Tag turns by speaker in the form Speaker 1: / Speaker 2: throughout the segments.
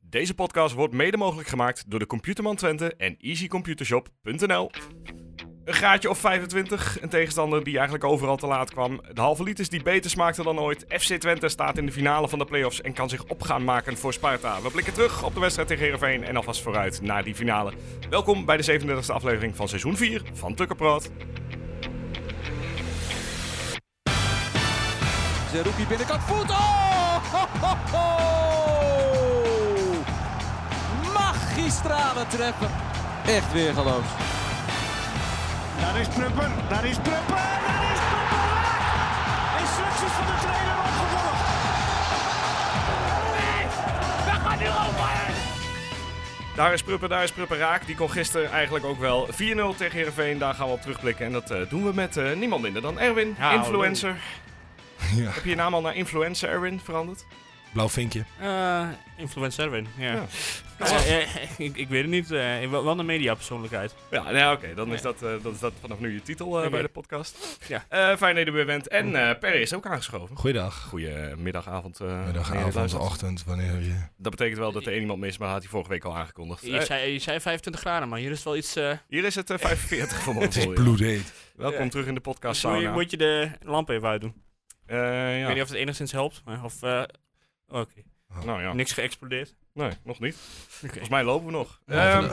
Speaker 1: Deze podcast wordt mede mogelijk gemaakt door de Computerman Twente en easycomputershop.nl. Een gaatje of 25, een tegenstander die eigenlijk overal te laat kwam. De halve liters die beter smaakten dan ooit. FC Twente staat in de finale van de play-offs en kan zich op gaan maken voor Sparta. We blikken terug op de wedstrijd tegen Heerenveen en alvast vooruit naar die finale. Welkom bij de 37e aflevering van seizoen 4 van Tukkenpraat.
Speaker 2: Zerouki binnenkant voet. Oh! Ho, ho, ho! Magistrale treppen. Echt weer geloof.
Speaker 3: Daar is Prupper, daar is Prupper, daar is Prupper! Instructies van de trainer opgevolgd.
Speaker 1: Daar is Pruppen, daar is Pruppen raak. Die kon gisteren eigenlijk ook wel 4-0 tegen Heerenveen. Daar gaan we op terugblikken. En dat eh, doen we met eh, niemand minder dan Erwin, influencer. Heb je je naam al naar influencer Erwin veranderd?
Speaker 4: Blauw vinkje.
Speaker 5: Eh, influencer Erwin, ja.
Speaker 1: Ja.
Speaker 5: Eh, eh, ik, ik weet het niet. eh, wel wel een mediapersoonlijkheid.
Speaker 1: Ja, nou, oké. dan, is
Speaker 5: Nee.
Speaker 1: dat, eh, dan is dat vanaf nu je titel eh,
Speaker 5: Oké.
Speaker 1: bij de podcast.
Speaker 5: Ja.
Speaker 1: Eh, fijn dat je er weer bent. En eh Perry is ook aangeschoven.
Speaker 4: Goeiedag.
Speaker 1: Goedemiddag, avond. eh,
Speaker 4: Middag,
Speaker 1: meneer
Speaker 4: avond,
Speaker 1: Luistert.
Speaker 4: ochtend, wanneer je...
Speaker 1: Dat betekent wel dat er één iemand mis, maar had hij vorige week al aangekondigd.
Speaker 5: Je,
Speaker 1: Eh,
Speaker 5: zei, je zei 25 graden, maar hier is wel iets... eh,
Speaker 1: hier is het eh, 45 vanmorgen.
Speaker 4: Het is
Speaker 1: voor je.
Speaker 4: bloedheet.
Speaker 1: Welkom
Speaker 5: Ja.
Speaker 1: terug in de podcast
Speaker 5: moet, je,
Speaker 1: sauna.
Speaker 5: moet je de lamp even uitdoen.
Speaker 1: Eh,
Speaker 5: Ik
Speaker 1: ja.
Speaker 5: weet niet of het enigszins helpt. maar Of, eh, Oké,
Speaker 1: Nou ja,
Speaker 5: niks geëxplodeerd.
Speaker 1: nee, nog niet.
Speaker 5: Oké.
Speaker 1: Volgens mij lopen we nog.
Speaker 4: Ja,
Speaker 1: Ehm,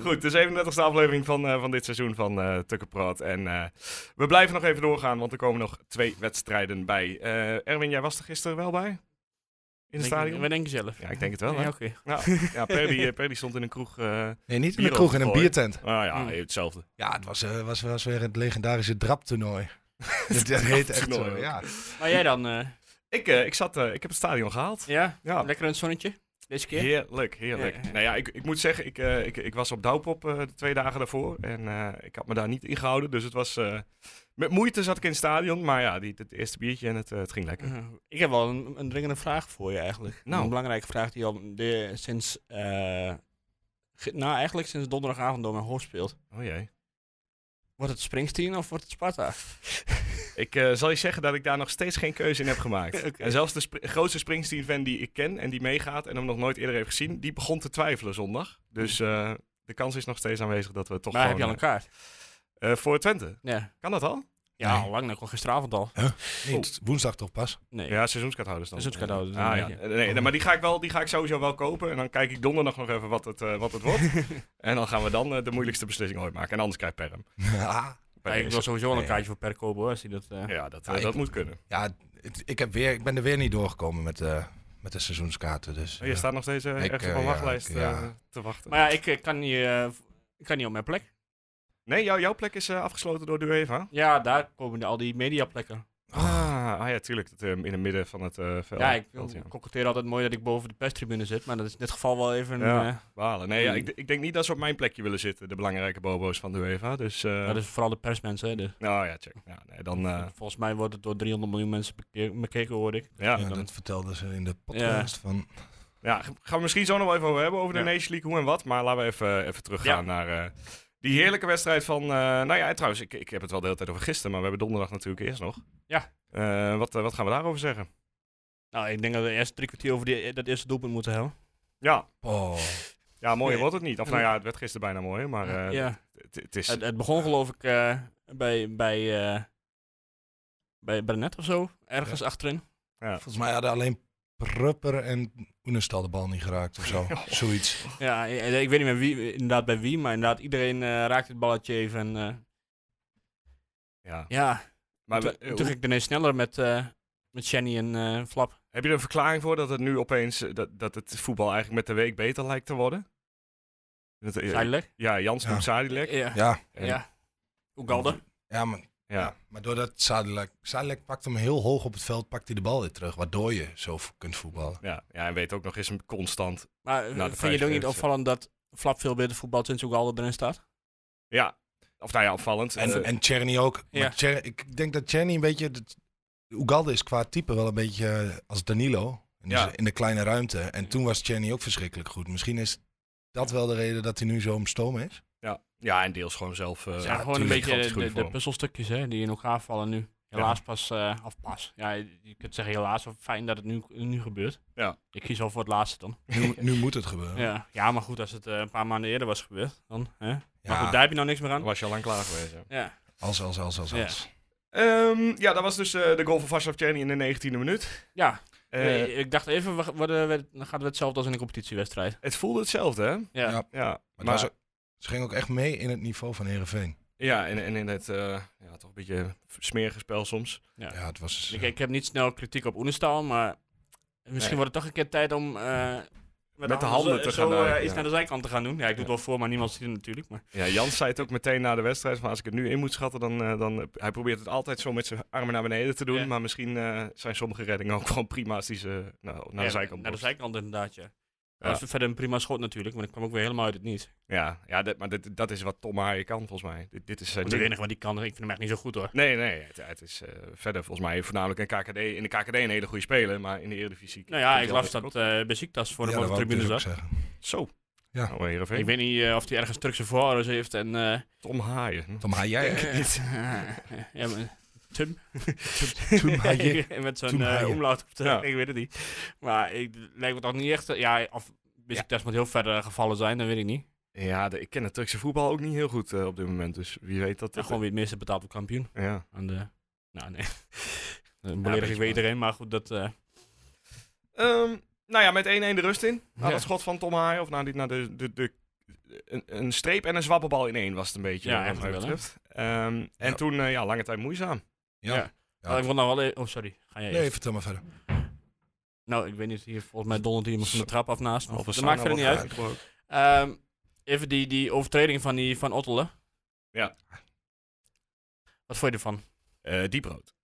Speaker 1: goed, de 37e aflevering van, eh, van dit seizoen van eh Tukkenpraat. En eh, we blijven nog even doorgaan, want er komen nog twee wedstrijden bij. Eh, Erwin, jij was er gisteren wel bij? In het
Speaker 5: Denk-
Speaker 1: stadion?
Speaker 5: Wat denk je zelf?
Speaker 1: Ja, ik denk het wel. Hè?
Speaker 5: Ja, oké.
Speaker 1: Nou, ja, Perdi, eh, Perdi stond in een kroeg. eh nou
Speaker 4: Nee, niet in
Speaker 1: Bier
Speaker 4: de kroeg, in een
Speaker 1: opgegooid.
Speaker 4: biertent.
Speaker 1: ja,
Speaker 5: Hmm.
Speaker 1: hetzelfde.
Speaker 4: Ja, het was, eh, was, was weer het legendarische draptoernooi. dat dat heet echt zo,
Speaker 1: Draptoernooi,
Speaker 4: ja.
Speaker 5: Maar jij dan? eh,
Speaker 1: Ik, eh, ik, zat, eh, ik heb het stadion gehaald.
Speaker 5: ja?
Speaker 1: Ja,
Speaker 5: Lekker in het zonnetje? Deze keer?
Speaker 1: Heerlijk, heerlijk.
Speaker 5: Ja, ja.
Speaker 1: Nou ja, ik, ik moet zeggen, ik, eh, ik, ik was op Douwpop eh, de twee dagen daarvoor. En eh, ik had me daar niet ingehouden. Dus het was... eh, met moeite zat ik in het stadion. Maar ja, die, het eerste biertje en het, eh, het ging lekker.
Speaker 5: Eh, Ik heb wel een, een dringende vraag voor je eigenlijk.
Speaker 1: Nou.
Speaker 5: Een belangrijke vraag die al de, sinds... eh, ge- nou, eigenlijk sinds donderdagavond door mijn hoofd speelt.
Speaker 1: Oh jee.
Speaker 5: Wordt het Springsteen of wordt het Sparta?
Speaker 1: Ik eh, zal je zeggen dat ik daar nog steeds geen keuze in heb gemaakt.
Speaker 5: Oké.
Speaker 1: En zelfs de spri- grootste Springsteen-fan die ik ken en die meegaat en hem nog nooit eerder heeft gezien, die begon te twijfelen zondag. Dus eh, de kans is nog steeds aanwezig dat we toch
Speaker 5: Maar heb je al
Speaker 1: gewoon...
Speaker 5: een kaart?
Speaker 1: eh, eh, voor Twente.
Speaker 5: Ja,
Speaker 1: Kan dat al?
Speaker 5: ja
Speaker 4: Nee.
Speaker 5: al lang. Ik kwam gisteravond al.
Speaker 4: Nee, het is woensdag toch pas.
Speaker 5: Nee.
Speaker 1: Ja, seizoenskaarthouders dan.
Speaker 5: Seizoenskaarthouders,
Speaker 1: Ah, ja.
Speaker 5: dan,
Speaker 1: Nee, nee, maar die ga, ik wel, die ga ik sowieso wel kopen. En dan kijk ik donderdag nog even wat het, eh, wat het wordt. en dan gaan we dan eh, de moeilijkste beslissing ooit maken. En anders krijg ik per hem.
Speaker 4: Ja,
Speaker 5: Ja, ik wil sowieso wel een
Speaker 4: Nee.
Speaker 5: kaartje voor per kopen hoor. Als hij dat, eh,
Speaker 1: Ja, dat,
Speaker 4: Ja,
Speaker 1: eh,
Speaker 4: ik-
Speaker 1: dat moet kunnen.
Speaker 4: ja het- ik, heb weer, ik ben er weer niet doorgekomen met, eh, met de seizoenskaarten. Dus,
Speaker 1: Oh, je
Speaker 4: eh,
Speaker 1: staat nog steeds eh,
Speaker 4: Ik,
Speaker 1: ergens
Speaker 4: eh,
Speaker 1: op een
Speaker 4: ja,
Speaker 1: wachtlijst
Speaker 4: ik, ja.
Speaker 1: eh, te wachten.
Speaker 5: Maar ja, ik eh, kan, niet, eh, ik kan niet op mijn plek.
Speaker 1: Nee, jou- jouw plek is eh, afgesloten door de UEFA.
Speaker 5: Ja, daar komen de- al die mediaplekken.
Speaker 1: Ah, ah ja, tuurlijk. Dat, eh, in het midden van het eh veld.
Speaker 5: ja, ik
Speaker 1: veld, ja.
Speaker 5: concurreer altijd mooi dat ik boven de perstribune zit. Maar dat is in dit geval wel even...
Speaker 1: Ja.
Speaker 5: eh,
Speaker 1: Balen. Nee, ja, ik, d- ik denk niet dat ze op mijn plekje willen zitten, de belangrijke bobo's van de UEFA. Dus, eh,
Speaker 5: dat is vooral de persmensen. hè, dus.
Speaker 1: Nou ja, check. Ja, nee, dan, eh,
Speaker 5: Volgens mij wordt het door 300 miljoen mensen beke- bekeken, hoorde ik.
Speaker 1: ja.
Speaker 4: ja,
Speaker 5: dan-
Speaker 4: dat vertelden ze in de podcast van...
Speaker 1: Ja, g- gaan we misschien zo nog wel even over hebben, over de
Speaker 5: Ja.
Speaker 1: Nation League, hoe en wat. Maar laten we even, even teruggaan naar eh, die heerlijke wedstrijd van... eh, nou ja, en trouwens, ik, ik heb het wel de hele tijd over gisteren, maar we hebben donderdag natuurlijk eerst nog.
Speaker 5: Ja.
Speaker 1: Eh, wat, eh, wat gaan we daarover zeggen?
Speaker 5: Nou, ik denk dat we eerst drie kwartier over die, dat eerste doelpunt moeten hebben.
Speaker 1: Ja,
Speaker 4: Oh,
Speaker 1: ja mooier
Speaker 5: Nee.
Speaker 1: wordt het niet. Of nou ja, het werd gisteren bijna mooi, maar eh,
Speaker 5: ja.
Speaker 1: het, het is...
Speaker 5: Het, het begon geloof ik eh, bij, bij, eh, bij Burnett of zo. Ergens achterin.
Speaker 4: volgens mij hadden alleen Prupper en Oenestal de bal niet geraakt of zo.
Speaker 5: Oh.
Speaker 4: Zoiets.
Speaker 5: Ja, ik, ik weet niet meer wie, inderdaad bij wie. Maar inderdaad, iedereen eh, raakte het balletje even. En, eh,
Speaker 1: ja.
Speaker 5: ja,
Speaker 1: Maar
Speaker 5: toen,
Speaker 1: we- eh,
Speaker 5: toen
Speaker 1: hoe-
Speaker 5: ging ik ineens sneller met, eh met Shanny en eh, Flap.
Speaker 1: heb je er een verklaring voor dat het nu opeens... eh, Dat, dat het voetbal eigenlijk met de week beter lijkt te worden? Dat, eh,
Speaker 5: Zijdelijk.
Speaker 1: ja, Jans
Speaker 4: Ja.
Speaker 1: noemt Sadilek.
Speaker 5: Ja.
Speaker 4: Ja,
Speaker 1: En- Nou,
Speaker 5: ja. Ugalde.
Speaker 4: ja maar Ja.
Speaker 1: ja.
Speaker 4: maar doordat Sadilek, Sadilek pakt hem heel hoog op het veld, pakt hij de bal weer terug. Waardoor je zo v- kunt voetballen.
Speaker 1: Ja, ja, en weet ook nog eens een constant.
Speaker 5: Maar eh,
Speaker 1: Nou, de
Speaker 5: vind je het ook niet
Speaker 1: vijfgever,
Speaker 5: opvallend dat Flap veel beter voetbalt sinds Ugalde erin staat?
Speaker 1: Ja, of nou ja, opvallend.
Speaker 4: En,
Speaker 1: Eh,
Speaker 4: en Tjerni ook.
Speaker 5: Ja.
Speaker 4: Maar Tjer- ik denk dat Tjerni een beetje... dat- Ugalde is qua type wel een beetje eh, als Danilo. En dus
Speaker 1: Ja.
Speaker 4: In de kleine ruimte. En toen was Tjerni ook verschrikkelijk goed. Misschien is dat wel de reden dat hij nu zo om stoom is.
Speaker 1: Ja, ja en deels gewoon zelf. eh,
Speaker 5: ja, gewoon een
Speaker 4: tuurlijk,
Speaker 5: beetje
Speaker 1: gigantisch
Speaker 5: de,
Speaker 1: goede
Speaker 5: de
Speaker 1: vorm.
Speaker 5: puzzelstukjes hè, die in elkaar vallen nu. Helaas pas, eh, of pas. Ja, je je kunt zeggen helaas, of fijn dat het nu, nu gebeurt.
Speaker 1: Ja.
Speaker 5: Ik kies al voor het laatste dan.
Speaker 4: Nu, nu moet het gebeuren.
Speaker 5: Ja, ja maar goed, als het eh, een paar maanden eerder was gebeurd, dan. Hè? Maar
Speaker 4: Ja,
Speaker 5: goed, daar heb je nou niks meer
Speaker 1: Dan
Speaker 5: aan.
Speaker 1: was je al lang klaar geweest. Ja.
Speaker 5: Ja.
Speaker 4: Als, als, als, als,
Speaker 5: Ja.
Speaker 4: als.
Speaker 1: Ehm, ja, dat was dus eh, de goal van Vaslav Černý in de 19e minuut.
Speaker 5: ja.
Speaker 1: Eh,
Speaker 5: Nee, ik dacht even, we- worden we- dan gaat het hetzelfde als in een competitiewedstrijd.
Speaker 1: Het voelde hetzelfde, hè?
Speaker 5: Ja.
Speaker 4: Ja.
Speaker 1: Ja,
Speaker 4: Maar, het was ook- ze gingen ook echt mee in het niveau van Herenveen.
Speaker 1: ja en, en in het eh, ja, toch een beetje smerige spel soms.
Speaker 5: Ja.
Speaker 4: Ja, het was.
Speaker 5: Ik, ik heb niet snel kritiek op Oenestaal, maar misschien
Speaker 1: Nee.
Speaker 5: wordt het toch een keer tijd om... eh,
Speaker 1: Met de handen
Speaker 5: zo-
Speaker 1: te
Speaker 5: zo,
Speaker 1: gaan,
Speaker 5: eh,
Speaker 1: eh,
Speaker 5: iets
Speaker 1: ja.
Speaker 5: naar de zijkant te gaan doen. Ja, ik doe het wel voor, maar niemand ziet het natuurlijk. Maar
Speaker 1: Ja, Jans zei het ook meteen na de wedstrijd. Van als ik het nu in moet schatten, dan, eh, dan... Hij probeert het altijd zo met zijn armen naar beneden te doen.
Speaker 5: Ja.
Speaker 1: Maar misschien eh, zijn sommige reddingen ook gewoon prima als die ze nou, naar de
Speaker 5: Ja,
Speaker 1: zijkant
Speaker 5: Naar de
Speaker 1: botst.
Speaker 5: zijkant inderdaad, ja.
Speaker 1: Ja.
Speaker 5: Dat is verder een prima schot natuurlijk, maar ik kwam ook weer helemaal uit het niet.
Speaker 1: Ja, ja dit- maar dit, dat is wat Tom Haaien kan volgens mij. Dit, dit is zijn
Speaker 5: Het
Speaker 1: ding.
Speaker 5: enige wat die kan, ik vind hem echt niet zo goed hoor.
Speaker 1: Nee, nee, het, het is eh, verder volgens mij voornamelijk een KKD, in de KKD een hele goede speler, maar in de Eredivisie...
Speaker 5: Nou ja,
Speaker 1: vind
Speaker 5: ik
Speaker 1: wel
Speaker 5: las
Speaker 1: dat-
Speaker 5: dat eh Besiktas voor de
Speaker 4: ja, dat
Speaker 5: ja,
Speaker 4: wou ik
Speaker 5: tribune
Speaker 4: dus ook
Speaker 5: zat.
Speaker 4: zeggen.
Speaker 1: Zo.
Speaker 4: Ja.
Speaker 1: Nou, Heerenveen.
Speaker 5: Ik weet niet eh, of hij ergens Turkse voorhouders heeft en... eh,
Speaker 1: Tom Haaien.
Speaker 4: Tom Hayek.
Speaker 5: ja, maar- Tum.
Speaker 4: Tom Hayek.
Speaker 5: Met zo'n
Speaker 4: Toen
Speaker 5: eh,
Speaker 4: Hayek.
Speaker 5: omlaut op de
Speaker 1: Ja.
Speaker 5: Ik weet het niet. Maar ik lijkt me toch niet echt... eh, Ja, of Besiktas moet heel ver eh, gevallen zijn, dat weet ik niet.
Speaker 1: Ja, de- ik ken het Turkse voetbal ook niet heel goed eh, op dit moment, dus wie weet dat...
Speaker 5: En
Speaker 1: dat-
Speaker 5: gewoon wie het meeste betaalt wordt kampioen.
Speaker 1: Ja.
Speaker 5: Aan de... Nou, nee. Een
Speaker 1: beetje
Speaker 5: belediging weet
Speaker 1: maar.
Speaker 5: iedereen, maar goed, dat... eh,
Speaker 1: Ehm, nou ja, met 1-1 de rust in. Na
Speaker 5: Ja.
Speaker 1: dat schot van Tom Haaien, of na, die, na de, de, de, een, een streep en een zwappenbal in één was het een beetje.
Speaker 5: Ja,
Speaker 1: eh, wat mij
Speaker 5: eigenlijk wel,
Speaker 1: betreft. Ehm, en
Speaker 4: Ja.
Speaker 1: toen, eh, ja, lange tijd moeizaam.
Speaker 4: Ja.
Speaker 5: Ja.
Speaker 4: Ja.
Speaker 5: Oh, ik wil nou wel... e- Oh, sorry. Ga jij
Speaker 4: Nee,
Speaker 5: eerst?
Speaker 4: vertel maar verder.
Speaker 5: Nou, ik weet niet. Hier volgens mij dondert iemand van de
Speaker 4: Zo.
Speaker 5: trap af naast. me.
Speaker 1: Of
Speaker 5: dat
Speaker 1: we
Speaker 5: maakt
Speaker 1: staan nou
Speaker 5: verder
Speaker 1: al
Speaker 5: niet
Speaker 1: wat
Speaker 5: uit. Ehm, even die, die overtreding van, die, van Ottele.
Speaker 1: Ja.
Speaker 5: Wat vond je ervan?
Speaker 1: Eh, dieprood.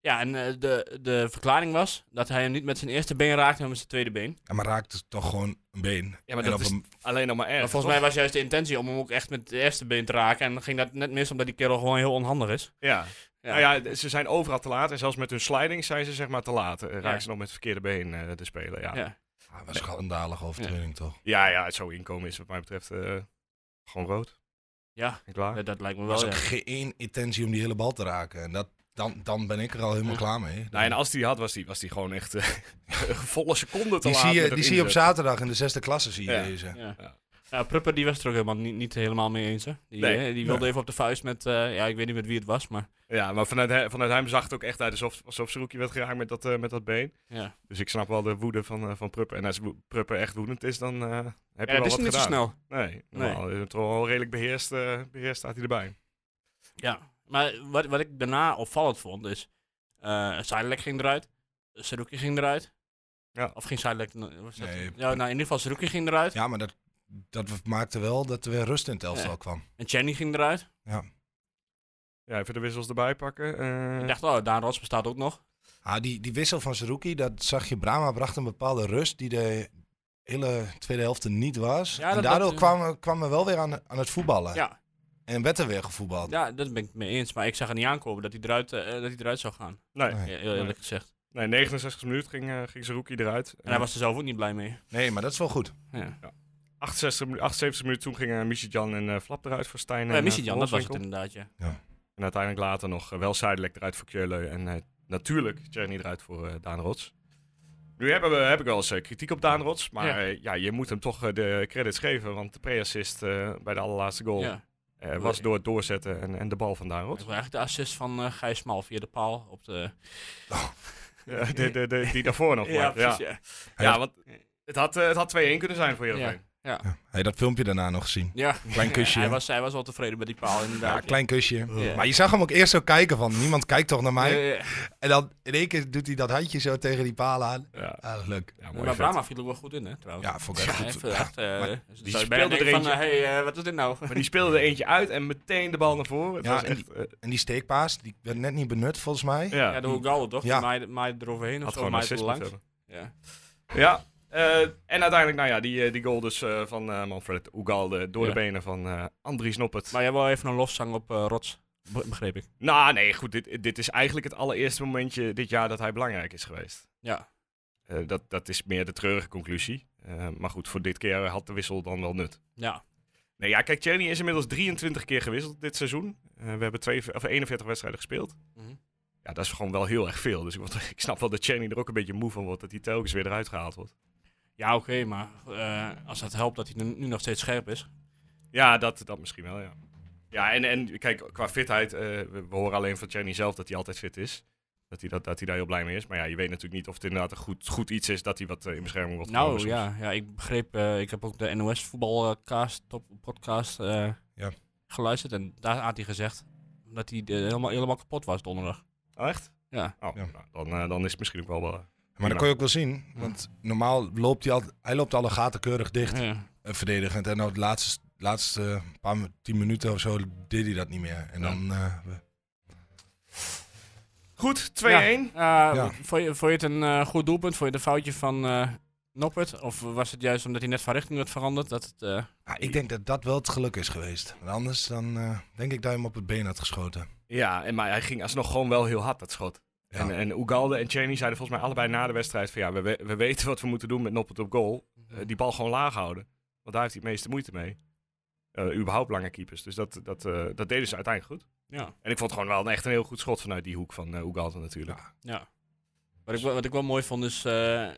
Speaker 5: Ja, en eh, de, de verklaring was dat hij hem niet met zijn eerste been raakte, maar met zijn tweede been.
Speaker 4: Ja, maar raakt het toch gewoon een been.
Speaker 1: Ja, maar
Speaker 4: en
Speaker 1: dat
Speaker 4: op
Speaker 1: is
Speaker 4: een,
Speaker 1: Alleen nog maar erg.
Speaker 5: maar volgens mij was juist de intentie om hem ook echt met het eerste been te raken. En dan ging dat net mis omdat die kerel gewoon heel onhandig is.
Speaker 1: Ja.
Speaker 5: Ja.
Speaker 1: Nou ja, ze zijn overal te laat. En zelfs met hun sliding zijn ze zeg maar te laat. Eh, Raken
Speaker 5: Ja.
Speaker 1: ze nog met het verkeerde been eh, te spelen. Ja. Ja.
Speaker 5: Ja.
Speaker 4: ah, een schandalige overtreding, toch?
Speaker 1: ja, het zo inkomen is wat mij betreft eh, gewoon rood.
Speaker 5: Ja,
Speaker 1: En klaar.
Speaker 5: dat, dat lijkt me
Speaker 4: Er was
Speaker 5: wel.
Speaker 4: ook
Speaker 5: Ja.
Speaker 4: geen intentie om die hele bal te raken. En dat, dan, dan ben ik er al helemaal
Speaker 5: Ja.
Speaker 4: klaar mee.
Speaker 1: Nou, en als die had, was die, was die gewoon echt eh, volle seconde te
Speaker 4: die
Speaker 1: laat.
Speaker 4: zie
Speaker 1: met
Speaker 4: je,
Speaker 1: het
Speaker 4: die zie je op
Speaker 1: inzet.
Speaker 4: zaterdag in de zesde klasse, zie je
Speaker 1: Ja.
Speaker 4: deze.
Speaker 5: Ja.
Speaker 1: Ja.
Speaker 5: Ja, Prupper die was er ook helemaal niet, niet helemaal mee eens. Hè. Die,
Speaker 1: Nee.
Speaker 5: eh, die wilde even op de vuist met, eh, ja, ik weet niet met wie het was, maar
Speaker 1: Ja, maar vanuit, he- vanuit hem zag het ook echt uit alsof, alsof zijn hoekje werd geraakt met dat, eh, met dat been.
Speaker 5: ja.
Speaker 1: Dus ik snap wel de woede van, eh, van Pruppen. En als wo- Pruppen echt woedend is, dan eh, heb je
Speaker 5: ja
Speaker 1: wel
Speaker 5: dat is
Speaker 1: wat
Speaker 5: niet zo
Speaker 1: gedaan.
Speaker 5: snel.
Speaker 1: Nee, normaal. is het wel redelijk beheerst, eh, beheerst staat hij erbij.
Speaker 5: Ja, maar wat, wat ik daarna opvallend vond is, eh Sidelec ging eruit, Saruki ging eruit.
Speaker 1: Ja.
Speaker 5: Of ging Sidelec... was dat-
Speaker 4: Nee,
Speaker 5: ja, nou, in ieder geval Saruki ging eruit
Speaker 4: Ja, maar dat, dat maakte wel dat er weer rust in het elftal
Speaker 5: Ja.
Speaker 4: kwam.
Speaker 5: en Chenny ging eruit.
Speaker 1: Ja, even de wissels erbij pakken. eh.
Speaker 5: Ik dacht, oh, Daan Ros bestaat ook nog.
Speaker 4: Ah, die, die wissel van Zerouki, dat zag je. Brahma bracht een bepaalde rust die de hele tweede helft er niet was.
Speaker 5: Ja,
Speaker 4: en
Speaker 5: dat-
Speaker 4: daardoor
Speaker 5: dat-
Speaker 4: kwamen kwam we wel weer aan, aan het voetballen.
Speaker 5: Ja,
Speaker 4: En werd er weer gevoetbald.
Speaker 5: ja, dat ben ik mee eens. Maar ik zag er niet aankomen dat hij eruit, eh, dat hij eruit zou gaan.
Speaker 1: nee.
Speaker 4: Nee.
Speaker 5: Ja, heel eerlijk
Speaker 1: Nee.
Speaker 5: gezegd.
Speaker 1: Nee, 69 minuut ging, eh ging Zerouki eruit. Eh,
Speaker 5: En hij was er zelf ook niet blij mee.
Speaker 4: Nee, maar dat is wel goed.
Speaker 5: Ja.
Speaker 1: 68, minu- 78 minuten toen gingen Michijan en eh, Flap eruit voor Stijn. en,
Speaker 5: ja
Speaker 1: eh,
Speaker 5: Jan, dat was het
Speaker 1: Wolfswinkel.
Speaker 5: inderdaad, ja.
Speaker 1: En uiteindelijk later nog eh, wel zijdelijk eruit voor Keulen. En eh, natuurlijk Tjerni eruit voor eh, Daan Rots. Nu hebben we, heb ik wel eens eh, kritiek op Daan Rots. Maar
Speaker 5: Ja.
Speaker 1: ja. ja, je moet hem toch eh, de credits geven. Want de pre-assist eh, bij de allerlaatste goal
Speaker 5: ja.
Speaker 1: eh, was door het doorzetten en, en de bal van Daan
Speaker 5: Dat
Speaker 1: Rots.
Speaker 5: was eigenlijk de assist van eh, Gijs Mal via de paal op de...
Speaker 1: Ja, Eh, de, de, de, die daarvoor nog maakte, ja.
Speaker 5: ja.
Speaker 1: ja, want het had, eh, het had 2-1 kunnen zijn voor Heerenveen.
Speaker 4: Ja. Heb je dat filmpje daarna nog gezien?
Speaker 5: Ja.
Speaker 4: Klein kusje.
Speaker 5: Hij
Speaker 4: hè?
Speaker 5: was, hij was wel tevreden met die paal,
Speaker 4: Ja,
Speaker 5: inderdaad.
Speaker 4: klein kusje.
Speaker 5: Ja.
Speaker 4: Maar je zag hem ook eerst zo kijken van, niemand kijkt toch naar mij?
Speaker 5: Ja, ja, ja.
Speaker 4: En dan in één keer doet hij dat handje zo tegen die palen aan.
Speaker 1: Ja.
Speaker 4: Ah, leuk.
Speaker 1: Ja, mooi
Speaker 5: maar
Speaker 1: vent.
Speaker 5: Brahma viel ook wel goed in, hè, trouwens.
Speaker 4: Ja, vond ik echt
Speaker 5: Ja,
Speaker 4: goed.
Speaker 5: even echt, eh, dus
Speaker 1: die
Speaker 5: zou je
Speaker 1: speelde
Speaker 5: bijna
Speaker 1: er
Speaker 5: denken
Speaker 1: eentje.
Speaker 5: van, eh, hey, eh, wat is dit nou?
Speaker 1: Maar die speelde er eentje uit en meteen de bal naar voren. Het
Speaker 4: Ja,
Speaker 1: was
Speaker 4: en
Speaker 1: echt, eh,
Speaker 4: En die steekpaas, die werd net niet benut volgens mij.
Speaker 1: ja.
Speaker 5: Ja, de Ogalde, toch?
Speaker 4: Ja.
Speaker 5: Die maaide, maaide eroverheen of
Speaker 1: had
Speaker 5: zo,
Speaker 1: gewoon
Speaker 5: maaide
Speaker 1: assist
Speaker 5: er
Speaker 1: moeten
Speaker 5: langs.
Speaker 1: hebben.
Speaker 5: Ja.
Speaker 1: Ja, eh, en uiteindelijk, nou ja, die, eh, die goal dus eh, van eh, Manfred Oegalde door
Speaker 5: Ja.
Speaker 1: de benen van eh Andries Noppert.
Speaker 5: Maar jij wil even een lofzang op eh, Rots, be- begreep ik.
Speaker 1: Nou, nee, goed, dit, dit is eigenlijk het allereerste momentje dit jaar dat hij belangrijk is geweest.
Speaker 5: Ja.
Speaker 1: Eh, dat, dat is meer de treurige conclusie. Eh, maar goed, voor dit keer had de wissel dan wel nut.
Speaker 5: Ja.
Speaker 1: Nee, ja, kijk, Tjerni is inmiddels 23 keer gewisseld dit seizoen. Eh, we hebben twee, of 41 wedstrijden gespeeld.
Speaker 5: Mhm.
Speaker 1: Ja, dat is gewoon wel heel erg veel. Dus ik, word- ik snap wel dat Tjerni er ook een beetje moe van wordt, dat hij telkens weer eruit gehaald wordt.
Speaker 5: Ja, oké, maar eh, als dat helpt dat hij nu, nu nog steeds scherp is.
Speaker 1: Ja, dat, dat misschien wel, ja. Ja, en, en kijk, qua fitheid, eh, we, we horen alleen van Tjerni zelf dat hij altijd fit is. Dat hij, dat, dat hij daar heel blij mee is. Maar ja, je weet natuurlijk niet of het inderdaad een goed, goed iets is dat hij wat eh, in bescherming wordt
Speaker 5: nou
Speaker 1: genomen soms.
Speaker 5: ja, ja, ik begreep, eh, ik heb ook de NOS voetbalcast, eh, top podcast eh,
Speaker 4: Ja.
Speaker 5: geluisterd en daar had hij gezegd dat hij de- helemaal, helemaal kapot was donderdag.
Speaker 1: Oh, echt?
Speaker 5: Ja.
Speaker 1: Oh,
Speaker 4: Ja.
Speaker 1: nou, dan, eh, dan is het misschien ook wel... wel
Speaker 4: Maar dat kon je ook wel zien. Want normaal loopt hij al, hij loopt alle gaten keurig dicht.
Speaker 5: Ja.
Speaker 4: eh, verdedigend. En nou de laatste, laatste paar mi- tien minuten of zo deed hij dat niet meer. En dan... eh, we-
Speaker 1: Goed, 2-1.
Speaker 5: Ja, eh,
Speaker 4: Ja.
Speaker 5: Vond, je, vond je het een eh, goed doelpunt? Vond je de foutje van eh Noppert? Of was het juist omdat hij net van richting werd veranderd? Dat het, eh,
Speaker 4: Ah, ik denk dat dat wel het geluk is geweest. Want anders dan eh, denk ik dat hij hem op het been had geschoten.
Speaker 1: Ja, en, maar hij ging alsnog gewoon wel heel hard, dat schot.
Speaker 4: Ja.
Speaker 1: En, en Ugalde en Cheney zeiden volgens mij allebei na de wedstrijd van ja, we, we- we weten wat we moeten doen met Noppert op goal. Eh, die bal gewoon laag houden. Want daar heeft hij het meeste moeite mee. Eh, überhaupt lange keepers. Dus dat, dat, eh, dat deden ze uiteindelijk goed.
Speaker 5: ja.
Speaker 1: En ik vond het gewoon wel een- echt een heel goed schot vanuit die hoek van eh Ugalde natuurlijk.
Speaker 5: Ja. Wat ik, wel- wat ik wel mooi vond is, eh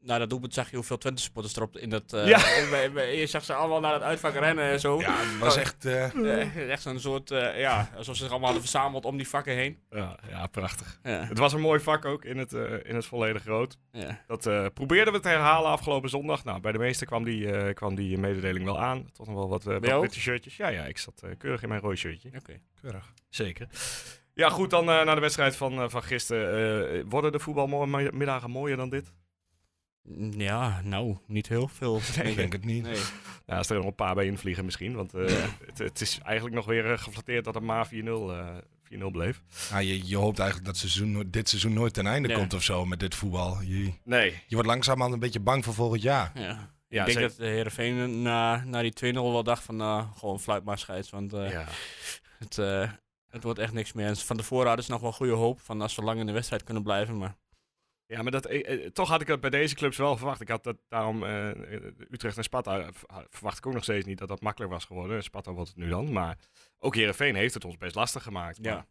Speaker 5: na dat doelpunt zag je hoeveel Twente supporters erop in dat... eh, bij- bij- je zag ze allemaal naar het uitvak rennen en zo.
Speaker 4: Ja, het was echt... eh,
Speaker 5: Eh, echt een soort, eh, ja, alsof ze zich allemaal hadden verzameld om die vakken heen.
Speaker 1: Ja, ja, prachtig.
Speaker 5: Ja.
Speaker 1: Het was een mooi vak ook in het, eh, in het volledig rood.
Speaker 5: Ja.
Speaker 1: Dat eh, probeerden we te herhalen afgelopen zondag. Nou, bij de meeste kwam die, eh, kwam die mededeling wel aan. Toch nog wel wat, eh wat
Speaker 5: jou ook?
Speaker 1: witte shirtjes. Ja, ja, ik zat eh, keurig in mijn rooi shirtje.
Speaker 5: Oké.
Speaker 4: keurig.
Speaker 1: Zeker. Ja, goed, dan eh naar de wedstrijd van, eh, van gisteren. Eh, worden de voetbalmiddagen mooier dan dit?
Speaker 5: Ja, nou, niet heel veel.
Speaker 4: Ik denk het niet.
Speaker 5: Nee.
Speaker 1: Ja, als er nog een paar bij invliegen misschien. Want eh, het, het is eigenlijk nog weer eh, geflatteerd dat het maar 4-0 eh, 4-0 bleef.
Speaker 4: Ah, je, je hoopt eigenlijk dat seizoen, nooit- dit seizoen nooit ten einde
Speaker 5: Ja.
Speaker 4: komt of zo met dit voetbal. Je,
Speaker 1: Nee.
Speaker 4: je wordt langzamerhand een beetje bang voor volgend jaar.
Speaker 5: Ja.
Speaker 1: Ja,
Speaker 5: ik denk
Speaker 1: ze-
Speaker 5: dat de Heerenveen na, na die 2-0 wel dacht van, nou, gewoon fluit maar scheids, want eh,
Speaker 1: Ja.
Speaker 5: het, eh, het wordt echt niks meer. En van tevoren hadden ze nog wel goede hoop van als we lang in de wedstrijd kunnen blijven, maar...
Speaker 1: ja, maar dat, eh, eh, toch had ik dat bij deze clubs wel verwacht. Ik had dat daarom eh, Utrecht en Sparta eh, v- verwacht ik ook nog steeds niet dat dat makkelijk was geworden. Sparta wordt het nu dan. Maar ook Herenveen heeft het ons best lastig gemaakt.
Speaker 5: Ja.
Speaker 1: Maar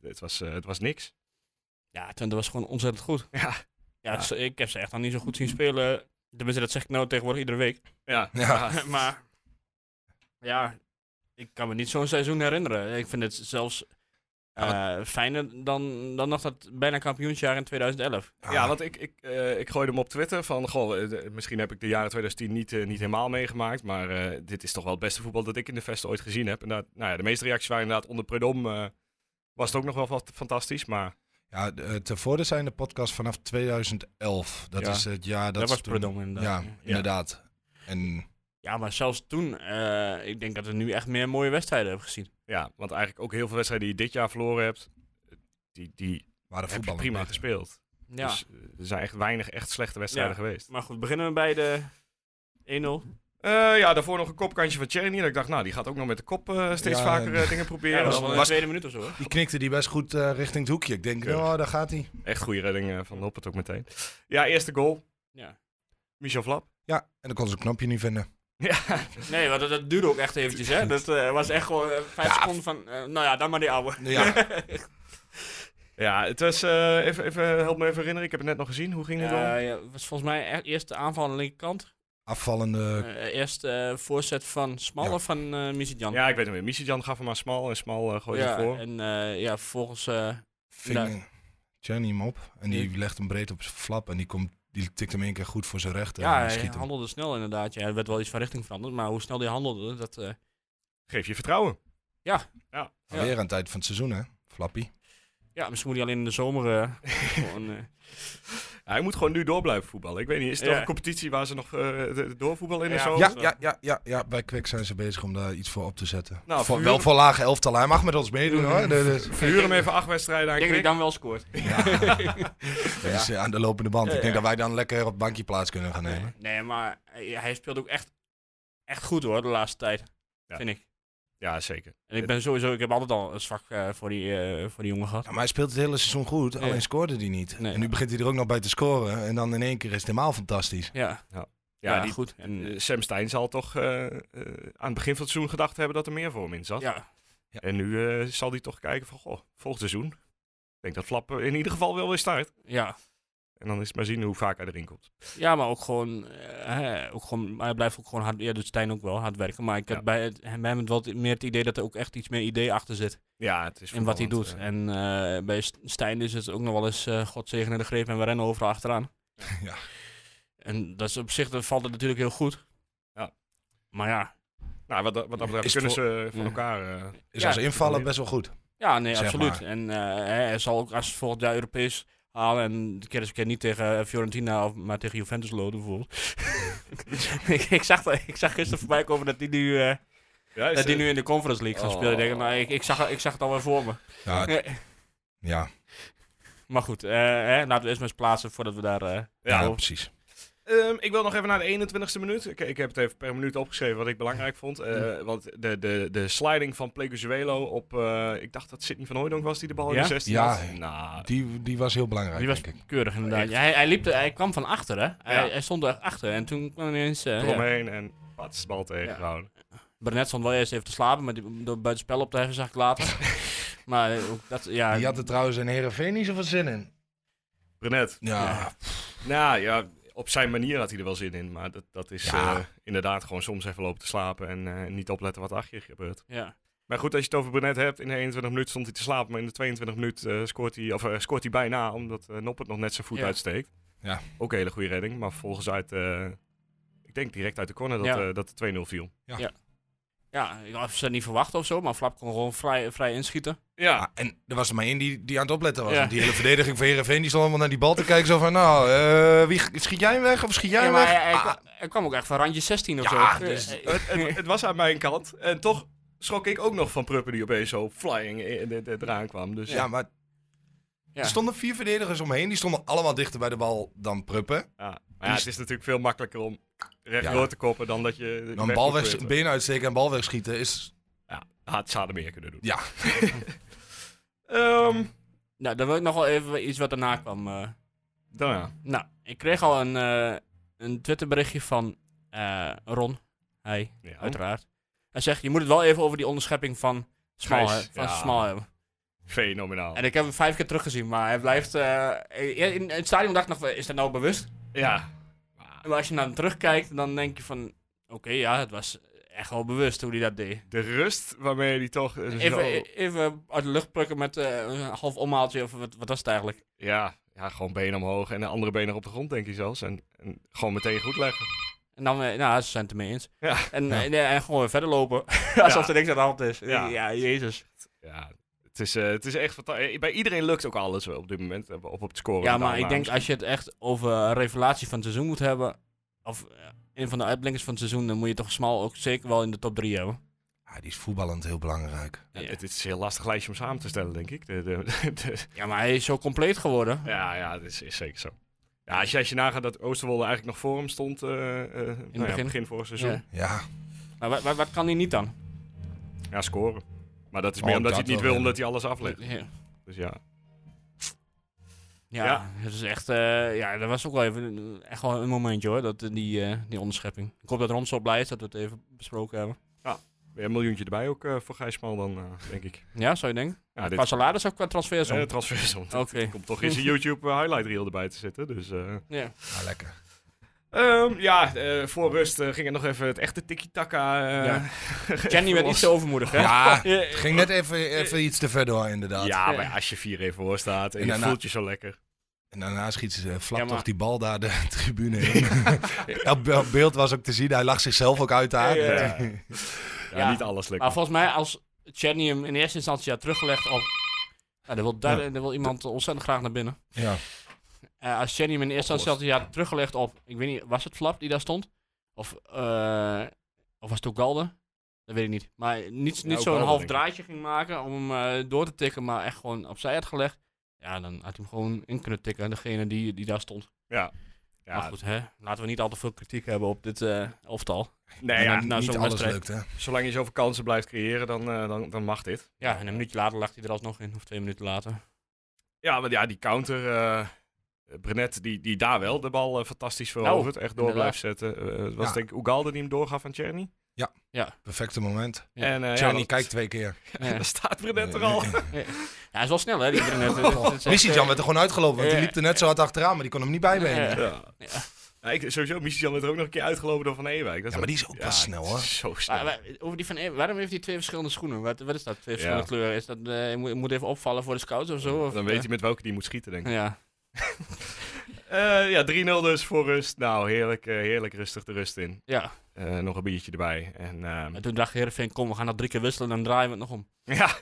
Speaker 1: Het was, eh, het was niks.
Speaker 5: Ja, Twente was gewoon ontzettend goed.
Speaker 1: Ja.
Speaker 5: Ja,
Speaker 1: Ja.
Speaker 5: ze- ik heb ze echt al niet zo goed zien spelen. Tenminste, dat zeg ik nou tegenwoordig iedere week.
Speaker 1: Ja.
Speaker 4: Ja.
Speaker 5: maar ja, ik kan me niet zo'n seizoen herinneren. Ik vind het zelfs eh, fijner dan, dan nog dat bijna kampioensjaar in 2011.
Speaker 1: Ja,
Speaker 4: Ah,
Speaker 1: want ik, ik, eh, ik gooide hem op Twitter van, goh, eh, de- misschien heb ik de jaren 2010 niet, eh, niet helemaal meegemaakt, maar eh, dit is toch wel het beste voetbal dat ik in de Vesten ooit gezien heb. En dat, nou ja, de meeste reacties waren inderdaad onder Predom, eh, was het ook nog wel wat fantastisch, maar
Speaker 4: ja, de- eh, tevoren zijn de podcast vanaf 2011. Dat
Speaker 5: Ja.
Speaker 4: is het jaar dat...
Speaker 5: Dat, was
Speaker 4: toen-
Speaker 5: Perdom inderdaad.
Speaker 4: Ja,
Speaker 5: Ja.
Speaker 4: inderdaad. En
Speaker 5: ja, maar zelfs toen, eh, ik denk dat we nu echt meer mooie wedstrijden hebben gezien.
Speaker 1: ja, want eigenlijk ook heel veel wedstrijden die je dit jaar verloren hebt, die, die
Speaker 4: waren
Speaker 1: heb je
Speaker 4: voetballen
Speaker 1: prima
Speaker 4: beter.
Speaker 1: gespeeld.
Speaker 5: Ja,
Speaker 1: Dus eh, er zijn echt weinig echt slechte wedstrijden geweest.
Speaker 5: maar goed, beginnen we bij de 1-0.
Speaker 1: Eh, ja, daarvoor nog een kopkantje van Cherny en ik dacht, nou, die gaat ook nog met de kop eh, steeds
Speaker 4: Ja,
Speaker 1: vaker
Speaker 4: en-
Speaker 1: eh, dingen
Speaker 5: Ja,
Speaker 1: proberen.
Speaker 5: dat was
Speaker 1: Dan,
Speaker 5: wel in
Speaker 1: eh,
Speaker 5: de tweede minuut of zo. hoor.
Speaker 4: Die knikte die best goed eh, richting het hoekje. Ik denk,
Speaker 1: Keurig.
Speaker 4: oh, daar gaat hij.
Speaker 1: Echt goede redding eh, van Hoppert ook meteen. Ja, eerste goal,
Speaker 5: Ja.
Speaker 1: Michel Vlap.
Speaker 4: Ja, en dan kon ze een knopje niet vinden.
Speaker 1: Ja,
Speaker 5: Nee, want dat, dat duurde ook echt eventjes, hè. Dat eh, was echt gewoon eh, vijf seconden van, eh, nou ja, dan maar die ouwe.
Speaker 4: Ja,
Speaker 1: ja het was. eh, even, even, help me even herinneren, ik heb het net nog gezien. Hoe ging het dan?
Speaker 5: Eh, Ja, ja, was volgens mij e- eerst de aanval aan de linkerkant.
Speaker 4: afvallende...
Speaker 5: Eh, eerst eh, voorzet van Smal
Speaker 4: Ja.
Speaker 5: of van eh Mizidjan?
Speaker 1: Ja, ik weet het niet meer. Jan gaf hem maar smal en smal eh, gooide
Speaker 5: Ja,
Speaker 1: hem voor.
Speaker 5: en eh, ja, volgens... eh,
Speaker 4: ving
Speaker 5: Ja.
Speaker 4: Tjerni hem op. En die legt hem breed op zijn flap. En die, komt, die tikt hem één keer goed voor zijn rechter.
Speaker 5: ja,
Speaker 4: en
Speaker 5: hij
Speaker 4: schiet hem.
Speaker 5: handelde snel inderdaad. Ja, er werd wel iets van richting veranderd, maar hoe snel hij handelde, dat... eh,
Speaker 1: Geef je vertrouwen.
Speaker 5: ja.
Speaker 4: Alweer aan het eind van het seizoen, hè? Flappie.
Speaker 5: ja, misschien moet hij alleen in de zomer eh, gewoon... eh,
Speaker 1: Hij moet gewoon nu door blijven voetballen. Ik weet niet, is het
Speaker 5: Ja.
Speaker 1: nog een competitie waar ze nog eh, de- doorvoetballen in en
Speaker 5: Ja.
Speaker 1: zo?
Speaker 5: Ja.
Speaker 4: ja, ja, ja. Bij Kwik zijn ze bezig om daar iets voor op te zetten.
Speaker 1: Nou,
Speaker 4: Voor-
Speaker 1: vuur-
Speaker 4: Wel voor lage elftal. Hij mag met ons meedoen,
Speaker 5: Mm.
Speaker 4: hoor. Dat is,
Speaker 1: Verhuur hem even acht wedstrijden aan
Speaker 5: ik denk dat hij
Speaker 1: Kwik.
Speaker 5: dan wel scoort.
Speaker 4: dat is, eh, aan de lopende band.
Speaker 5: Ja,
Speaker 4: Ik denk
Speaker 5: ja.
Speaker 4: dat wij dan lekker op het bankje plaats kunnen gaan nemen.
Speaker 5: Nee, maar hij, hij speelt ook echt, echt goed hoor, de laatste tijd.
Speaker 1: Ja.
Speaker 5: Vind ik.
Speaker 1: Ja, zeker.
Speaker 5: En ik ben sowieso... Ik heb altijd al een zwak eh, voor, die, eh, voor die jongen gehad.
Speaker 4: Ja, maar hij speelt het hele seizoen goed. Alleen scoorde hij niet.
Speaker 5: Nee.
Speaker 4: en nu begint hij er ook nog bij te scoren. En dan in één keer is het helemaal fantastisch.
Speaker 5: Ja. Ja,
Speaker 1: die-
Speaker 5: goed. En,
Speaker 1: eh, Sam Stein zal toch eh, eh, aan het begin van het seizoen gedacht hebben dat er meer voor hem in zat.
Speaker 5: ja,
Speaker 1: En nu eh, zal hij toch kijken van, goh, volgend seizoen. Ik denk dat Flap eh, in ieder geval wel weer start.
Speaker 5: ja.
Speaker 1: En dan is het maar zien hoe vaak hij erin komt.
Speaker 5: ja, maar ook gewoon, eh, hè, ook gewoon, maar hij blijft ook gewoon hard, ja, doet Stijn ook wel hard werken. Maar ik heb
Speaker 1: Ja.
Speaker 5: bij, het, hem- bij hem wel meer het idee dat er ook echt iets meer idee achter zit.
Speaker 1: Ja, het is
Speaker 5: in wat hij
Speaker 1: voetballend,
Speaker 5: doet.
Speaker 1: eh.
Speaker 5: En eh, bij St- Stijn is het ook nog wel eens eh God zegene de greep en we rennen overal achteraan.
Speaker 4: Ja.
Speaker 5: En dat is op zich, dat valt het natuurlijk heel goed.
Speaker 1: Ja.
Speaker 5: Maar ja,
Speaker 1: Nou, wat, dat- wat dat betreft
Speaker 4: Is
Speaker 1: kunnen
Speaker 4: het
Speaker 1: ze van
Speaker 5: Ja.
Speaker 1: elkaar... eh,
Speaker 4: Is
Speaker 5: Ja,
Speaker 4: als
Speaker 1: dat
Speaker 4: invallen
Speaker 1: kan
Speaker 4: best wel goed.
Speaker 5: ja nee,
Speaker 4: Zeg
Speaker 5: absoluut.
Speaker 4: maar.
Speaker 5: En eh, hij hij zal ook als het volgend jaar Europees halen en de keer eens een keer niet tegen eh, Fiorentina, of, maar tegen Juventus loden bijvoorbeeld. ik, ik, zag, dat- ik zag gisteren voorbij komen dat die nu, eh,
Speaker 1: ja, is,
Speaker 5: dat die
Speaker 1: eh,
Speaker 5: nu in de Conference League gaat spelen. Ik, denk, nou, ik, ik, zag, ik zag het alweer voor me.
Speaker 4: Ja, het- ja,
Speaker 5: Maar goed, eh, hè, laten we eerst maar eens plaatsen voordat we daar... eh,
Speaker 4: ja,
Speaker 1: ja.
Speaker 4: precies.
Speaker 1: Ehm, ik wil nog even naar de 21ste minuut. Ik, ik heb het even per minuut opgeschreven wat ik belangrijk vond. Eh, Want de, de, de sliding van Pleguzuelo op... eh, ik dacht dat Sidney van Hooijdonk was die de bal in
Speaker 5: Ja?
Speaker 1: de 16
Speaker 4: Ja.
Speaker 1: had. Nou,
Speaker 4: Die, die was heel belangrijk,
Speaker 5: Die was
Speaker 4: denk ik.
Speaker 5: keurig inderdaad. Ja, hij, hij, liep er- hij kwam van achter, hè? Hij,
Speaker 1: Ja.
Speaker 5: hij stond er achter en toen kwam ineens... eh, ja.
Speaker 1: eromheen en pats, bal tegengehouden.
Speaker 5: Burnett stond wel eerst even te slapen, maar die, door buiten spel op te heffen zag ik later. maar eh, ook dat, ja,
Speaker 4: Die had er trouwens in Heerenveen niet zoveel zin in.
Speaker 1: Brenet.
Speaker 4: Ja,
Speaker 1: Nou ja, op zijn manier had hij er wel zin in. Maar dat, dat is
Speaker 4: Ja.
Speaker 1: eh, inderdaad gewoon soms even lopen te slapen en eh, niet opletten wat achter je gebeurt.
Speaker 5: ja.
Speaker 1: Maar goed, als je het over Brenet hebt, in de 21 minuten stond hij te slapen. Maar in de 22 minuten eh, scoort, hij, of, eh, scoort hij bijna, omdat eh, Noppert nog net zijn voet
Speaker 5: Ja.
Speaker 1: uitsteekt.
Speaker 4: Ja.
Speaker 1: Ook een hele goede redding, maar volgens uit, eh, ik denk direct uit de corner dat,
Speaker 5: Ja.
Speaker 1: eh, dat de 2-0 viel.
Speaker 5: ja, ik had ze niet verwacht of zo, maar Flap kon gewoon vrij, vrij inschieten.
Speaker 1: Ja,
Speaker 4: Ah, en er was er maar één die, die aan het opletten was.
Speaker 5: Ja.
Speaker 4: Want Die hele verdediging van Heerenveen, die stond allemaal naar die bal te kijken. Zo van, nou, eh, wie, schiet jij hem weg of schiet jij
Speaker 5: Ja,
Speaker 4: hem
Speaker 5: maar
Speaker 4: weg?
Speaker 5: hij, hij
Speaker 4: Ah,
Speaker 5: kwa- hij kwam ook echt van randje 16 of
Speaker 4: Ja,
Speaker 5: zo.
Speaker 4: dus-
Speaker 5: Eh, eh,
Speaker 1: het, het, het was aan mijn kant. En toch schrok ik ook nog van Pruppen die opeens zo flying eh, er- er- eraan kwam. Dus,
Speaker 4: ja, maar
Speaker 5: Ja.
Speaker 4: er stonden vier verdedigers omheen. Die stonden allemaal dichter bij de bal dan Pruppen.
Speaker 1: Ja, maar ja, het is natuurlijk veel makkelijker om recht
Speaker 4: Ja.
Speaker 1: door te koppen dan dat je...
Speaker 4: Dan bal weg, been uitsteken en bal wegschieten is...
Speaker 1: Ja, had zouden meer kunnen doen.
Speaker 4: Ja,
Speaker 1: Ehm,
Speaker 5: nou, dan wil ik nog wel even iets wat daarna kwam. eh.
Speaker 1: daarna.
Speaker 5: nou, ik kreeg al een, eh een Twitterberichtje van eh, Ron. Hij,
Speaker 1: Ja.
Speaker 5: uiteraard. Hij zegt, je moet het wel even over die onderschepping van Smal,
Speaker 1: Gijs,
Speaker 5: he- van
Speaker 1: ja. Oh.
Speaker 5: Smal hebben.
Speaker 1: Fenomenaal.
Speaker 5: En ik heb hem vijf keer teruggezien, maar hij blijft... eh, in, in het stadion dacht ik nog, is dat nou bewust?
Speaker 1: Ja.
Speaker 5: Maar als je naar hem terugkijkt, dan denk je van... Oké, ja, het was echt wel bewust hoe hij dat deed.
Speaker 1: De rust waarmee die toch eh, zo...
Speaker 5: Even, even uit de lucht plukken met eh, een half omhaaltje, of wat, wat was het eigenlijk?
Speaker 1: Ja, ja, gewoon been omhoog en de andere been nog op de grond, denk je zelfs. En, en gewoon meteen goed leggen.
Speaker 5: En dan, eh, nou, ze zijn het ermee eens.
Speaker 1: Ja.
Speaker 5: En, en, en gewoon weer verder lopen, alsof
Speaker 1: Ja.
Speaker 5: er niks aan de hand is. Ja,
Speaker 1: Ja.
Speaker 5: jezus.
Speaker 1: Ja, het is, eh, het is echt fantastisch. Bij iedereen lukt ook alles wel op dit moment, eh, op het scoren.
Speaker 5: Ja,
Speaker 1: met de
Speaker 5: maar ik denk
Speaker 1: aannames.
Speaker 5: als je het echt over een revelatie van het seizoen moet hebben... Of eh, een van de uitblinkers van het seizoen, dan moet je toch Smal ook zeker wel in de top 3 hebben.
Speaker 4: Ja, die is voetballend heel belangrijk.
Speaker 1: Ja, Het is een heel lastig lijstje om samen te stellen, denk ik. De, de, de,
Speaker 5: Ja, maar hij is zo compleet geworden.
Speaker 1: Ja, ja, dat is, is zeker zo. Ja, als je, als je nagaat dat Oosterwolde eigenlijk nog voor hem stond eh, eh, nou ja,
Speaker 5: begin.
Speaker 1: begin vorig seizoen.
Speaker 5: Ja.
Speaker 1: Ja,
Speaker 4: Ja,
Speaker 5: Maar wat, wat, wat kan hij niet dan?
Speaker 1: scoren. Maar dat is
Speaker 4: Oh,
Speaker 1: meer omdat
Speaker 4: dat
Speaker 1: hij het niet
Speaker 4: wel,
Speaker 1: wil,
Speaker 4: ja.
Speaker 1: omdat hij alles aflegt.
Speaker 5: Ja,
Speaker 1: Dus ja.
Speaker 5: ja.
Speaker 1: Ja.
Speaker 5: het is echt... eh, ja, dat was ook wel even echt wel een momentje hoor, dat, eh, die, eh, die onderschepping. Ik hoop dat Ron zo blij is dat we het even besproken hebben.
Speaker 1: Weer een miljoentje erbij ook eh, voor Gijsman dan, eh, denk ik.
Speaker 5: Ja, zou je denken?
Speaker 1: Ja, dit
Speaker 5: Qua salaris of qua transfersom?
Speaker 1: eh, transfersom.
Speaker 5: Oké.
Speaker 1: Er komt toch eens een YouTube eh, highlight reel erbij te zitten, dus... eh.
Speaker 5: Ja.
Speaker 4: ja, lekker.
Speaker 1: Ehm, ja, eh, voor rust eh, ging het nog even het echte tiki-taka. eh,
Speaker 5: Ja. Jenny werd iets te overmoedig, hè?
Speaker 4: Ja,
Speaker 5: Ja.
Speaker 4: het ging net even, even iets te ver door inderdaad.
Speaker 1: ja, maar als je 4 even voor staat en,
Speaker 4: En
Speaker 1: je
Speaker 4: daarna-
Speaker 1: voelt je zo lekker.
Speaker 4: En daarna schiet ze eh, flap
Speaker 5: Ja, maar-
Speaker 4: toch die bal daar de tribune in. Elk be- beeld was ook te zien. Hij lag zichzelf ook uit daar.
Speaker 5: Ja, ja,
Speaker 1: Ja,
Speaker 5: Ja.
Speaker 1: niet alles lekker.
Speaker 5: Maar volgens mij, als Jenny hem in eerste instantie had teruggelegd op... Nou, dan wil, daar, dan wil iemand ontzettend graag naar binnen.
Speaker 4: Ja.
Speaker 5: Eh, als Jenny hem in eerste instantie had teruggelegd op... Ik weet niet, was het Flap die daar stond? Of, eh, of was het ook Galde? Dat weet ik niet. Maar niet, niet
Speaker 1: ook
Speaker 5: zo'n
Speaker 1: Galde,
Speaker 5: half
Speaker 1: denk ik.
Speaker 5: draadje ging maken om hem eh, door te tikken, maar echt gewoon opzij had gelegd. Ja, dan had hij hem gewoon in kunnen tikken. Degene die, die daar stond.
Speaker 1: ja,
Speaker 5: maar goed, hè? laten we niet al te veel kritiek hebben op dit eh oftal.
Speaker 1: nee,
Speaker 4: En
Speaker 1: ja,
Speaker 4: dan
Speaker 5: nou,
Speaker 4: niet
Speaker 5: zo'n
Speaker 4: alles lukt,
Speaker 5: wedstrijd.
Speaker 4: hè?
Speaker 1: zolang je zoveel kansen blijft creëren, dan, eh, dan, dan mag dit.
Speaker 5: Ja, en een minuutje later lag hij er alsnog in, of twee minuten later.
Speaker 1: Ja, want ja, die counter. eh, eh, Brenet, die, die daar wel de bal eh, fantastisch verovert. echt door blijft zetten. Eh, het was
Speaker 4: Ja.
Speaker 1: denk ik Ugalde die hem doorgaf aan Czerny.
Speaker 4: Perfecte moment.
Speaker 5: Ja.
Speaker 1: En eh,
Speaker 4: Johnny
Speaker 1: ja, dat-
Speaker 4: kijkt twee keer.
Speaker 5: Ja.
Speaker 1: daar staat Brenet er al.
Speaker 5: hij is wel snel, hè? Die Brenet. eh,
Speaker 4: Missy-Jan werd er gewoon uitgelopen, want die
Speaker 5: ja,
Speaker 4: liep er net zo hard achteraan, maar die kon hem niet bijbenen.
Speaker 5: Ja.
Speaker 4: Ja,
Speaker 1: Ja. Ja, ik, sowieso, Michel werd er ook nog een keer uitgelopen door Van Ewijk. Dat
Speaker 4: maar die is ook
Speaker 1: ja,
Speaker 4: wel snel hoor.
Speaker 1: Zo snel.
Speaker 5: Maar, maar, over die van, Eeuwen, waarom heeft hij twee verschillende schoenen? Wat, wat is dat? Twee
Speaker 1: Ja.
Speaker 5: verschillende kleuren? Is dat, eh, je moet, je moet even opvallen voor de scouts of zo? Of,
Speaker 1: Dan weet je met welke die moet schieten, denk ik.
Speaker 5: eh, Ja.
Speaker 1: Eh, ja, 3-0 dus voor rust. Nou, heerlijk, eh, heerlijk rustig de rust in.
Speaker 5: ja.
Speaker 1: Eh, nog een biertje erbij. En, ehm,
Speaker 5: En toen dacht Heerenveen, kom, we gaan dat drie keer wisselen en dan draaien we het nog om.
Speaker 1: ja,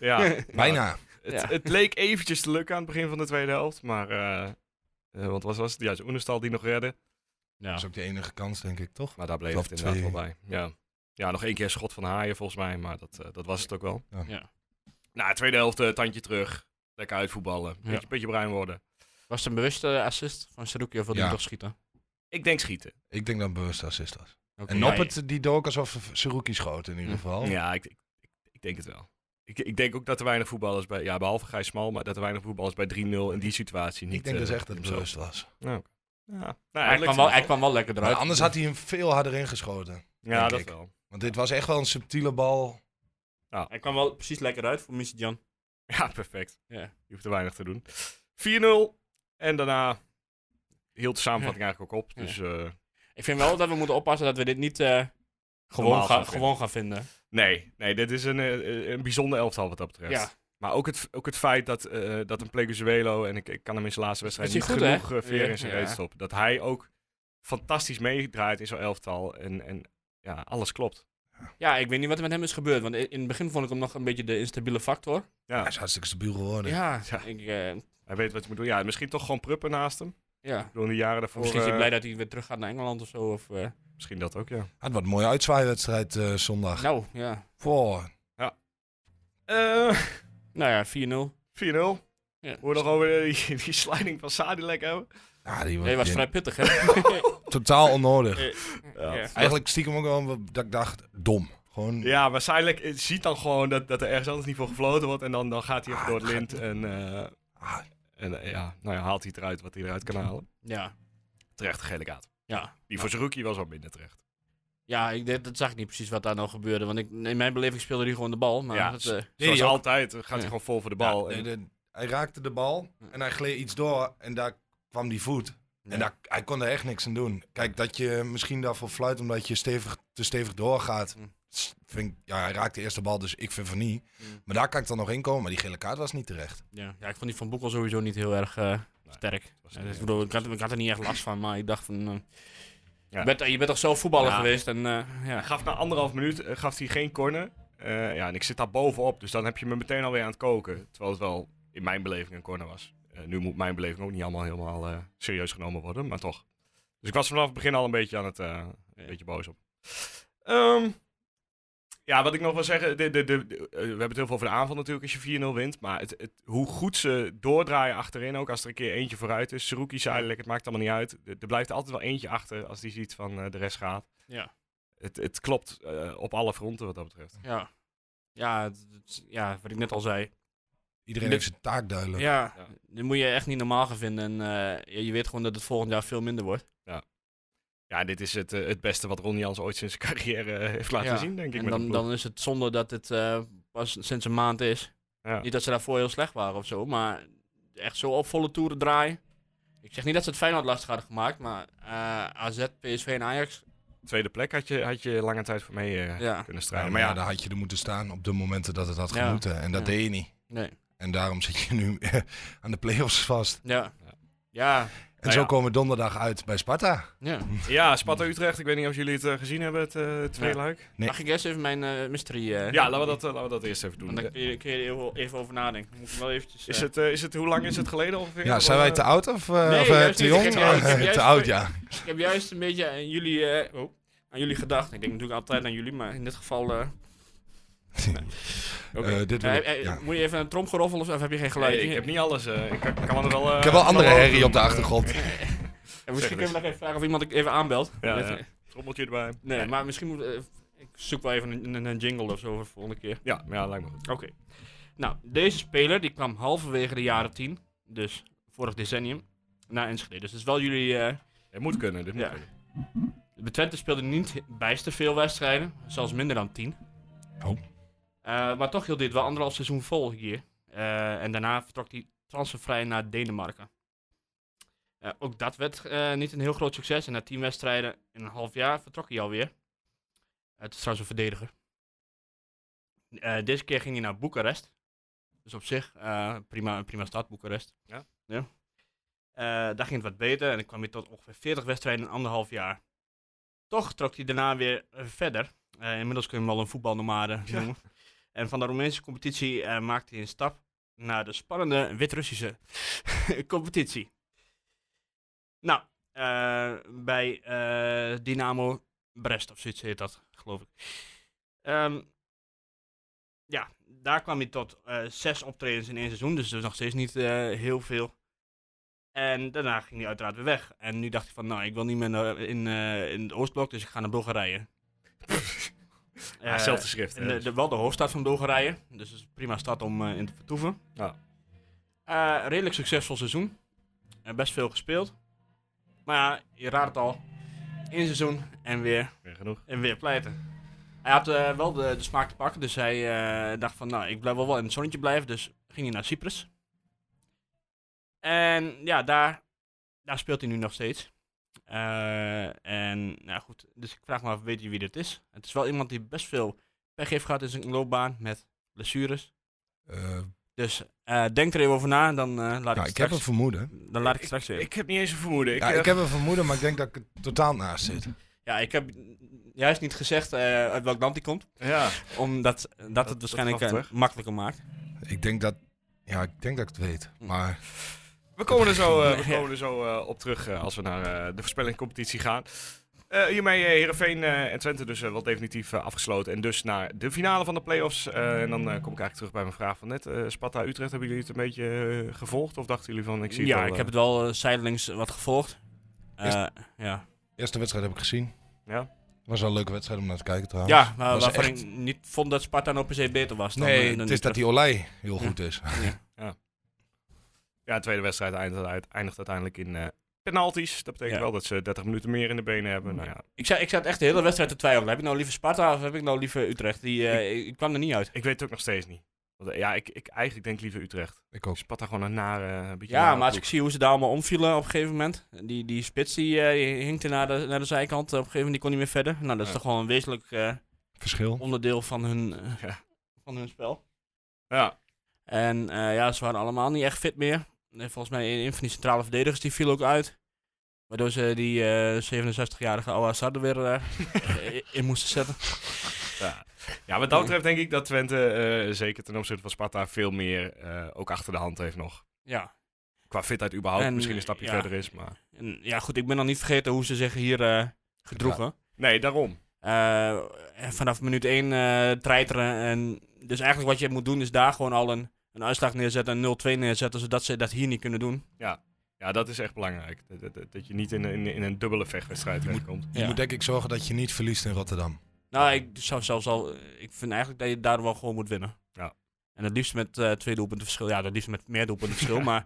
Speaker 1: ja. Nou,
Speaker 4: Bijna.
Speaker 1: Het,
Speaker 5: Ja.
Speaker 1: het leek eventjes te lukken aan het begin van de tweede helft. Maar, eh, eh, want was, was het juist Oenestal die nog redde.
Speaker 5: Ja.
Speaker 4: Dat is ook de enige kans, denk ik, toch?
Speaker 1: Maar daar bleef
Speaker 4: Klap
Speaker 1: het inderdaad
Speaker 4: twee.
Speaker 1: wel bij. Ja. ja, nog één keer schot van Haaien volgens mij. Maar dat, eh, dat was het ook wel.
Speaker 4: Ja.
Speaker 5: Ja.
Speaker 1: Nou, tweede helft, eh, tandje terug. Lekker uitvoetballen.
Speaker 5: Ja.
Speaker 1: Beetje, beetje bruin worden.
Speaker 5: Was het een bewuste assist van Saruki of wilde hij
Speaker 4: Ja.
Speaker 5: toch schieten?
Speaker 1: Ik denk schieten.
Speaker 4: Ik denk dat het bewust assist was.
Speaker 5: Oké.
Speaker 4: En
Speaker 5: Ja,
Speaker 4: Noppert, die dook alsof Seruki schoot in ieder
Speaker 5: Hm.
Speaker 4: geval.
Speaker 1: Ja, ik, ik, ik denk het wel. Ik, ik denk ook dat er weinig voetballers bij, ja, behalve Gijs Smal, maar dat er weinig voetballers bij 3-0 in die situatie niet...
Speaker 4: Ik denk dus
Speaker 1: eh,
Speaker 4: echt dat het
Speaker 1: hem zo-
Speaker 4: bewust was.
Speaker 1: Ja. Nou,
Speaker 5: Hij kwam, wel, hij kwam wel lekker
Speaker 4: Maar
Speaker 5: eruit.
Speaker 4: anders had hij hem veel harder ingeschoten.
Speaker 1: Ja,
Speaker 4: denk
Speaker 1: dat
Speaker 4: ik.
Speaker 1: wel.
Speaker 4: Want dit was echt wel een subtiele bal.
Speaker 5: Hij kwam wel precies lekker uit voor Missy Jan.
Speaker 1: Ja, perfect.
Speaker 5: Ja.
Speaker 1: Je hoeft er weinig te doen. 4-0. En daarna hield de samenvatting eigenlijk ook op. Dus eh,
Speaker 5: Ik vind wel dat we moeten oppassen dat we dit niet eh, gewoon,
Speaker 1: Normaal
Speaker 5: gaan,
Speaker 1: gaan vinden.
Speaker 5: gewoon gaan vinden.
Speaker 1: nee, nee, dit is een, eh, een bijzonder elftal wat dat betreft.
Speaker 5: Ja.
Speaker 1: Maar ook het, ook het feit dat, eh, dat een Pleguzuelo, en ik, ik kan hem in zijn laatste wedstrijd
Speaker 5: Is
Speaker 1: niet
Speaker 5: hij goed,
Speaker 1: genoeg
Speaker 5: hè?
Speaker 1: eh, veer in zijn
Speaker 5: Ja.
Speaker 1: reet stoppen. Dat hij ook fantastisch meedraait in zo'n elftal. En, en ja, alles klopt.
Speaker 5: ja, ik weet niet wat er met hem is gebeurd. Want in in het begin vond ik hem nog een beetje de instabiele factor.
Speaker 1: Ja,
Speaker 4: Hij is hartstikke stabiel geworden.
Speaker 5: Ja,
Speaker 1: Oh, Ja.
Speaker 5: Ik, eh,
Speaker 1: hij weet wat hij moet doen. Ja, misschien toch gewoon pruppen naast hem.
Speaker 5: ja.
Speaker 1: Door de jaren daarvoor.
Speaker 5: Misschien is
Speaker 1: eh,
Speaker 5: hij blij dat hij weer terug gaat naar Engeland of zo. Of, eh,
Speaker 1: Misschien dat ook, ja.
Speaker 4: Had wat een mooie uitzwaaiwedstrijd eh, zondag.
Speaker 5: nou, ja.
Speaker 4: Voor.
Speaker 1: Eh,
Speaker 5: Nou ja, 4-0.
Speaker 1: 4-0.
Speaker 5: Ja.
Speaker 1: Hoor nog over eh, die, die sliding van Sadilek hebben.
Speaker 4: Ja, die was,
Speaker 5: Hij was
Speaker 4: die-
Speaker 5: vrij pittig, hè?
Speaker 4: totaal onnodig.
Speaker 5: ja.
Speaker 4: Eigenlijk stiekem ook wel wat- dat ik dacht, dom. Gewoon,
Speaker 1: Ja, maar Sadilek eh, ziet dan gewoon dat, dat er ergens anders niet voor gefloten wordt. En dan, dan gaat
Speaker 5: Ah,
Speaker 1: hij even door het lint. En, eh,
Speaker 4: ah,
Speaker 1: en eh, ja, nou ja, haalt hij het eruit wat hij eruit kan halen.
Speaker 5: ja,
Speaker 1: Terecht gele kaart.
Speaker 5: ja.
Speaker 1: Die voor Zerouki was wel minder terecht.
Speaker 5: Ja, ik, dat, dat zag ik niet precies wat daar nou gebeurde. Want ik, in mijn beleving speelde hij gewoon de bal. Maar
Speaker 1: Ja,
Speaker 5: dat,
Speaker 1: s-
Speaker 5: eh,
Speaker 1: Zoals
Speaker 4: hij ook.
Speaker 1: altijd eh, gaat hij
Speaker 5: Ja.
Speaker 1: gewoon vol voor de bal.
Speaker 4: ja,
Speaker 1: en,
Speaker 4: de- de- hij raakte de bal en hij gleed iets door en daar kwam die voet.
Speaker 5: Ja.
Speaker 4: En daar, hij kon er echt niks aan doen. Kijk, dat je misschien daarvoor fluit omdat je stevig, te stevig doorgaat.
Speaker 5: Hm.
Speaker 4: s- Vind ik, ja, hij raakte eerst de bal, dus ik vind van niet.
Speaker 5: Mm.
Speaker 4: Maar daar kan ik dan nog in komen. Maar die gele kaart was niet terecht.
Speaker 5: ja. ja, ik vond die van Boekel sowieso niet heel erg eh, sterk.
Speaker 1: was
Speaker 5: Ja,
Speaker 1: niet
Speaker 5: dus ik, bedoel, ik, had, ik had er niet echt last van, maar ik dacht van... eh,
Speaker 1: Ja.
Speaker 5: je, bent, je bent toch zo voetballer
Speaker 1: Ja.
Speaker 5: geweest? En, eh, ja.
Speaker 1: hij gaf na anderhalf minuut eh, gaf hij geen corner. Eh, ja, en ik zit daar bovenop. Dus dan heb je me meteen alweer aan het koken. Terwijl het wel in mijn beleving een corner was. Eh, nu moet mijn beleving ook niet allemaal helemaal eh, serieus genomen worden. Maar toch. Dus ik was vanaf het begin al een beetje aan het... eh, een beetje boos op. Ehm, ja, wat ik nog wil zeggen, de, de, de, de- eh, we hebben het heel veel over de aanval natuurlijk als je 4-0 wint. Maar het, het, hoe goed ze doordraaien achterin, ook als er een keer eentje vooruit is. Seruki zei, het maakt allemaal niet uit. Er er blijft altijd wel eentje achter als die ziet van eh, de rest gaat.
Speaker 5: Ja.
Speaker 1: Het, het klopt eh, op alle fronten wat dat betreft.
Speaker 5: Ja. Ja, het- het- ja, wat ik net al zei.
Speaker 4: Iedereen
Speaker 5: Dit-
Speaker 4: heeft zijn taak duidelijk.
Speaker 5: Ja,
Speaker 1: Ja.
Speaker 5: dat moet je echt niet normaal gaan vinden. En eh, je, je weet gewoon dat het volgend jaar veel minder wordt.
Speaker 1: Ja, dit is het, eh, het beste wat Ron Jans ooit sinds zijn carrière eh, heeft laten
Speaker 5: Ja.
Speaker 1: zien, denk ik.
Speaker 5: En
Speaker 1: met een
Speaker 5: dan,
Speaker 1: ploeg.
Speaker 5: dan is het zonde dat het eh, pas sinds een maand is.
Speaker 1: Ja.
Speaker 5: Niet dat ze daarvoor heel slecht waren of zo, maar echt zo op volle toeren draaien. Ik zeg niet dat ze het Feyenoord lastig hadden gemaakt, maar eh, AZ, PSV en Ajax.
Speaker 1: Tweede plek had je, had je lange tijd voor mee eh,
Speaker 5: Ja.
Speaker 1: kunnen
Speaker 4: Ja,
Speaker 1: strijden. maar ja,
Speaker 4: daar had je er moeten staan op de momenten dat het had
Speaker 5: Ja.
Speaker 4: gemoeten. En dat
Speaker 5: Ja.
Speaker 4: deed je niet.
Speaker 5: Nee.
Speaker 4: En daarom zit je nu aan de play-offs vast.
Speaker 5: Ja.
Speaker 1: Ja.
Speaker 5: Ja.
Speaker 4: En
Speaker 1: Nou
Speaker 4: zo
Speaker 1: ja.
Speaker 4: komen we donderdag uit bij Sparta.
Speaker 5: ja.
Speaker 1: ja, Sparta Utrecht, ik weet niet of jullie het eh, gezien hebben, het eh tweede luik.
Speaker 4: Nee.
Speaker 5: Mag ik eerst even mijn eh, mystery... eh,
Speaker 1: Ja, laten we dat, eh, laten we dat eerst even doen.
Speaker 5: Want dan kun je, kun je er even- even over nadenken. Ik Moet wel eventjes...
Speaker 1: Is
Speaker 5: eh,
Speaker 1: het, eh, is het, hoe lang is het geleden ongeveer?
Speaker 4: Ja, zijn wij te oud of, eh,
Speaker 5: Nee,
Speaker 4: of, eh,
Speaker 5: juist
Speaker 4: te
Speaker 5: niet.
Speaker 4: jong?
Speaker 5: Ik heb juist- ik heb
Speaker 4: te
Speaker 5: juist-
Speaker 4: oud, ja.
Speaker 5: Ik heb juist een beetje aan jullie, eh, oh, aan jullie gedacht. Ik denk natuurlijk altijd aan jullie, maar in dit geval. eh, oké.
Speaker 4: Eh, dit wil
Speaker 5: Eh,
Speaker 4: ik-
Speaker 5: eh,
Speaker 4: ja.
Speaker 5: Moet je even een tromgeroffel of, of heb je geen geluid?
Speaker 1: Nee, ik heb niet alles. eh, ik kan, kan er wel, eh,
Speaker 4: Ik heb wel andere
Speaker 1: wel
Speaker 4: herrie
Speaker 1: doen.
Speaker 4: op
Speaker 5: eh,
Speaker 4: de achtergrond.
Speaker 5: En misschien
Speaker 1: Zeg
Speaker 5: kunnen we nog even vragen of iemand ik even aanbelt.
Speaker 1: Ja,
Speaker 5: Net-
Speaker 1: ja. Trommeltje erbij.
Speaker 5: Nee, maar misschien moet. eh, ik zoek wel even een, een, een jingle of zo voor de volgende keer.
Speaker 1: Ja, maar ja, lijkt me goed.
Speaker 5: Oké. Nou, deze speler die kwam halverwege de jaren 10, dus vorig decennium, naar Enschede. Dus dat is wel jullie... eh
Speaker 1: Het moet kunnen, dit moet
Speaker 5: Ja.
Speaker 1: kunnen.
Speaker 5: de Twente speelde niet bijster veel wedstrijden. Zelfs minder dan 10.
Speaker 1: Oh.
Speaker 5: Eh, maar toch hield dit wel anderhalf seizoen vol hier. Eh, en daarna vertrok hij transfervrij naar Denemarken. Eh, ook dat werd eh, niet een heel groot succes. En na 10 wedstrijden in een half jaar vertrok hij alweer. Het is trouwens een verdediger. Eh, deze keer ging hij naar Boekarest. Dus op zich eh, prima, een prima stad, Boekarest.
Speaker 1: Ja.
Speaker 5: Eh, daar ging het wat beter en dan kwam hij tot ongeveer 40 wedstrijden in anderhalf jaar. Toch trok hij daarna weer eh, verder. Eh, inmiddels kun je hem wel een voetbalnomade noemen. En van de Roemeense competitie eh, maakte hij een stap naar de spannende Wit-Russische competitie. Nou, eh, bij eh, Dynamo Brest of zoiets heet dat, geloof ik. Ehm, ja, daar kwam hij tot eh, zes optredens in één seizoen, dus dat is nog steeds niet eh, heel veel. En daarna ging hij uiteraard weer weg. En nu dacht hij van, nou, ik wil niet meer naar- in, eh, in het Oostblok, dus ik ga naar Bulgarije.
Speaker 1: Ja,
Speaker 5: Eh,
Speaker 1: zelfde schrift.
Speaker 5: in
Speaker 1: hè,
Speaker 5: de,
Speaker 1: dus.
Speaker 5: de, wel de hoofdstad van Bulgarije. Dus het is een prima stad om eh, in te vertoeven.
Speaker 1: Ja.
Speaker 5: Eh, redelijk succesvol seizoen. Eh, best veel gespeeld. Maar ja, je raadt het al. Eén seizoen en weer,
Speaker 1: Weer genoeg.
Speaker 5: en weer pleiten. Hij had eh, wel de, de smaak te pakken. Dus hij eh, dacht van, nou, ik blijf wel, wel in het zonnetje blijven. Dus ging hij naar Cyprus. En ja, daar, daar speelt hij nu nog steeds. Eh, en nou goed, dus ik vraag me af, weet je wie dit is? Het is wel iemand die best veel pech heeft gehad in zijn loopbaan met blessures.
Speaker 4: Eh,
Speaker 5: Dus eh, denk er even over na, dan eh, laat
Speaker 4: nou,
Speaker 5: ik
Speaker 4: ik heb
Speaker 5: het
Speaker 4: een
Speaker 5: straks,
Speaker 4: vermoeden.
Speaker 5: dan laat ik het straks weer.
Speaker 1: Ik heb niet eens een vermoeden. Ik,
Speaker 4: ja,
Speaker 1: eh,
Speaker 4: ik heb een vermoeden, maar ik denk dat ik er totaal naast zit.
Speaker 5: Ja, ik heb juist niet gezegd eh, uit welk land hij komt,
Speaker 1: ja.
Speaker 5: omdat dat,
Speaker 1: dat
Speaker 5: het waarschijnlijk
Speaker 1: gaf
Speaker 5: eh,
Speaker 1: terug.
Speaker 5: makkelijker maakt.
Speaker 4: Ik denk dat, ja, ik denk dat ik het weet.
Speaker 5: Hm.
Speaker 4: Maar
Speaker 1: We komen er zo, eh, we
Speaker 5: Ja.
Speaker 1: komen er zo eh, op terug eh, als we naar eh, de voorspellingcompetitie gaan. Eh, hiermee eh, Heerenveen eh, en Twente dus eh, wel definitief eh, afgesloten. En dus naar de finale van de play-offs. Eh, en dan eh, kom ik eigenlijk terug bij mijn vraag van net. Eh, Sparta Utrecht, hebben jullie het een beetje eh, gevolgd? Of dachten jullie van, ik zie
Speaker 5: ja,
Speaker 1: het wel,
Speaker 5: ik
Speaker 1: eh,
Speaker 5: heb het wel eh, zijdelings wat gevolgd. Eh,
Speaker 4: Is-
Speaker 5: ja.
Speaker 4: eerste wedstrijd heb ik gezien.
Speaker 1: Ja?
Speaker 4: Was wel een leuke wedstrijd om naar te kijken trouwens.
Speaker 5: ja, maar
Speaker 4: Was
Speaker 5: waarvan
Speaker 4: echt-
Speaker 5: ik niet vond dat Sparta nou per se beter was. Dan, eh,
Speaker 4: Nee,
Speaker 5: dan
Speaker 4: het is dat
Speaker 5: Utrecht.
Speaker 4: die Olij heel goed
Speaker 5: Hm.
Speaker 4: is.
Speaker 1: ja, de tweede wedstrijd eindigt, uit- eindigt uiteindelijk in eh, penalties. Dat betekent
Speaker 5: Ja.
Speaker 1: wel dat ze 30 minuten meer in de benen hebben. Nou ja,
Speaker 5: ik, zat, ik zat echt de hele wedstrijd te twijfelen. Heb ik nou liever Sparta of heb ik nou liever Utrecht? Die, eh, ik, ik kwam er niet uit.
Speaker 1: ik weet het ook nog steeds niet. Want, eh, ja, ik, ik eigenlijk denk liever Utrecht.
Speaker 4: Ik ook.
Speaker 1: Sparta gewoon een nare, een beetje
Speaker 5: Ja,
Speaker 1: nare
Speaker 5: maar als
Speaker 1: ploeg.
Speaker 5: ik zie hoe ze daar allemaal omvielen op een gegeven moment. Die, die spits die, eh, die hinkte naar de, naar de zijkant. Op een gegeven moment die kon niet meer verder. Nou, dat is
Speaker 1: Ja.
Speaker 5: toch wel een wezenlijk eh,
Speaker 4: Verschil.
Speaker 5: onderdeel van hun, eh,
Speaker 1: Ja.
Speaker 5: van hun spel.
Speaker 1: Ja,
Speaker 5: En eh, ja, ze waren allemaal niet echt fit meer. En volgens mij een van die centrale verdedigers die viel ook uit. Waardoor ze die eh, 67-jarige Ouassar er weer eh, in moesten zetten.
Speaker 1: Ja. ja, wat dat betreft denk ik dat Twente, eh, zeker ten opzichte van Sparta, veel meer eh, ook achter de hand heeft nog.
Speaker 5: Ja.
Speaker 1: Qua fitheid überhaupt,
Speaker 5: En,
Speaker 1: misschien een stapje
Speaker 5: ja.
Speaker 1: verder is, maar...
Speaker 5: En, ja, goed, ik ben nog niet vergeten hoe ze zich hier eh, gedroegen.
Speaker 1: Nee, daarom.
Speaker 5: Eh, en vanaf minuut 1 eh treiteren. En dus eigenlijk wat je moet doen is daar gewoon al een, een uitslag neerzetten, een 0-2 neerzetten, zodat ze dat hier niet kunnen doen.
Speaker 1: Ja, dat is echt belangrijk. Dat, dat, dat je niet in, in, in een dubbele vechtwedstrijd terechtkomt.
Speaker 4: Je moet denk ik zorgen dat je niet verliest in Rotterdam.
Speaker 5: Nou, ik zou zelfs al. eh, Ik vind eigenlijk dat je daar wel gewoon moet winnen.
Speaker 1: Ja.
Speaker 5: En het liefst met eh, twee doelpunten verschil. Ja, het liefst met meer doelpunten verschil. Maar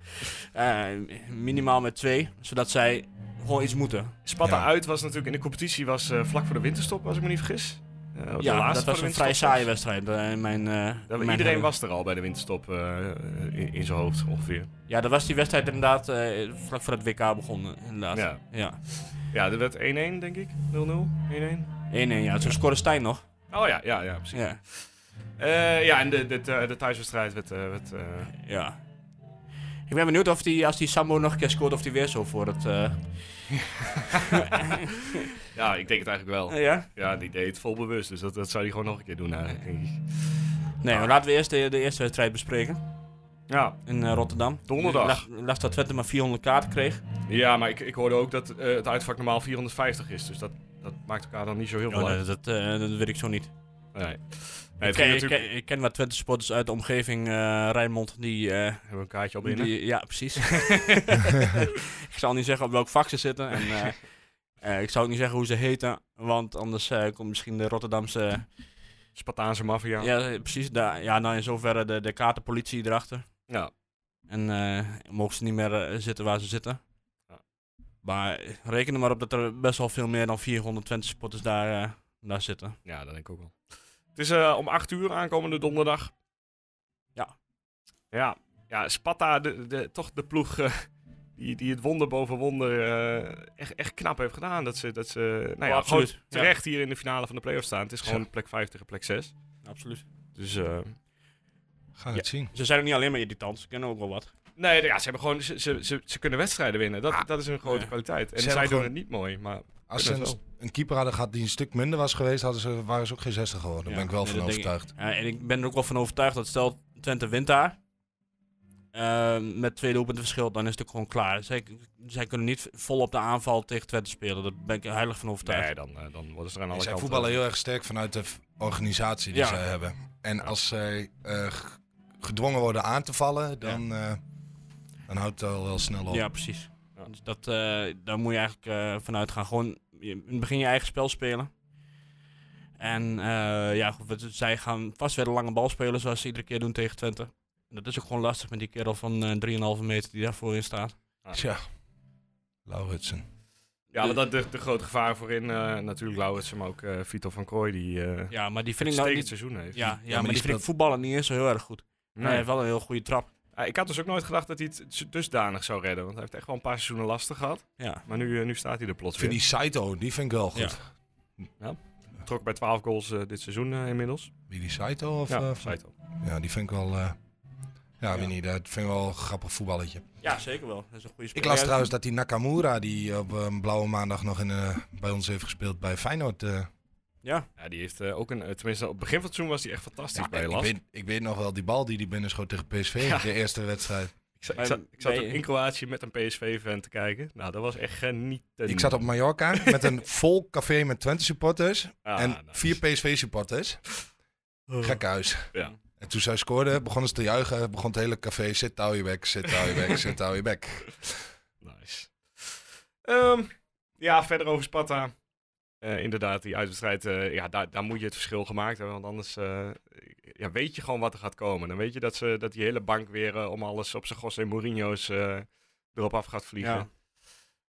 Speaker 5: eh, minimaal met twee. Zodat zij gewoon iets moeten.
Speaker 1: Sparta
Speaker 4: Ja.
Speaker 1: uit was natuurlijk in de competitie was, eh, vlak voor de winterstop, als ik me niet vergis. Eh, de
Speaker 5: ja,
Speaker 1: laatste
Speaker 5: dat
Speaker 1: van
Speaker 5: was
Speaker 1: de
Speaker 5: een vrij
Speaker 1: winterstop.
Speaker 5: saaie wedstrijd. eh, in mijn, eh, in
Speaker 1: Dat-
Speaker 5: mijn
Speaker 1: iedereen
Speaker 5: herinnering.
Speaker 1: was er al bij de winterstop eh, in, in zijn hoofd ongeveer.
Speaker 5: Ja, dat was die wedstrijd inderdaad eh, vlak voor het WK begonnen. Inderdaad.
Speaker 1: Ja.
Speaker 5: ja.
Speaker 1: ja, er werd 1-1 denk ik. 0-0, 1-1.
Speaker 5: 1-1, ja. Toen scoorde Stijn nog.
Speaker 1: Oh ja, ja, ja, precies.
Speaker 5: Ja.
Speaker 1: Eh, ja, en de, de, de thuiswedstrijd werd... eh, werd eh,
Speaker 5: ja. Ik ben benieuwd of die, als die Sambo nog een keer scoort, of die weer zo voor het... eh,
Speaker 1: ja, ik denk het eigenlijk wel.
Speaker 5: ja?
Speaker 1: Ja, die deed het vol bewust. Dus dat, dat zou hij gewoon nog een keer doen eigenlijk, denk ik.
Speaker 5: Nee, maar laten we eerst de, de eerste wedstrijd bespreken.
Speaker 1: Ja,
Speaker 5: In eh, Rotterdam.
Speaker 1: Donderdag.
Speaker 5: Ik lag- las dat Twente maar 400 kaarten kreeg.
Speaker 1: ja maar ik, ik hoorde ook dat eh, het uitvak normaal 450 is. Dus dat, dat maakt elkaar dan niet zo heel
Speaker 5: Oh,
Speaker 1: veel
Speaker 5: nee,
Speaker 1: uit.
Speaker 5: dat, eh, dat weet ik zo niet.
Speaker 1: Nee. Nee, het
Speaker 5: ik, ken,
Speaker 1: ging
Speaker 5: ik,
Speaker 1: natuurlijk...
Speaker 5: ken, ik ken wat Twente supporters uit de omgeving eh Rijnmond die... eh,
Speaker 1: Hebben we een kaartje al binnen?
Speaker 5: die ja, precies. ik zal niet zeggen op welk vak ze zitten. En, eh, eh, ik zou ook niet zeggen hoe ze heten, want anders eh, komt misschien de Rotterdamse...
Speaker 1: Spartaanse maffia. Ja.
Speaker 5: Ja, eh, precies. Daar, ja, nou in zoverre de, de kaartenpolitie erachter. En eh mogen ze niet meer eh, zitten waar ze zitten. Maar reken er maar op dat er best wel veel meer dan 400 Twente supporters daar, eh, daar zitten.
Speaker 1: Ja, dat denk ik ook wel. Het is eh, om 8 uur aankomende donderdag.
Speaker 5: Ja.
Speaker 1: Ja, ja Sparta, de, de, toch de ploeg eh, die, die het wonder boven wonder eh, echt, echt knap heeft gedaan. Dat ze, dat ze nou ja,
Speaker 5: Oh, absoluut.
Speaker 1: gewoon terecht hier in de finale van de play-offs staan. Het is gewoon plek 5 tegen plek 6.
Speaker 5: Absoluut.
Speaker 1: Dus eh,
Speaker 4: Gaan we
Speaker 5: Ja.
Speaker 4: het zien.
Speaker 5: Ze zijn ook niet alleen maar irritant, ze kennen ook wel wat.
Speaker 1: nee, ja, ze, hebben gewoon, ze, ze, ze, ze kunnen wedstrijden winnen. Dat, dat is hun grote
Speaker 5: Ja.
Speaker 1: kwaliteit. En
Speaker 4: Ze
Speaker 1: zij doen
Speaker 4: hebben
Speaker 1: het niet mooi, maar
Speaker 4: Als
Speaker 1: kunnen het
Speaker 4: ze een keeper hadden gehad die een stuk minder was geweest, hadden ze, waren ze ook geen 60 geworden. Daar
Speaker 5: Ja,
Speaker 4: ben ik wel
Speaker 5: nee,
Speaker 4: van
Speaker 5: dat denk ik.
Speaker 4: overtuigd.
Speaker 5: Ja, en ik ben er ook wel van overtuigd dat stel Twente wint daar. eh, met twee doelpunten verschil, dan is het ook gewoon klaar. Zij, zij kunnen niet vol op de aanval tegen Twente spelen. Daar ben ik heilig van overtuigd.
Speaker 1: nee, dan, eh, dan worden ze er aan alle
Speaker 4: Zij
Speaker 1: kanten.
Speaker 4: voetballen heel erg sterk vanuit de v- organisatie die
Speaker 5: Ja.
Speaker 4: zij hebben. En als zij eh, g- gedwongen worden aan te vallen, dan, eh, dan houdt het al wel snel op.
Speaker 5: Ja, precies.
Speaker 1: Ja.
Speaker 5: Dus dat, eh, daar moet je eigenlijk eh, vanuit gaan. Gewoon je- in het begin je eigen spel spelen. En eh, ja, goed, we- zij gaan vast weer de lange bal spelen zoals ze iedere keer doen tegen Twente. En dat is ook gewoon lastig met die kerel van eh 3,5 meter die daarvoor in staat.
Speaker 4: Tja. Lauritsen.
Speaker 1: Ja, maar dat de, de grote gevaar voorin eh natuurlijk Lauwers, maar ook eh Vito van Krooi die eh ja,
Speaker 5: Ja, maar die vind ik nou
Speaker 1: stekend
Speaker 5: niet...
Speaker 1: seizoen heeft.
Speaker 5: Ja, ja, Eh, maar,
Speaker 4: die
Speaker 5: die vind ik
Speaker 4: speelt-
Speaker 5: voetballen niet eens zo heel erg goed.
Speaker 1: Nee.
Speaker 5: Hij heeft wel een heel goede trap.
Speaker 1: Ah, Ik had dus ook nooit gedacht dat hij het z- dusdanig zou redden. Want hij heeft echt wel een paar seizoenen lastig gehad.
Speaker 5: Ja.
Speaker 1: Maar nu, eh, nu staat hij er plots
Speaker 4: Ik vind
Speaker 1: weer.
Speaker 4: die Saito, die vind ik wel goed.
Speaker 1: Trok bij 12 goals eh, dit seizoen eh, inmiddels.
Speaker 4: Wie die Saito? Of,
Speaker 1: ja,
Speaker 4: eh,
Speaker 1: zei het al.
Speaker 4: ja, die vind ik wel... eh, ja, weet niet. Dat vind ik wel een grappig voetballetje.
Speaker 5: ja, zeker wel. Dat is een goede
Speaker 4: Ik las trouwens dat die Nakamura, die eh, op een blauwe maandag nog in, eh, bij ons heeft gespeeld bij Feyenoord. eh,
Speaker 5: Ja,
Speaker 1: Ja, die heeft eh, ook een... eh, tenminste, op het begin van het seizoen was hij echt fantastisch
Speaker 4: ja,
Speaker 1: bij
Speaker 4: Nou, ik,
Speaker 1: Las.
Speaker 4: weet, ik weet nog wel die bal die die binnenschoot tegen PSV.
Speaker 1: Ja.
Speaker 4: De eerste wedstrijd.
Speaker 1: Ik, za- ik
Speaker 5: Bij-
Speaker 1: zat- ik zat
Speaker 5: bij-
Speaker 1: ook in Kroatië met een PSV-fan te kijken. Nou, dat was echt genieten.
Speaker 4: Ik zat op Mallorca met een vol café met Twente supporters.
Speaker 1: Ah,
Speaker 4: en
Speaker 1: nou,
Speaker 4: vier PSV supporters. Gekhuis.
Speaker 1: Ja.
Speaker 4: En toen zij scoorde, begonnen ze te juichen. Begon het hele café, zit hou je bek, zit hou je bek, zit hou je bek.
Speaker 1: Nice. Ehm, ja, verder over Sparta. Eh, inderdaad, die uitwedstrijd, eh, ja, daar, daar moet je het verschil gemaakt hebben. Want anders eh, ja, weet je gewoon wat er gaat komen. Dan weet je dat, ze, dat die hele bank weer eh, om alles op zijn José Mourinho's eh, erop af gaat vliegen.
Speaker 5: Ja.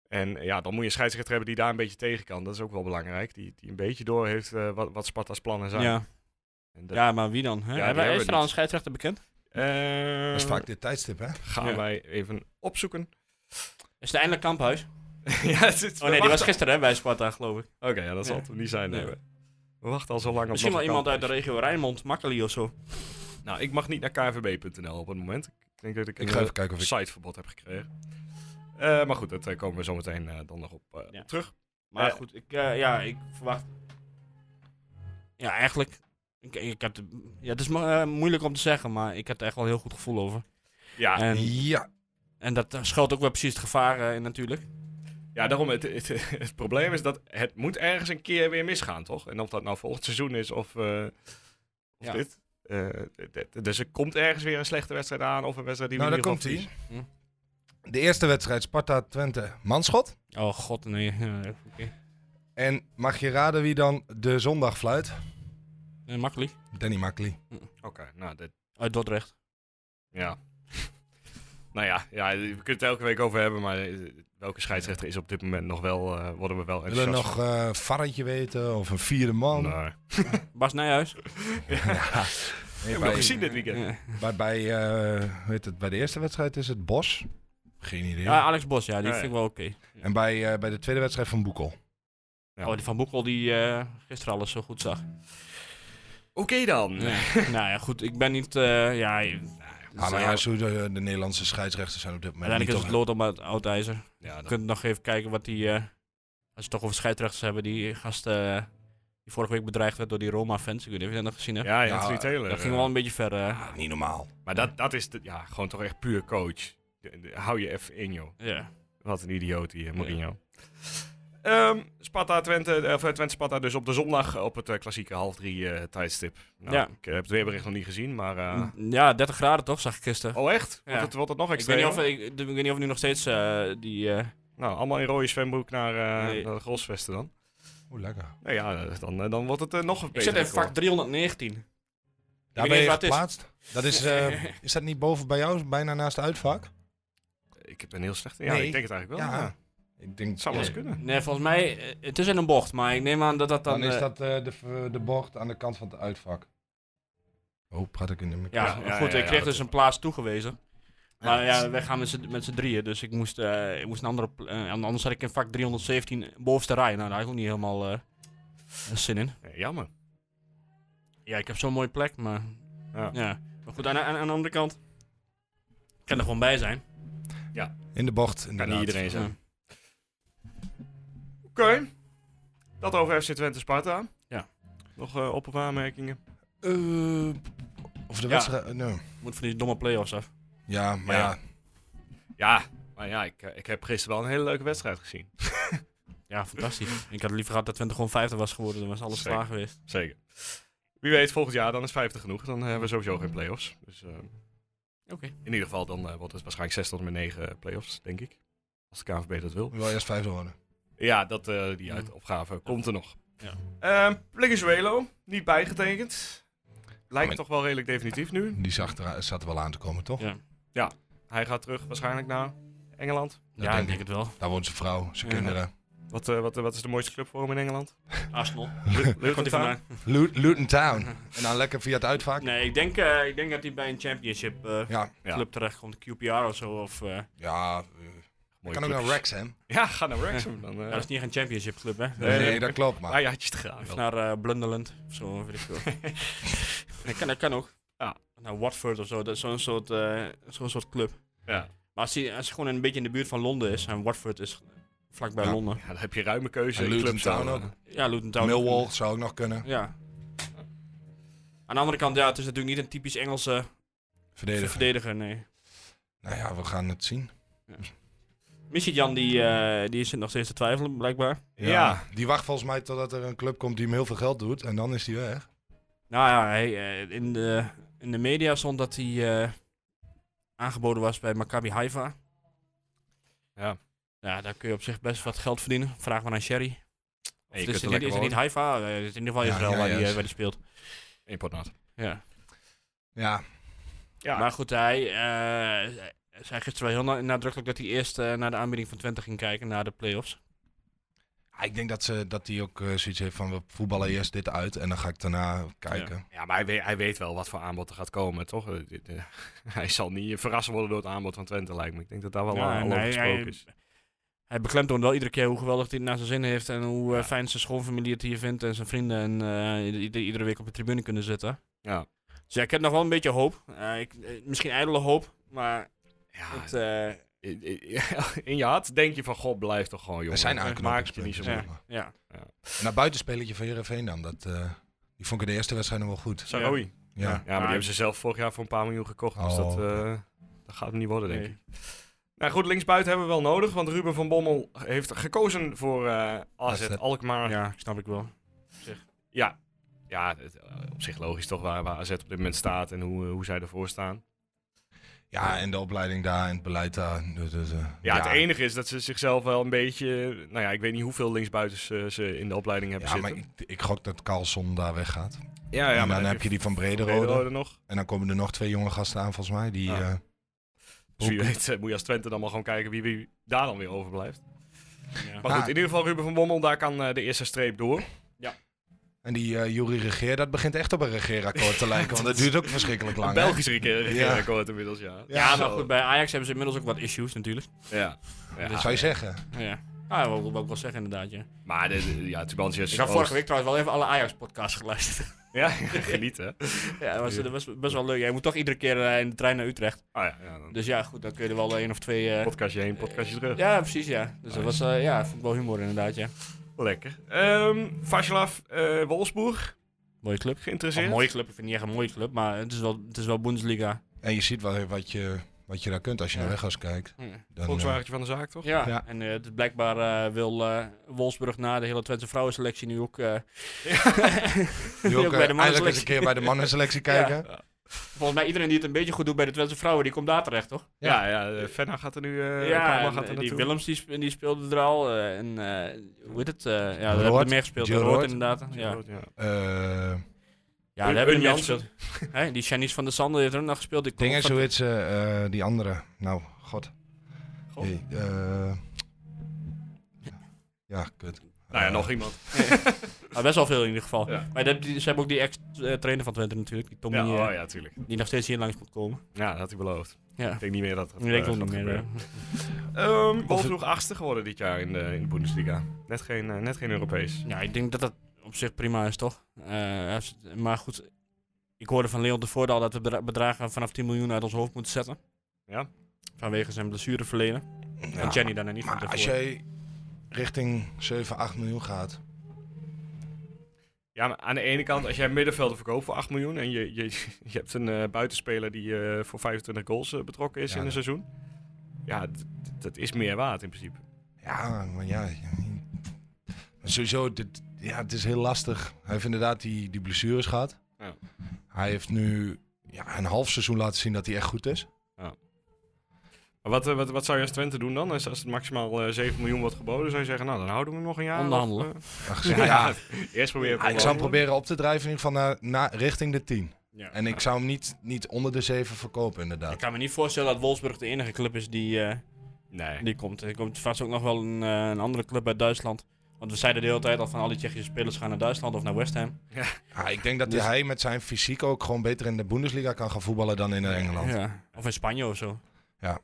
Speaker 1: En eh, ja, dan moet je een scheidsrechter hebben die daar een beetje tegen kan. Dat is ook wel belangrijk. Die, die een beetje door heeft eh, wat, wat Sparta's plannen zijn.
Speaker 5: ja.
Speaker 1: En dat,
Speaker 5: ja, maar wie dan? Hè?
Speaker 1: die
Speaker 5: Hebben-
Speaker 1: hebben we
Speaker 5: is er al
Speaker 1: niet.
Speaker 5: een scheidsrechter bekend?
Speaker 1: eh,
Speaker 4: Dat is vaak dit tijdstip, hè?
Speaker 1: gaan
Speaker 5: Ja.
Speaker 1: wij even opzoeken.
Speaker 5: Is het eindelijk Kamphuis?
Speaker 1: ja, het is-
Speaker 5: Oh
Speaker 1: we
Speaker 5: nee, die was
Speaker 1: wachten-
Speaker 5: gisteren hè, bij Sparta, geloof ik.
Speaker 1: Oké, ja, dat zal
Speaker 5: Nee.
Speaker 1: het niet zijn.
Speaker 5: Nee.
Speaker 1: hè. We wachten al zo lang op
Speaker 5: Misschien
Speaker 1: nog
Speaker 5: wel
Speaker 1: een
Speaker 5: iemand uit de
Speaker 1: kamphuis.
Speaker 5: regio Rijnmond, Makkeli of zo.
Speaker 1: Nou, ik mag niet naar kvb.nl op het moment. Ik denk dat ik,
Speaker 4: Ik
Speaker 1: een
Speaker 4: ga
Speaker 1: eh,
Speaker 4: even kijken of ik...
Speaker 1: siteverbod heb gekregen. Eh, maar goed, daar komen we zo meteen eh, dan nog op eh,
Speaker 5: Ja.
Speaker 1: op terug.
Speaker 5: Maar
Speaker 1: Eh.
Speaker 5: goed, ik, eh, ja, ik verwacht... Ja, eigenlijk... Ik, ik heb de- ja, het is mo- eh, moeilijk om te zeggen, maar ik heb er echt wel een heel goed gevoel over.
Speaker 1: Ja,
Speaker 5: En,
Speaker 4: Ja, nou,
Speaker 5: en dat eh, schuilt ook wel precies het gevaar eh, in natuurlijk.
Speaker 1: ja daarom, het, het, het probleem is dat het moet ergens een keer weer misgaan, toch? En of dat nou volgend seizoen is of, eh, of
Speaker 5: Ja.
Speaker 1: dit. Eh, d- d- dus er komt ergens weer een slechte wedstrijd aan of een wedstrijd die we
Speaker 4: nou daar
Speaker 1: in ieder
Speaker 4: komt
Speaker 1: geval Hm?
Speaker 4: hij. De eerste wedstrijd, Sparta-Twente, manschot.
Speaker 5: Oh god, nee. eh, oké.
Speaker 4: En mag je raden wie dan de zondag fluit?
Speaker 5: Eh, Makkeli,
Speaker 4: Danny Makkely.
Speaker 1: verliezen. Oké, nou, dit,
Speaker 5: uit Dordrecht.
Speaker 1: Ja. nou ja, ja, we kunnen het elke week over hebben, maar eh, welke scheidsrechter is op dit moment nog wel, eh, worden we wel
Speaker 4: Willen we
Speaker 1: enthousiast.
Speaker 4: nog een varretje weten of een vierde man?
Speaker 1: Nee.
Speaker 5: Bas Nijhuis.
Speaker 4: Nee,
Speaker 1: Heb je nog
Speaker 4: bij,
Speaker 1: gezien dit weekend?
Speaker 5: Eh,
Speaker 4: bij, bij, eh, hoe heet het, bij de eerste wedstrijd is het Bos. Geen idee.
Speaker 5: ja, ah, Alex Bos, ja, die
Speaker 1: Ja,
Speaker 5: vind ik
Speaker 1: ja.
Speaker 5: wel oké.
Speaker 4: En bij, eh, bij de tweede wedstrijd van Boekel.
Speaker 1: Ja.
Speaker 5: Oh, die Van Boekel die eh, gisteren alles zo goed zag.
Speaker 1: Oké dan.
Speaker 5: Ja. nou ja, goed, ik ben niet... eh, ja,
Speaker 4: Ah, maar
Speaker 5: zou-
Speaker 4: ja, zo de, de Nederlandse scheidsrechters zijn op dit moment
Speaker 5: Uiteindelijk
Speaker 4: niet
Speaker 5: is het
Speaker 4: op-
Speaker 5: lood om het oud-ijzer.
Speaker 1: Ja,
Speaker 5: Je
Speaker 1: dat-
Speaker 5: kunt nog even kijken wat die... eh, als we het toch over scheidsrechters hebben, die gast eh, die vorige week bedreigd werd door die Roma-fans. Ik weet niet of je dat nog gezien hebt.
Speaker 1: ja,
Speaker 4: Ja,
Speaker 1: Anthony Taylor.
Speaker 5: Nou, dat ging
Speaker 1: eh.
Speaker 5: wel een beetje ver. eh.
Speaker 4: Ah, niet normaal.
Speaker 1: Maar dat, dat is de- ja, gewoon toch echt puur coach. De- de- hou je even in, joh.
Speaker 5: ja.
Speaker 1: Wat een idioot die eh, Mourinho. Ehm, Sparta Twente, eh, of eh, Twente Sparta dus op de zondag op het eh, klassieke half drie eh, tijdstip. Nou,
Speaker 5: Ja.
Speaker 1: Ik eh, heb het weerbericht nog niet gezien, maar... eh,
Speaker 5: ja, 30 graden toch, zag ik gisteren.
Speaker 1: Oh echt?
Speaker 5: Ja.
Speaker 1: Wordt, het, wordt het nog
Speaker 5: ik, weet
Speaker 1: extremer?
Speaker 5: niet of, ik, ik weet niet of nu nog steeds eh, die... eh,
Speaker 1: Nou, allemaal in rode zwembroek naar, eh,
Speaker 5: Nee.
Speaker 1: naar de grosvesten dan.
Speaker 4: Oeh, lekker.
Speaker 1: Nou ja, eh, dan, eh, dan wordt het eh, nog beter.
Speaker 5: ik zit in
Speaker 1: record.
Speaker 5: vak 319.
Speaker 4: Daar
Speaker 5: weet
Speaker 4: ben
Speaker 5: niet
Speaker 4: je
Speaker 5: wat het is.
Speaker 4: geplaatst. Dat is, eh, is dat niet boven bij jou, bijna naast de uitvak?
Speaker 1: Ik ben heel slecht. Ja,
Speaker 4: Nee.
Speaker 1: ik denk het eigenlijk wel.
Speaker 4: ja.
Speaker 1: Ja.
Speaker 4: ja. Ik denk,
Speaker 1: Het zou wel eens
Speaker 4: Nee.
Speaker 1: kunnen.
Speaker 5: Nee, volgens mij, eh, het is in een bocht, maar ik neem aan dat dat dan...
Speaker 4: Dan, is
Speaker 5: eh,
Speaker 4: dat eh, de, v- de bocht aan de kant van het uitvak. Oh, praat ik in de
Speaker 5: Ja,
Speaker 4: microfoon.
Speaker 1: Ja, ja,
Speaker 5: goed,
Speaker 1: ja,
Speaker 5: ik
Speaker 1: ja,
Speaker 5: kreeg
Speaker 1: dat
Speaker 5: dus
Speaker 1: is-
Speaker 5: een plaats toegewezen. Maar
Speaker 4: Ja.
Speaker 5: ja, wij gaan met z'n- met z'n drieën, dus ik moest, eh, ik moest een andere... pl- eh, anders zat ik in vak 317 bovenste rij. Nou, daar had ik ook niet helemaal eh, zin in.
Speaker 1: Nee, jammer.
Speaker 5: Ja, ik heb zo'n mooie plek, maar...
Speaker 1: Ja.
Speaker 5: Ja. Maar goed, aan, aan, aan de andere kant... Ik kan er gewoon bij zijn.
Speaker 4: In de bocht, inderdaad.
Speaker 1: Kan niet iedereen
Speaker 5: Ja.
Speaker 1: zijn. Oké. Dat over FC Twente Sparta.
Speaker 5: Ja.
Speaker 1: Nog eh op- of aanmerkingen?
Speaker 4: Eh, of de
Speaker 5: Ja.
Speaker 4: wedstrijd... eh, nee.
Speaker 5: Moet van die domme play-offs af.
Speaker 4: Ja, maar
Speaker 1: Ja.
Speaker 4: ja.
Speaker 1: Ja, maar ja, ik, eh, ik heb gisteren wel een hele leuke wedstrijd gezien.
Speaker 5: Ja, fantastisch. ik had liever gehad dat Twente gewoon 50 was geworden, dan was alles
Speaker 1: Zeker.
Speaker 5: klaar geweest.
Speaker 1: Zeker. Wie weet, volgend jaar dan is 50 genoeg. Dan eh, hebben we sowieso geen play-offs. Dus eh,
Speaker 5: Oké.
Speaker 1: in ieder geval, dan eh, wordt het waarschijnlijk 6 tot en met 9 eh, play-offs, denk ik. Als de KNVB dat wil.
Speaker 4: Wel eerst vijfde worden.
Speaker 1: Ja, dat, eh, die
Speaker 5: Ja.
Speaker 1: uitopgave komt er nog.
Speaker 5: Ja.
Speaker 1: Ehm Plegezuelo, niet bijgetekend. Lijkt
Speaker 4: maar-
Speaker 1: toch wel redelijk definitief nu.
Speaker 4: Die zag er, zat er wel aan te komen, toch?
Speaker 5: Ja.
Speaker 1: Hij gaat terug waarschijnlijk naar Engeland.
Speaker 5: Ja,
Speaker 4: denk
Speaker 5: ik denk het wel.
Speaker 4: Daar woont zijn vrouw, zijn
Speaker 5: Ja.
Speaker 4: kinderen.
Speaker 1: Wat, eh, wat, wat is de mooiste club voor hem in Engeland?
Speaker 5: Arsenal.
Speaker 1: Leuk
Speaker 5: Komt hij vandaan?
Speaker 4: Lu- Luton Town. En dan lekker via het uitvak.
Speaker 5: Nee, ik denk, eh, ik denk dat hij bij een championship eh,
Speaker 4: Ja,
Speaker 1: Ja.
Speaker 5: club terecht komt, QPR of zo. Of, eh,
Speaker 4: ja. eh, kan ook naar Wrexham.
Speaker 1: Ja, ga naar Wrexham. Dan, eh,
Speaker 5: ja, dat is niet echt een championship club, hè?
Speaker 1: Nee,
Speaker 4: Nee,
Speaker 1: nee,
Speaker 4: dat klopt,
Speaker 1: Een paar
Speaker 4: maar...
Speaker 1: jaartjes te gaan.
Speaker 5: Of
Speaker 1: wel.
Speaker 5: naar eh, Blunderland of zo, weet ik veel. dat, kan, dat kan ook.
Speaker 1: Ja.
Speaker 5: Naar Watford of zo, dat is zo'n soort, eh, zo'n soort club.
Speaker 1: Ja.
Speaker 5: Maar als hij, als hij gewoon een beetje in de buurt van Londen is, en Watford is vlakbij
Speaker 4: Ja.
Speaker 5: Londen.
Speaker 1: ja, dan heb je ruime keuze
Speaker 4: En
Speaker 1: in
Speaker 4: Luton
Speaker 1: clubs.
Speaker 4: Town
Speaker 1: dan,
Speaker 4: ook.
Speaker 1: eh,
Speaker 5: Ja, Luton Town.
Speaker 4: Millwall zou ook nog kunnen.
Speaker 5: Ja. Aan de andere kant, ja, het is natuurlijk niet een typisch Engelse
Speaker 4: Verdedigen.
Speaker 5: verdediger, nee.
Speaker 4: Nou ja, we gaan het zien.
Speaker 5: Missie Jan, die, eh, die zit nog steeds te twijfelen, blijkbaar.
Speaker 1: Ja.
Speaker 4: Die wacht volgens mij totdat er een club komt die hem heel veel geld doet. En dan is hij weg.
Speaker 5: Nou ja, hij, eh, in, de, in de media stond dat hij eh, aangeboden was bij Maccabi Haifa.
Speaker 1: Ja.
Speaker 5: Ja, daar kun je op zich best wat geld verdienen. Vraag maar aan Sherry. Of
Speaker 1: En je
Speaker 5: is
Speaker 1: kunt er
Speaker 5: het niet,
Speaker 1: lekker
Speaker 5: is het
Speaker 1: wonen.
Speaker 5: niet Haifa? Eh, het is in ieder geval
Speaker 4: Ja,
Speaker 5: Israël
Speaker 4: ja,
Speaker 5: waar,
Speaker 4: ja,
Speaker 5: die, eh,
Speaker 4: is-
Speaker 5: waar die speelt.
Speaker 1: In Potnaat.
Speaker 5: Ja.
Speaker 4: Ja,
Speaker 1: Ja.
Speaker 5: Maar goed, hij eh, zei gisteren wel heel na- nadrukkelijk dat hij eerst eh, naar de aanbieding van Twente ging kijken, naar de play-offs.
Speaker 4: ik denk dat ze dat hij ook eh, zoiets heeft van we voetballen eerst dit uit en dan ga ik daarna kijken.
Speaker 1: Ja, maar hij weet, hij weet wel wat voor aanbod er gaat komen, toch? Eh, dit, eh, hij zal niet eh, verrast worden door het aanbod van Twente, lijkt me. Ik denk dat daar wel
Speaker 5: Ja,
Speaker 1: al, al
Speaker 5: en
Speaker 1: over
Speaker 5: hij-
Speaker 1: gesproken
Speaker 5: hij-
Speaker 1: is.
Speaker 5: Hij beklemtoont wel iedere keer hoe geweldig hij het naar zijn zin heeft en hoe eh, fijn zijn schoonfamilie het hier vindt en zijn vrienden en eh, ieder- ieder- iedere week op de tribune kunnen zitten.
Speaker 1: Ja.
Speaker 5: Dus ja, ik heb nog wel een beetje hoop. Eh, ik, eh, misschien ijdele hoop, maar
Speaker 1: Ah, Ja,
Speaker 5: het, eh,
Speaker 1: in je hart denk je van, god, blijf toch gewoon, jongen.
Speaker 4: Er zijn dus
Speaker 1: Maak het je niet zo
Speaker 5: Ja.
Speaker 1: moeilijk.
Speaker 4: aanknopingspunten.
Speaker 5: ja.
Speaker 4: Naar buitenspelletje van Heerenveen dan. Dat, eh, die vond ik in de eerste wedstrijd nog wel goed.
Speaker 1: Saroui.
Speaker 4: Ja.
Speaker 1: Ja, maar die hebben ze zelf vorig jaar voor een paar miljoen gekocht. Dus
Speaker 4: Oh,
Speaker 1: dat,
Speaker 4: oké.
Speaker 1: eh, dat gaat hem niet worden, denk
Speaker 5: Nee.
Speaker 1: ik. Nou goed, linksbuiten hebben we wel nodig. Want Ruben van Bommel heeft gekozen voor eh AZ
Speaker 4: het.
Speaker 1: Alkmaar. Ja,
Speaker 5: ja, snap ik wel.
Speaker 1: ja. het, eh, op zich logisch toch waar, waar AZ op dit moment staat en hoe, eh, hoe zij ervoor staan.
Speaker 4: Ja, en de opleiding daar en het beleid daar. Dus, dus, eh,
Speaker 1: Ja, het enige is dat ze zichzelf wel een beetje... eh, Nou ja, ik weet niet hoeveel linksbuitens eh, ze in de opleiding hebben
Speaker 4: Ja, maar
Speaker 1: zitten.
Speaker 4: ik, ik gok dat Carlson daar weggaat.
Speaker 1: ja,
Speaker 4: en dan heb je die van Brederode.
Speaker 1: Brederode nog.
Speaker 4: En dan komen er nog twee jonge gasten aan volgens mij. Die,
Speaker 1: Ah.
Speaker 4: eh,
Speaker 1: Dus wie
Speaker 4: Ook-
Speaker 1: weet eh, moet je als Twente dan maar gewoon kijken wie, wie daar dan weer overblijft.
Speaker 5: Ja.
Speaker 1: Maar
Speaker 4: Ah.
Speaker 1: goed, in ieder geval Ruben van Bommel, daar kan eh, de eerste streep door.
Speaker 4: en die eh Jury Regeer, dat begint echt op een regeerakkoord te lijken. Want dat duurt ook verschrikkelijk lang.
Speaker 1: Een
Speaker 4: hè?
Speaker 1: Belgisch regeerakkoord inmiddels, ja.
Speaker 4: Ja,
Speaker 5: Ja,
Speaker 1: zo.
Speaker 5: maar goed, bij Ajax hebben ze inmiddels ook wat issues natuurlijk.
Speaker 1: Ja. Ja.
Speaker 4: Dat zou je zeggen.
Speaker 5: Ja, ah, wat wil ik wel zeggen inderdaad, ja.
Speaker 1: Maar de, de- ja, Tubantia
Speaker 5: Ik had vorige week trouwens wel even alle Ajax-podcasts geluisterd.
Speaker 1: Ja, Ah, genieten.
Speaker 5: ja, dat was, dat was best wel leuk. Jij moet toch iedere keer eh, in de trein naar Utrecht.
Speaker 1: Ah ja, ja dan
Speaker 5: Dus ja, goed, dan kun je er wel één of twee... eh,
Speaker 1: podcastje heen, podcastje terug.
Speaker 5: ja, precies, ja. Dus dat was, eh, ja, vond ik wel humor inderdaad, ja.
Speaker 1: Lekker. Ehm Vaslav eh, Wolfsburg,
Speaker 5: Mooie club.
Speaker 1: geïnteresseerd.
Speaker 5: Een mooie club, ik vind het niet echt een mooie club, maar het is wel, het is wel Bundesliga.
Speaker 4: En je ziet wel wat je, wat je daar kunt als je
Speaker 5: Ja.
Speaker 4: naar Weghorst kijkt.
Speaker 5: Ja,
Speaker 4: Dan, eh,
Speaker 1: Volkswagentje van de zaak, toch?
Speaker 4: Ja.
Speaker 5: en eh, het is blijkbaar eh, wil eh, Wolfsburg na de hele Twente vrouwenselectie nu ook... eh,
Speaker 4: nu ook,
Speaker 5: ook bij
Speaker 4: eh, eigenlijk eens
Speaker 5: de mannenselectie.
Speaker 4: een keer bij de mannenselectie kijken.
Speaker 5: volgens mij iedereen die het een beetje goed doet bij de Twente vrouwen, die komt daar terecht, toch?
Speaker 1: Ja, ja, eh, Fenna gaat er nu, eh
Speaker 5: ja,
Speaker 1: Karma gaat
Speaker 5: en, eh,
Speaker 1: er
Speaker 5: die
Speaker 1: naartoe.
Speaker 5: Willems die, sp- die speelde er al. eh, en eh, hoe heet het? eh, ja, daar hebben we
Speaker 4: Roord.
Speaker 5: meer gespeeld.
Speaker 4: Jill
Speaker 5: Roord
Speaker 4: Roord.
Speaker 5: inderdaad. Ja,
Speaker 1: Ja. Nou
Speaker 4: Eh
Speaker 5: ja
Speaker 1: Un-
Speaker 5: daar hebben we
Speaker 1: Un
Speaker 5: meer
Speaker 1: Jansen.
Speaker 5: gespeeld. Hè, die Janice van der Sande heeft er ook nog gespeeld. Die
Speaker 4: Dingen,
Speaker 5: komt van-
Speaker 4: zoiets, eh, eh, die andere. Nou, god.
Speaker 5: God.
Speaker 4: Die, eh, Ja, kut.
Speaker 1: Nou ja,
Speaker 4: Eh,
Speaker 1: nog iemand.
Speaker 5: Maar best wel veel in ieder geval.
Speaker 1: Ja.
Speaker 5: Maar dat- die- ze hebben ook die ex-trainer van Twente natuurlijk, die Tommy,
Speaker 1: Ja,
Speaker 5: eh,
Speaker 1: oh ja, tuurlijk.
Speaker 5: die nog steeds hier langs moet komen.
Speaker 1: Ja, dat had hij beloofd.
Speaker 5: Ja,
Speaker 1: Ik denk niet meer dat
Speaker 5: ik denk ook niet meer. eh.
Speaker 1: Um,
Speaker 4: Of-
Speaker 1: Wolfsburg achtste geworden dit jaar in de, in de Bundesliga. Net geen, eh, net geen Europees.
Speaker 5: Ja, ik denk dat dat op zich prima is, toch? Eh, hij heeft- maar goed, ik hoorde van Leon tevoren al dat we bedra- bedragen vanaf 10 miljoen uit ons hoofd moeten zetten.
Speaker 1: Ja.
Speaker 5: Vanwege zijn blessureverleden.
Speaker 4: ja.
Speaker 5: En Jenny daarna niet van
Speaker 4: Maar
Speaker 5: tevoren.
Speaker 4: als jij richting 7, 8 miljoen gaat.
Speaker 1: Ja, maar aan de ene kant, als jij middenvelden verkoopt voor 8 miljoen en je, je, je hebt een eh, buitenspeler die eh, voor 25 goals eh, betrokken is
Speaker 4: Ja,
Speaker 1: in een
Speaker 4: dat-
Speaker 1: seizoen. Ja, d- d- dat is meer waard in principe.
Speaker 4: Ja, maar ja. maar sowieso, dit, ja, het is heel lastig. Hij heeft inderdaad die, die blessures gehad.
Speaker 1: Ja.
Speaker 4: Hij heeft nu ja, een half seizoen laten zien dat hij echt goed is.
Speaker 1: Maar wat, eh, wat, wat zou je als Twente doen dan? Als, als het maximaal eh, 7 miljoen wordt geboden, zou je zeggen, nou dan houden we hem nog een jaar. of,
Speaker 5: Onderhandelen.
Speaker 1: eh,
Speaker 4: Aangezien-
Speaker 1: Ja,
Speaker 4: ja,
Speaker 1: eerst proberen te
Speaker 4: ik zou hem
Speaker 1: onderhandelen.
Speaker 4: proberen op te drijven in ieder geval naar, naar, richting de 10.
Speaker 5: Ja.
Speaker 4: En ik zou hem niet, niet onder de 7 verkopen,
Speaker 5: Ik
Speaker 4: inderdaad.
Speaker 5: kan me niet voorstellen dat Wolfsburg de enige club is die, eh,
Speaker 1: Nee.
Speaker 5: die komt. Er komt vast ook nog wel een, eh, een andere club uit Duitsland. Want we zeiden de hele tijd al van al die Tsjechische spelers gaan naar Duitsland of naar West Ham.
Speaker 4: Ja, ik denk dat
Speaker 5: Dus-
Speaker 4: hij met zijn fysiek ook gewoon beter in de Bundesliga kan gaan voetballen dan in Engeland.
Speaker 5: Ja. Of in Spanje of zo.
Speaker 4: Ja.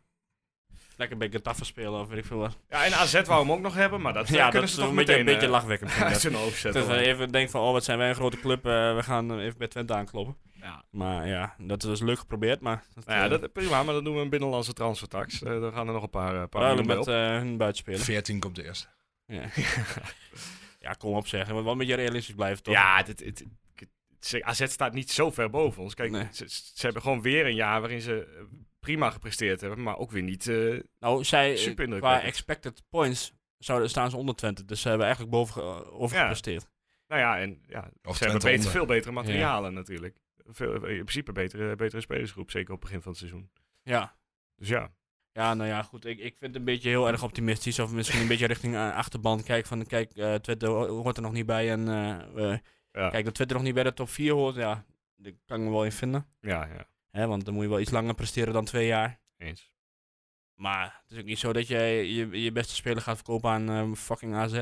Speaker 5: Lekker bij Getafe spelen of weet ik veel wat.
Speaker 1: Ja, en AZ wou hem ook nog hebben, maar dat eh,
Speaker 5: ja, dat
Speaker 1: kunnen
Speaker 5: is
Speaker 1: ze toch
Speaker 5: een beetje,
Speaker 1: meteen
Speaker 5: een beetje
Speaker 1: eh,
Speaker 5: lachwekkend. vind ik dat.
Speaker 1: uit hun hoofd zetten.
Speaker 5: Dat we
Speaker 1: hoor.
Speaker 5: even denken van, oh wat zijn wij een grote club, eh, we gaan eh, even bij Twente aankloppen.
Speaker 1: Ja.
Speaker 5: Maar ja, dat is dus leuk geprobeerd, maar... Dat,
Speaker 1: Nou ja,
Speaker 5: eh,
Speaker 1: dat, prima, maar dan doen we een binnenlandse transfertax. Eh, dan gaan er nog een paar, eh, paar
Speaker 5: Ruilen
Speaker 1: miljoen
Speaker 5: met
Speaker 1: bij
Speaker 5: eh, hun buitenspelen.
Speaker 4: 14 komt de eerste.
Speaker 5: Ja. ja, kom op zeggen, want wel een beetje realistisch blijven
Speaker 1: op.
Speaker 5: eh, toch?
Speaker 1: Ja, dit, dit, dit- ze- AZ staat niet zo ver boven ons. Kijk,
Speaker 5: Nee.
Speaker 1: ze, ze hebben gewoon weer een jaar waarin ze eh, prima gepresteerd hebben, maar ook weer niet... eh,
Speaker 5: Nou, zij, eh,
Speaker 1: Super
Speaker 5: qua
Speaker 1: indrukwekkend.
Speaker 5: expected points, zouden, staan ze onder Twente. Dus ze hebben eigenlijk boven ge- overgepresteerd.
Speaker 1: nou ja, en, ja
Speaker 4: Of
Speaker 1: ze hebben
Speaker 4: Twente
Speaker 1: beter,
Speaker 4: onder.
Speaker 1: veel betere materialen natuurlijk. Veel, eh, in principe betere, betere spelersgroep, zeker op het begin van het seizoen.
Speaker 5: Ja.
Speaker 1: Dus ja,
Speaker 5: Ja, nou ja, goed. Ik, ik vind het een beetje heel erg optimistisch. Of misschien een beetje richting eh, achterban. Kijk, van, kijk eh, Twente ho- hoort er nog niet bij. En eh, eh,
Speaker 1: Ja.
Speaker 5: kijk, dat Twente nog niet bij de top 4 hoort, ja, daar kan ik me wel in vinden.
Speaker 1: ja, ja,
Speaker 5: Hè, want dan moet je wel iets langer presteren dan twee jaar.
Speaker 1: eens.
Speaker 5: Maar het is ook niet zo dat jij je, je beste speler gaat verkopen aan eh, fucking AZ.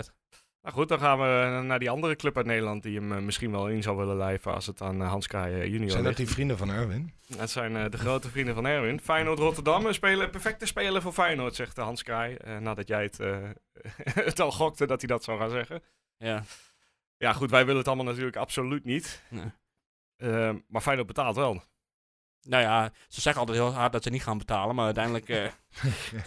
Speaker 1: Nou goed, dan gaan we naar die andere club uit Nederland die hem eh, misschien wel in zou willen lijven als het aan eh, Hans Kraaij eh, junior
Speaker 4: Zijn
Speaker 1: ligt.
Speaker 4: dat die vrienden van Erwin?
Speaker 1: Dat zijn eh, de grote vrienden van Erwin. Feyenoord Rotterdam, een speler, perfecte speler voor Feyenoord, zegt eh, Hans Kraai. eh, nadat jij het, eh, het al gokte dat hij dat zou gaan zeggen.
Speaker 5: Ja.
Speaker 1: Ja goed, wij willen het allemaal natuurlijk absoluut niet.
Speaker 5: Nee.
Speaker 1: Eh, maar Feyenoord betaalt wel.
Speaker 5: Nou ja, ze zeggen altijd heel hard dat ze niet gaan betalen. Maar uiteindelijk... eh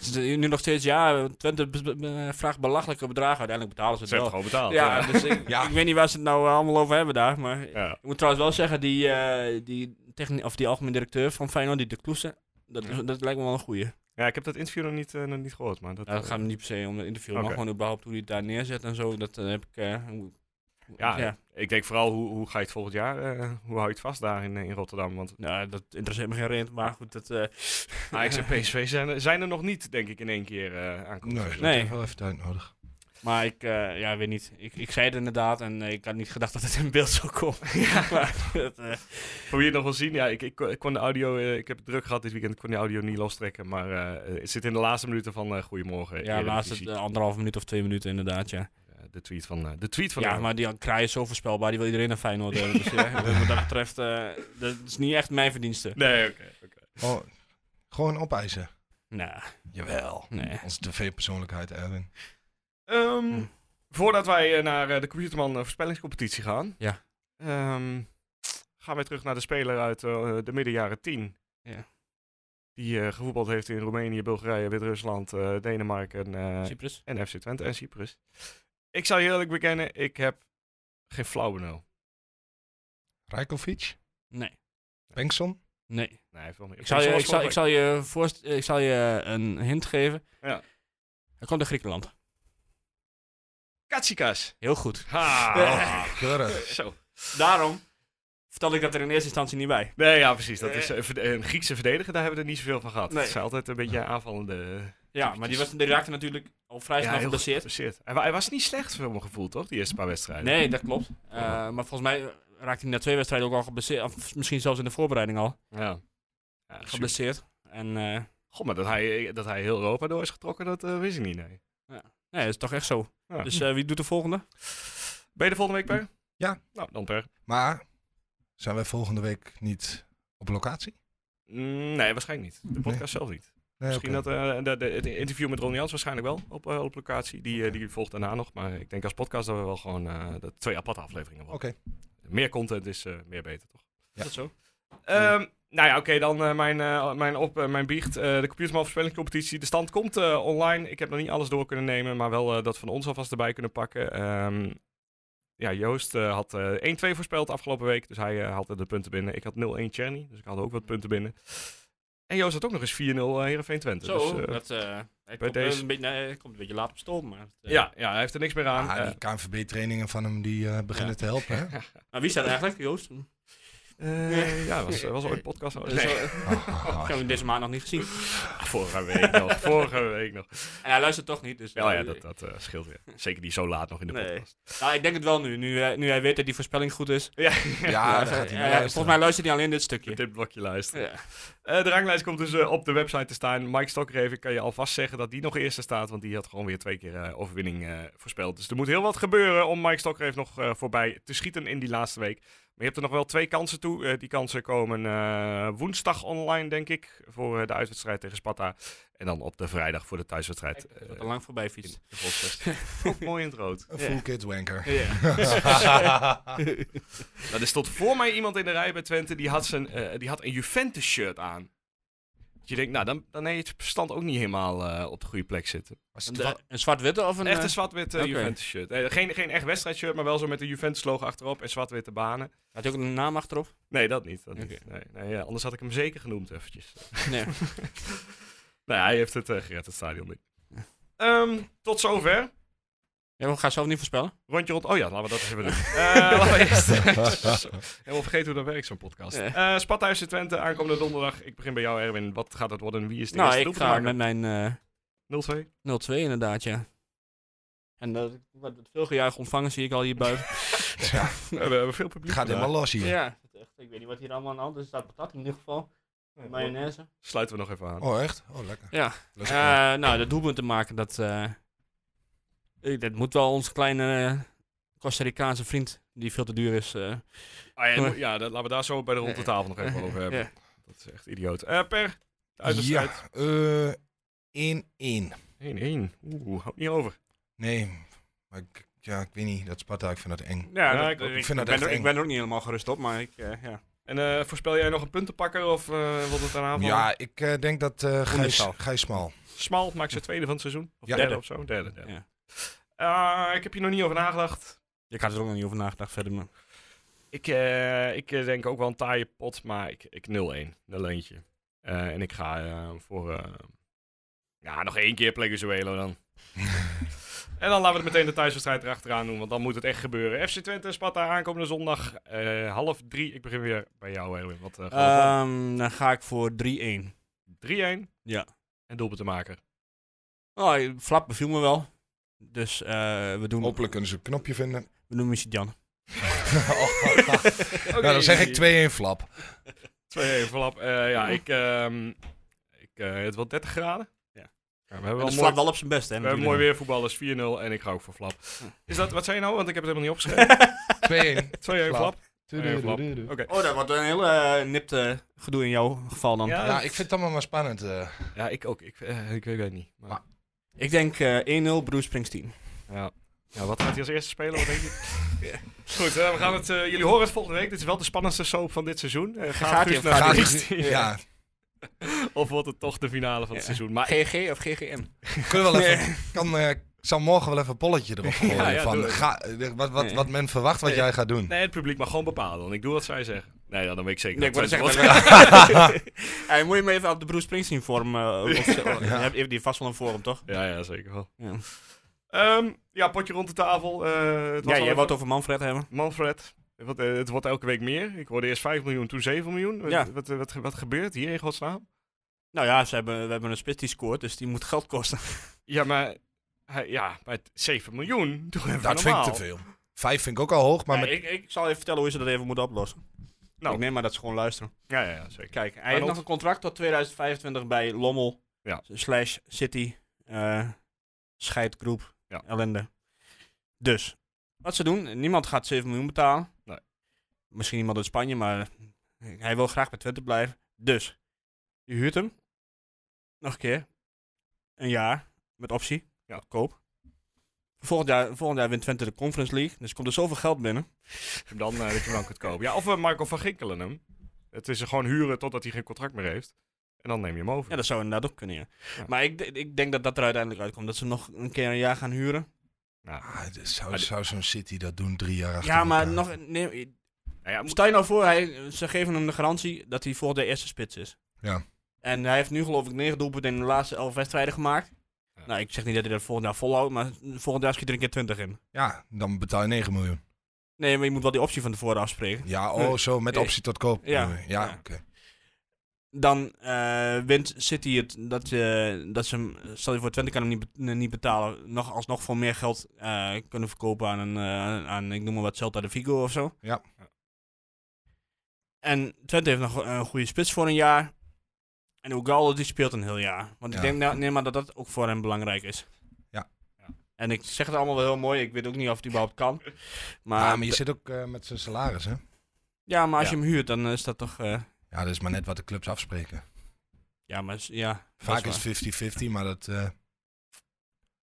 Speaker 5: ze- nu nog steeds, ja, Twente be- be- be- vraagt belachelijke bedragen. Uiteindelijk betalen ze
Speaker 1: Ze
Speaker 5: het
Speaker 1: hebben
Speaker 5: wel.
Speaker 1: gewoon betaald.
Speaker 5: Ja, dus ik,
Speaker 4: Ja.
Speaker 5: ik weet niet waar ze het nou eh, allemaal over hebben daar. Maar
Speaker 1: Ja.
Speaker 5: Ik moet trouwens wel zeggen, die, eh, die, techni- of die algemeen directeur van Feyenoord, die de Kloese, dat, is- dat lijkt me wel een goeie.
Speaker 1: Ja, ik heb dat interview nog niet, eh, nog niet gehoord. Maar dat,
Speaker 5: Ja, dat gaat me niet per se om het interview,
Speaker 1: Oké.
Speaker 5: maar gewoon überhaupt hoe hij het daar neerzet en zo. Dat eh, heb ik... eh, hoe-
Speaker 1: Ja, Ik denk vooral, hoe, hoe ga je het volgend jaar, eh, hoe hou je het vast daar in, eh, in Rotterdam? Want
Speaker 5: Nou, dat interesseert me geen reden, maar goed, dat... eh,
Speaker 1: Ajax en PSV zijn er, zijn er nog niet, denk ik, in één keer eh aankomend
Speaker 4: Nee,
Speaker 1: seizoen.
Speaker 5: Nee.
Speaker 4: dat heeft wel even tijd nodig.
Speaker 5: maar ik, eh, ja, weet niet. Ik, ik zei het inderdaad en eh, ik had niet gedacht dat het in beeld zou komen. Maar dat, eh,
Speaker 1: Probeer je het nog wel zien. Ja, ik, ik, kon- ik kon de audio, eh, ik heb het druk gehad dit weekend, ik kon die audio niet lostrekken. Maar eh, het zit in de laatste minuten van eh Goedemorgen.
Speaker 5: ja, laatste
Speaker 1: Eredivisie.
Speaker 5: eh, anderhalf minuut of twee minuten inderdaad, ja.
Speaker 1: Eh, de tweet van, eh, de tweet van
Speaker 5: ja,
Speaker 1: Erwin.
Speaker 5: maar die kraai is zo voorspelbaar, die wil iedereen naar Feyenoord hebben. Dus, ja, wat dat betreft, eh, dat is niet echt mijn verdienste.
Speaker 1: Nee, oké. oké.
Speaker 4: Oh, gewoon opeisen.
Speaker 5: Nou,
Speaker 4: Jawel.
Speaker 5: nee.
Speaker 4: Onze tv-persoonlijkheid, Erwin.
Speaker 1: Ehm,
Speaker 5: Hm.
Speaker 1: Voordat wij eh, naar eh, de Computerman eh, voorspellingscompetitie gaan,
Speaker 5: Ja.
Speaker 1: ehm, gaan wij terug naar de speler uit eh, de midden jaren 10.
Speaker 5: Ja.
Speaker 1: Die eh, gevoetbald heeft in Roemenië, Bulgarije, Wit-Rusland, eh, Denemarken eh,
Speaker 5: Cyprus.
Speaker 1: en FC Twente en Cyprus. Ik zal je eerlijk bekennen, ik heb geen flauw benul.
Speaker 4: Rijkovic?
Speaker 5: Nee.
Speaker 4: Bengtson?
Speaker 5: Nee.
Speaker 1: Nee, hij heeft wel meer.
Speaker 5: Ik zal, je,
Speaker 1: Zoals
Speaker 5: ik, zal, ik,
Speaker 1: vorige
Speaker 5: zal je voorst- ik zal je een hint geven.
Speaker 1: Ja.
Speaker 5: Hij komt uit Griekenland.
Speaker 1: week. Katsikas.
Speaker 5: Heel goed.
Speaker 1: Ha.
Speaker 5: Eh.
Speaker 4: Keurig.
Speaker 1: Zo.
Speaker 5: Daarom vertelde ik dat er in eerste instantie niet bij.
Speaker 1: Nee, ja, precies. Dat is eh, verde- een Griekse verdediger, daar hebben we er niet zoveel van gehad.
Speaker 5: Nee.
Speaker 1: Het is altijd een beetje aanvallende...
Speaker 5: Ja, maar die, was, die raakte natuurlijk al vrij snel
Speaker 1: heel
Speaker 5: geblesseerd.
Speaker 1: geblesseerd. Hij, wa- hij was niet slecht voor mijn gevoel, toch? Die eerste paar wedstrijden.
Speaker 5: Nee, dat klopt. Eh, maar volgens mij raakte hij na twee wedstrijden ook al geblesseerd. Of misschien zelfs in de voorbereiding al
Speaker 1: Ja. Ja, super.
Speaker 5: geblesseerd. En eh,
Speaker 1: Goh, maar dat hij, dat hij heel Europa door is getrokken, dat eh, wist ik niet, nee.
Speaker 5: Ja. Nee, dat is toch echt zo.
Speaker 1: Ja.
Speaker 5: Dus eh, wie doet de volgende?
Speaker 1: Ben je de volgende week, Per?
Speaker 4: Ja.
Speaker 1: Nou, dan Per.
Speaker 4: Maar zijn wij volgende week niet op locatie?
Speaker 1: Mm, nee, waarschijnlijk niet. De podcast
Speaker 4: Nee.
Speaker 1: zelf niet.
Speaker 4: Nee,
Speaker 1: Misschien
Speaker 4: oké.
Speaker 1: dat eh, de, de- het interview met Ron Jans waarschijnlijk wel op, eh, op locatie. Die, eh, die volgt daarna nog. Maar ik denk als podcast dat we wel gewoon eh, dat twee aparte afleveringen worden.
Speaker 4: Oké.
Speaker 1: Meer content is eh, meer beter, toch?
Speaker 4: Ja.
Speaker 5: Is dat zo?
Speaker 1: Ehm, nou ja, oké, dan eh, mijn, eh, mijn, op, eh, mijn biecht. Eh, de computerman verspellingscompetitie. De stand komt eh, online. Ik heb nog niet alles door kunnen nemen, maar wel eh, dat van ons alvast erbij kunnen pakken. Ehm, ja, Joost eh, had eh, 1-2 voorspeld afgelopen week, dus hij eh haalde de punten binnen. Ik had 0-1 Cherny, dus ik had ook wat punten binnen. En Joost had ook nog eens 4-0 eh, Heerenveen Twente.
Speaker 5: Zo,
Speaker 1: dus, eh,
Speaker 5: dat, eh hij
Speaker 1: bij
Speaker 5: komt, eh,
Speaker 1: deze-
Speaker 5: een beetje, nee, hij komt een beetje laat op stoom. Maar, het, eh,
Speaker 1: ja, ja, hij heeft er niks meer aan.
Speaker 4: Ah, die KNVB-trainingen van hem die eh, beginnen
Speaker 5: Ja.
Speaker 4: te helpen. Hè?
Speaker 5: Maar Nou, wie staat eigenlijk, Joost?
Speaker 1: Eh, eh, ja, was, was ooit podcast.
Speaker 5: Dus,
Speaker 1: Nee,
Speaker 5: eh,
Speaker 4: Oh, oh,
Speaker 5: ik
Speaker 4: oh.
Speaker 5: heb hem deze maand nog niet gezien.
Speaker 1: vorige week nog. Vorige week nog.
Speaker 5: En hij luistert toch niet. Dus,
Speaker 1: Ja, ja
Speaker 5: eh,
Speaker 1: dat, dat eh, scheelt weer. Zeker niet zo laat nog in de
Speaker 5: Nee.
Speaker 1: podcast. Ah,
Speaker 5: Nou, ik denk het wel nu. Nu, eh, nu hij weet dat die voorspelling goed is.
Speaker 4: Ja,
Speaker 5: Ja,
Speaker 4: daar gaat hij
Speaker 5: ja,
Speaker 4: naar
Speaker 5: ja, volgens
Speaker 4: luisteren.
Speaker 5: mij luistert hij alleen dit stukje.
Speaker 1: Dit blokje luisteren.
Speaker 5: Ja.
Speaker 1: Eh, de ranglijst komt dus eh, op de website te staan. Mike Stokkerheven kan je alvast zeggen dat die nog eerste staat. Want die had gewoon weer twee keer eh, overwinning eh, voorspeld. Dus er moet heel wat gebeuren om Mike Stokkerheven nog eh, voorbij te schieten in die laatste week. Maar je hebt er nog wel twee kansen toe. Eh, die kansen komen eh, woensdag online, denk ik. Voor eh, de uitwedstrijd tegen Sparta. En dan op de vrijdag voor de thuiswedstrijd. eh,
Speaker 5: Dat er lang voorbij fietst.
Speaker 1: in de Volksfest. Ook mooi in het rood.
Speaker 4: Een full kid wanker.
Speaker 5: Ja.
Speaker 1: Nou, er stond voor mij iemand in de rij bij Twente, die had, zijn, eh, die had een Juventus-shirt aan. Dus je denkt, nou, dan, dan heeft het verstand ook niet helemaal eh, op de goede plek zitten.
Speaker 4: Was
Speaker 5: Een,
Speaker 4: het wel-
Speaker 5: eh, een zwart-witte of een...
Speaker 1: Een echte
Speaker 5: eh,
Speaker 1: zwart-wit eh,
Speaker 5: oké.
Speaker 1: Juventus-shirt. Eh, geen, geen echt wedstrijdshirt, maar wel zo met de Juventus-logo achterop en zwart-witte banen.
Speaker 5: Had hij ook een naam achterop?
Speaker 1: Nee, dat niet. Dat niet. Nee, nee, ja, anders had ik hem zeker genoemd eventjes.
Speaker 5: Nee.
Speaker 1: Nou, ja, hij heeft het eh, gered, het stadion niet. Ehm, tot zover.
Speaker 5: Ja, we gaan zelf niet voorspellen.
Speaker 1: Rondje rond. Oh ja, laten we dat eens even doen. Eh, laten we eerst. Zo, Helemaal vergeten hoe dat werkt, zo'n podcast. Eh
Speaker 5: Ja.
Speaker 1: Sparta FC Twente, aankomende donderdag. Ik begin bij jou, Erwin. Wat gaat het worden? Wie is de
Speaker 5: Nou,
Speaker 1: eerste
Speaker 5: ik ga met mijn eh,
Speaker 1: 0-2.
Speaker 5: 0-2 inderdaad, ja. En dat wat veel gejuich ontvangen zie ik al hier buiten.
Speaker 4: Ja,
Speaker 1: we hebben veel publiek. Eh,
Speaker 4: het gaat helemaal
Speaker 1: vandaag.
Speaker 4: los hier.
Speaker 5: ja, het is echt, ik weet niet wat hier allemaal aan de hand is. Er staat patat in ieder geval. Mayonaise.
Speaker 1: Sluiten we nog even aan.
Speaker 4: Oh, echt? Oh, lekker.
Speaker 5: Ja.
Speaker 4: Lekker.
Speaker 5: Eh, nou, dat doelpunt te maken, dat, eh, ik- dat moet wel onze kleine eh, Costa Ricaanse vriend, die veel te duur is. eh,
Speaker 1: Ah, ja, moet- ja, dat, laten we daar zo bij de rond de tafel nog even over hebben.
Speaker 5: ja.
Speaker 1: Dat is echt idioot. Eh, per, de uitwedstrijd.
Speaker 4: ja, eh, 1-1.
Speaker 1: 1-1. Oeh, houdt niet over.
Speaker 4: Nee, maar ik, ja, ik weet niet. Dat Sparta, ik vind dat eng.
Speaker 5: Ja,
Speaker 1: Ja,
Speaker 5: dat-
Speaker 1: ik-
Speaker 5: dat-
Speaker 1: ik
Speaker 5: ik,
Speaker 4: vind dat
Speaker 5: ben
Speaker 4: echt
Speaker 5: er, ik
Speaker 4: eng.
Speaker 5: ben er ook niet helemaal gerust op, maar ik, eh, ja.
Speaker 1: En eh, voorspel jij nog een puntenpakker of eh wordt het een aanval?
Speaker 4: Ja, ik eh, denk dat eh Gijs,
Speaker 1: Oenestal.
Speaker 4: Gijs Smal.
Speaker 1: Smal maakt ze tweede van het seizoen. Of
Speaker 4: Ja.
Speaker 1: derde of zo. Derde, derde.
Speaker 5: Ja.
Speaker 1: Eh, ik heb hier nog niet over nagedacht.
Speaker 5: Ik had er ook nog niet over nagedacht verder. Maar...
Speaker 1: Ik, eh, ik eh, denk ook wel een taaie pot, maar ik, ik 0-1. Een leentje. Eh, en ik ga eh, voor... eh, ja, nog één keer Pleguzuelo dan. en dan laten we het meteen de thuiswedstrijd erachteraan doen, want dan moet het echt gebeuren. FC Twente, Sparta, aankomende zondag. eh, half drie. Ik begin weer bij jou, Erwin. Wat, eh, gaan
Speaker 5: Ehm, dan ga ik voor 3-1.
Speaker 1: we doen? 3-1.
Speaker 5: ja.
Speaker 1: En doelpunt te maken.
Speaker 5: Oh, eh, Flap beviel me wel. Dus eh, we doen,
Speaker 4: Hopelijk kunnen ze een knopje vinden.
Speaker 5: we doen misschien Jan.
Speaker 4: Oh, nou, dan zeg ik 2-1 flap.
Speaker 1: 2-1 voorlap. Eh, ja, ik... ehm, ik eh, het wordt 30 graden.
Speaker 5: Ja.
Speaker 1: we hebben wel
Speaker 4: dus
Speaker 5: Dat is
Speaker 1: mooi-
Speaker 5: Flap Dus wel op zijn best, hè?
Speaker 1: We hebben Eh, mooi
Speaker 5: natuurlijk.
Speaker 1: weer voetballers 4-0 en ik ga ook voor flap.
Speaker 5: Hm.
Speaker 1: Is dat, wat zei je nou? Want ik heb het helemaal niet opgeschreven.
Speaker 4: 2-1.
Speaker 1: 2-1 flap.
Speaker 4: Flap.
Speaker 1: 2-1 flap. Oké.
Speaker 5: Oh, dat wordt een heel eh, nipt eh, gedoe in jouw geval dan.
Speaker 1: Ja.
Speaker 4: Ja, ik vind het allemaal maar spannend. eh.
Speaker 1: Ja, ik ook. Ik, eh, ik weet het niet. Maar,
Speaker 4: Maar-
Speaker 5: Ik denk eh 1-0 Bruce Springsteen.
Speaker 1: ja. ja, wat gaat hij als eerste spelen? Wat denk je? Goed, eh, we gaan het, eh, jullie horen het volgende week. Dit is wel de spannendste soap van dit seizoen. Eh, gaat
Speaker 5: Gaat
Speaker 1: Guus
Speaker 5: hij-
Speaker 1: naar
Speaker 5: gaat
Speaker 1: de eerste?
Speaker 5: hij-
Speaker 4: ja,
Speaker 1: Of wordt het toch de finale van het
Speaker 5: Ja.
Speaker 1: seizoen? Maar
Speaker 5: GG Ah, of GGM?
Speaker 4: kunnen we wel even... Kan, eh, ik zal morgen wel even een polletje erop gooien.
Speaker 1: ja,
Speaker 4: van,
Speaker 1: doe het.
Speaker 4: ga, eh, wat, wat, wat men verwacht wat jij gaat doen.
Speaker 1: nee, het publiek mag gewoon bepalen. Want ik doe wat zij zeggen. Nee, dan, dan weet ik zeker
Speaker 5: Nee, ik
Speaker 1: dat
Speaker 5: wou
Speaker 1: Twente
Speaker 5: zeggen,
Speaker 1: wordt.
Speaker 5: Hey, moet je me even op de Bruce Springsteen vorm... eh op- op- Heb- Heeft die vast wel een vorm, toch?
Speaker 1: Ja, ja, zeker wel.
Speaker 5: Ja,
Speaker 1: Ehm, ja, potje rond de tafel. Eh, het was al
Speaker 5: jij
Speaker 1: even-
Speaker 5: wou het over Manfred hebben.
Speaker 1: Manfred, wat, eh, het wordt elke week meer. Ik hoorde eerst 5 miljoen, toen 7 miljoen. Wat-
Speaker 5: Ja.
Speaker 1: Wat, eh, wat, wat gebeurt hier in godsnaam?
Speaker 5: Nou ja, ze hebben, we hebben een spits die scoort, dus die moet geld kosten.
Speaker 1: Ja, maar, hij- ja, maar het- 7 miljoen, doe even
Speaker 4: Dat vind ik
Speaker 1: normaal.
Speaker 4: te veel. Vijf vind ik ook al hoog, maar
Speaker 5: Ja,
Speaker 4: met
Speaker 5: ik, ik zal even vertellen hoe ze dat even moeten oplossen.
Speaker 1: Nou.
Speaker 5: Nou. Ik neem maar dat ze gewoon luisteren.
Speaker 1: Ja, ja, ja, zeker.
Speaker 5: Kijk, hij heeft
Speaker 1: Arnold?
Speaker 5: nog een contract tot 2025 bij Lommel.
Speaker 1: Ja.
Speaker 5: Slash City. eh scheidgroep.
Speaker 1: Ja.
Speaker 5: Ellende. Dus, wat ze doen, niemand gaat 7 miljoen betalen.
Speaker 1: Nee.
Speaker 5: Misschien iemand uit Spanje, maar hij wil graag bij Twente blijven. Dus, je huurt hem. Nog een keer. Een jaar, met optie.
Speaker 1: Ja.
Speaker 5: Ja. Koop. Volgend jaar, volgend jaar wint Twente de Conference League. Dus komt er zoveel geld binnen.
Speaker 1: En Dan, eh, dat je hem dan kunt kopen. Ja, of eh, Marco van Ginkelen hem. Het is er gewoon huren totdat hij geen contract meer heeft. En dan neem je hem over.
Speaker 5: Ja, dat zou inderdaad ook kunnen. ja.
Speaker 1: Ja.
Speaker 5: Maar ik, d- ik denk dat dat er uiteindelijk uitkomt. Dat ze nog een keer een jaar gaan huren.
Speaker 1: Nou,
Speaker 4: Ah, dit zou
Speaker 1: Maar dit-
Speaker 4: zou zo'n City dat doen drie jaar achter
Speaker 5: Ja, maar
Speaker 4: elkaar?
Speaker 5: nog. Nee,
Speaker 1: nou ja, moet-
Speaker 5: stel je nou voor, hij, ze geven hem de garantie dat hij voor de eerste spits is.
Speaker 4: Ja.
Speaker 5: En hij heeft nu geloof ik 9 doelpunten in de laatste 11 wedstrijden gemaakt.
Speaker 1: Ja.
Speaker 5: Nou, ik zeg niet dat hij dat volgend jaar volhoudt, maar volgend jaar schiet er een keer 20 in.
Speaker 4: Ja, dan betaal je 9 miljoen.
Speaker 5: Nee, maar je moet wel die optie van tevoren afspreken.
Speaker 4: Ja, oh, zo met optie tot koop.
Speaker 5: Ja.
Speaker 4: Ja, ja
Speaker 5: Ja.
Speaker 4: oké.
Speaker 5: Dan eh, wint City het dat, eh, dat ze hem, stel je voor Twente kan hem niet, be- niet betalen, nog alsnog voor meer geld eh, kunnen verkopen aan een, eh, aan, ik noem maar wat, Celta de Vigo of zo.
Speaker 4: Ja.
Speaker 5: En Twente heeft nog eh, een goede spits voor een jaar. En Ugalde die speelt een heel jaar. Want ik
Speaker 4: Ja.
Speaker 5: denk nou, nee, maar dat dat ook voor hem belangrijk is.
Speaker 4: Ja.
Speaker 1: Ja.
Speaker 5: En ik zeg het allemaal wel heel mooi, ik weet ook niet of het überhaupt kan. Maar,
Speaker 4: Ja, maar je zit ook eh, met zijn salaris, hè?
Speaker 5: ja, maar als
Speaker 1: Ja.
Speaker 5: je hem huurt, dan is dat toch... eh,
Speaker 4: Ja, dat is maar net wat de clubs afspreken.
Speaker 5: ja, maar, is- ja, dat
Speaker 4: Vaak
Speaker 5: waar.
Speaker 4: is 50-50, maar dat... eh,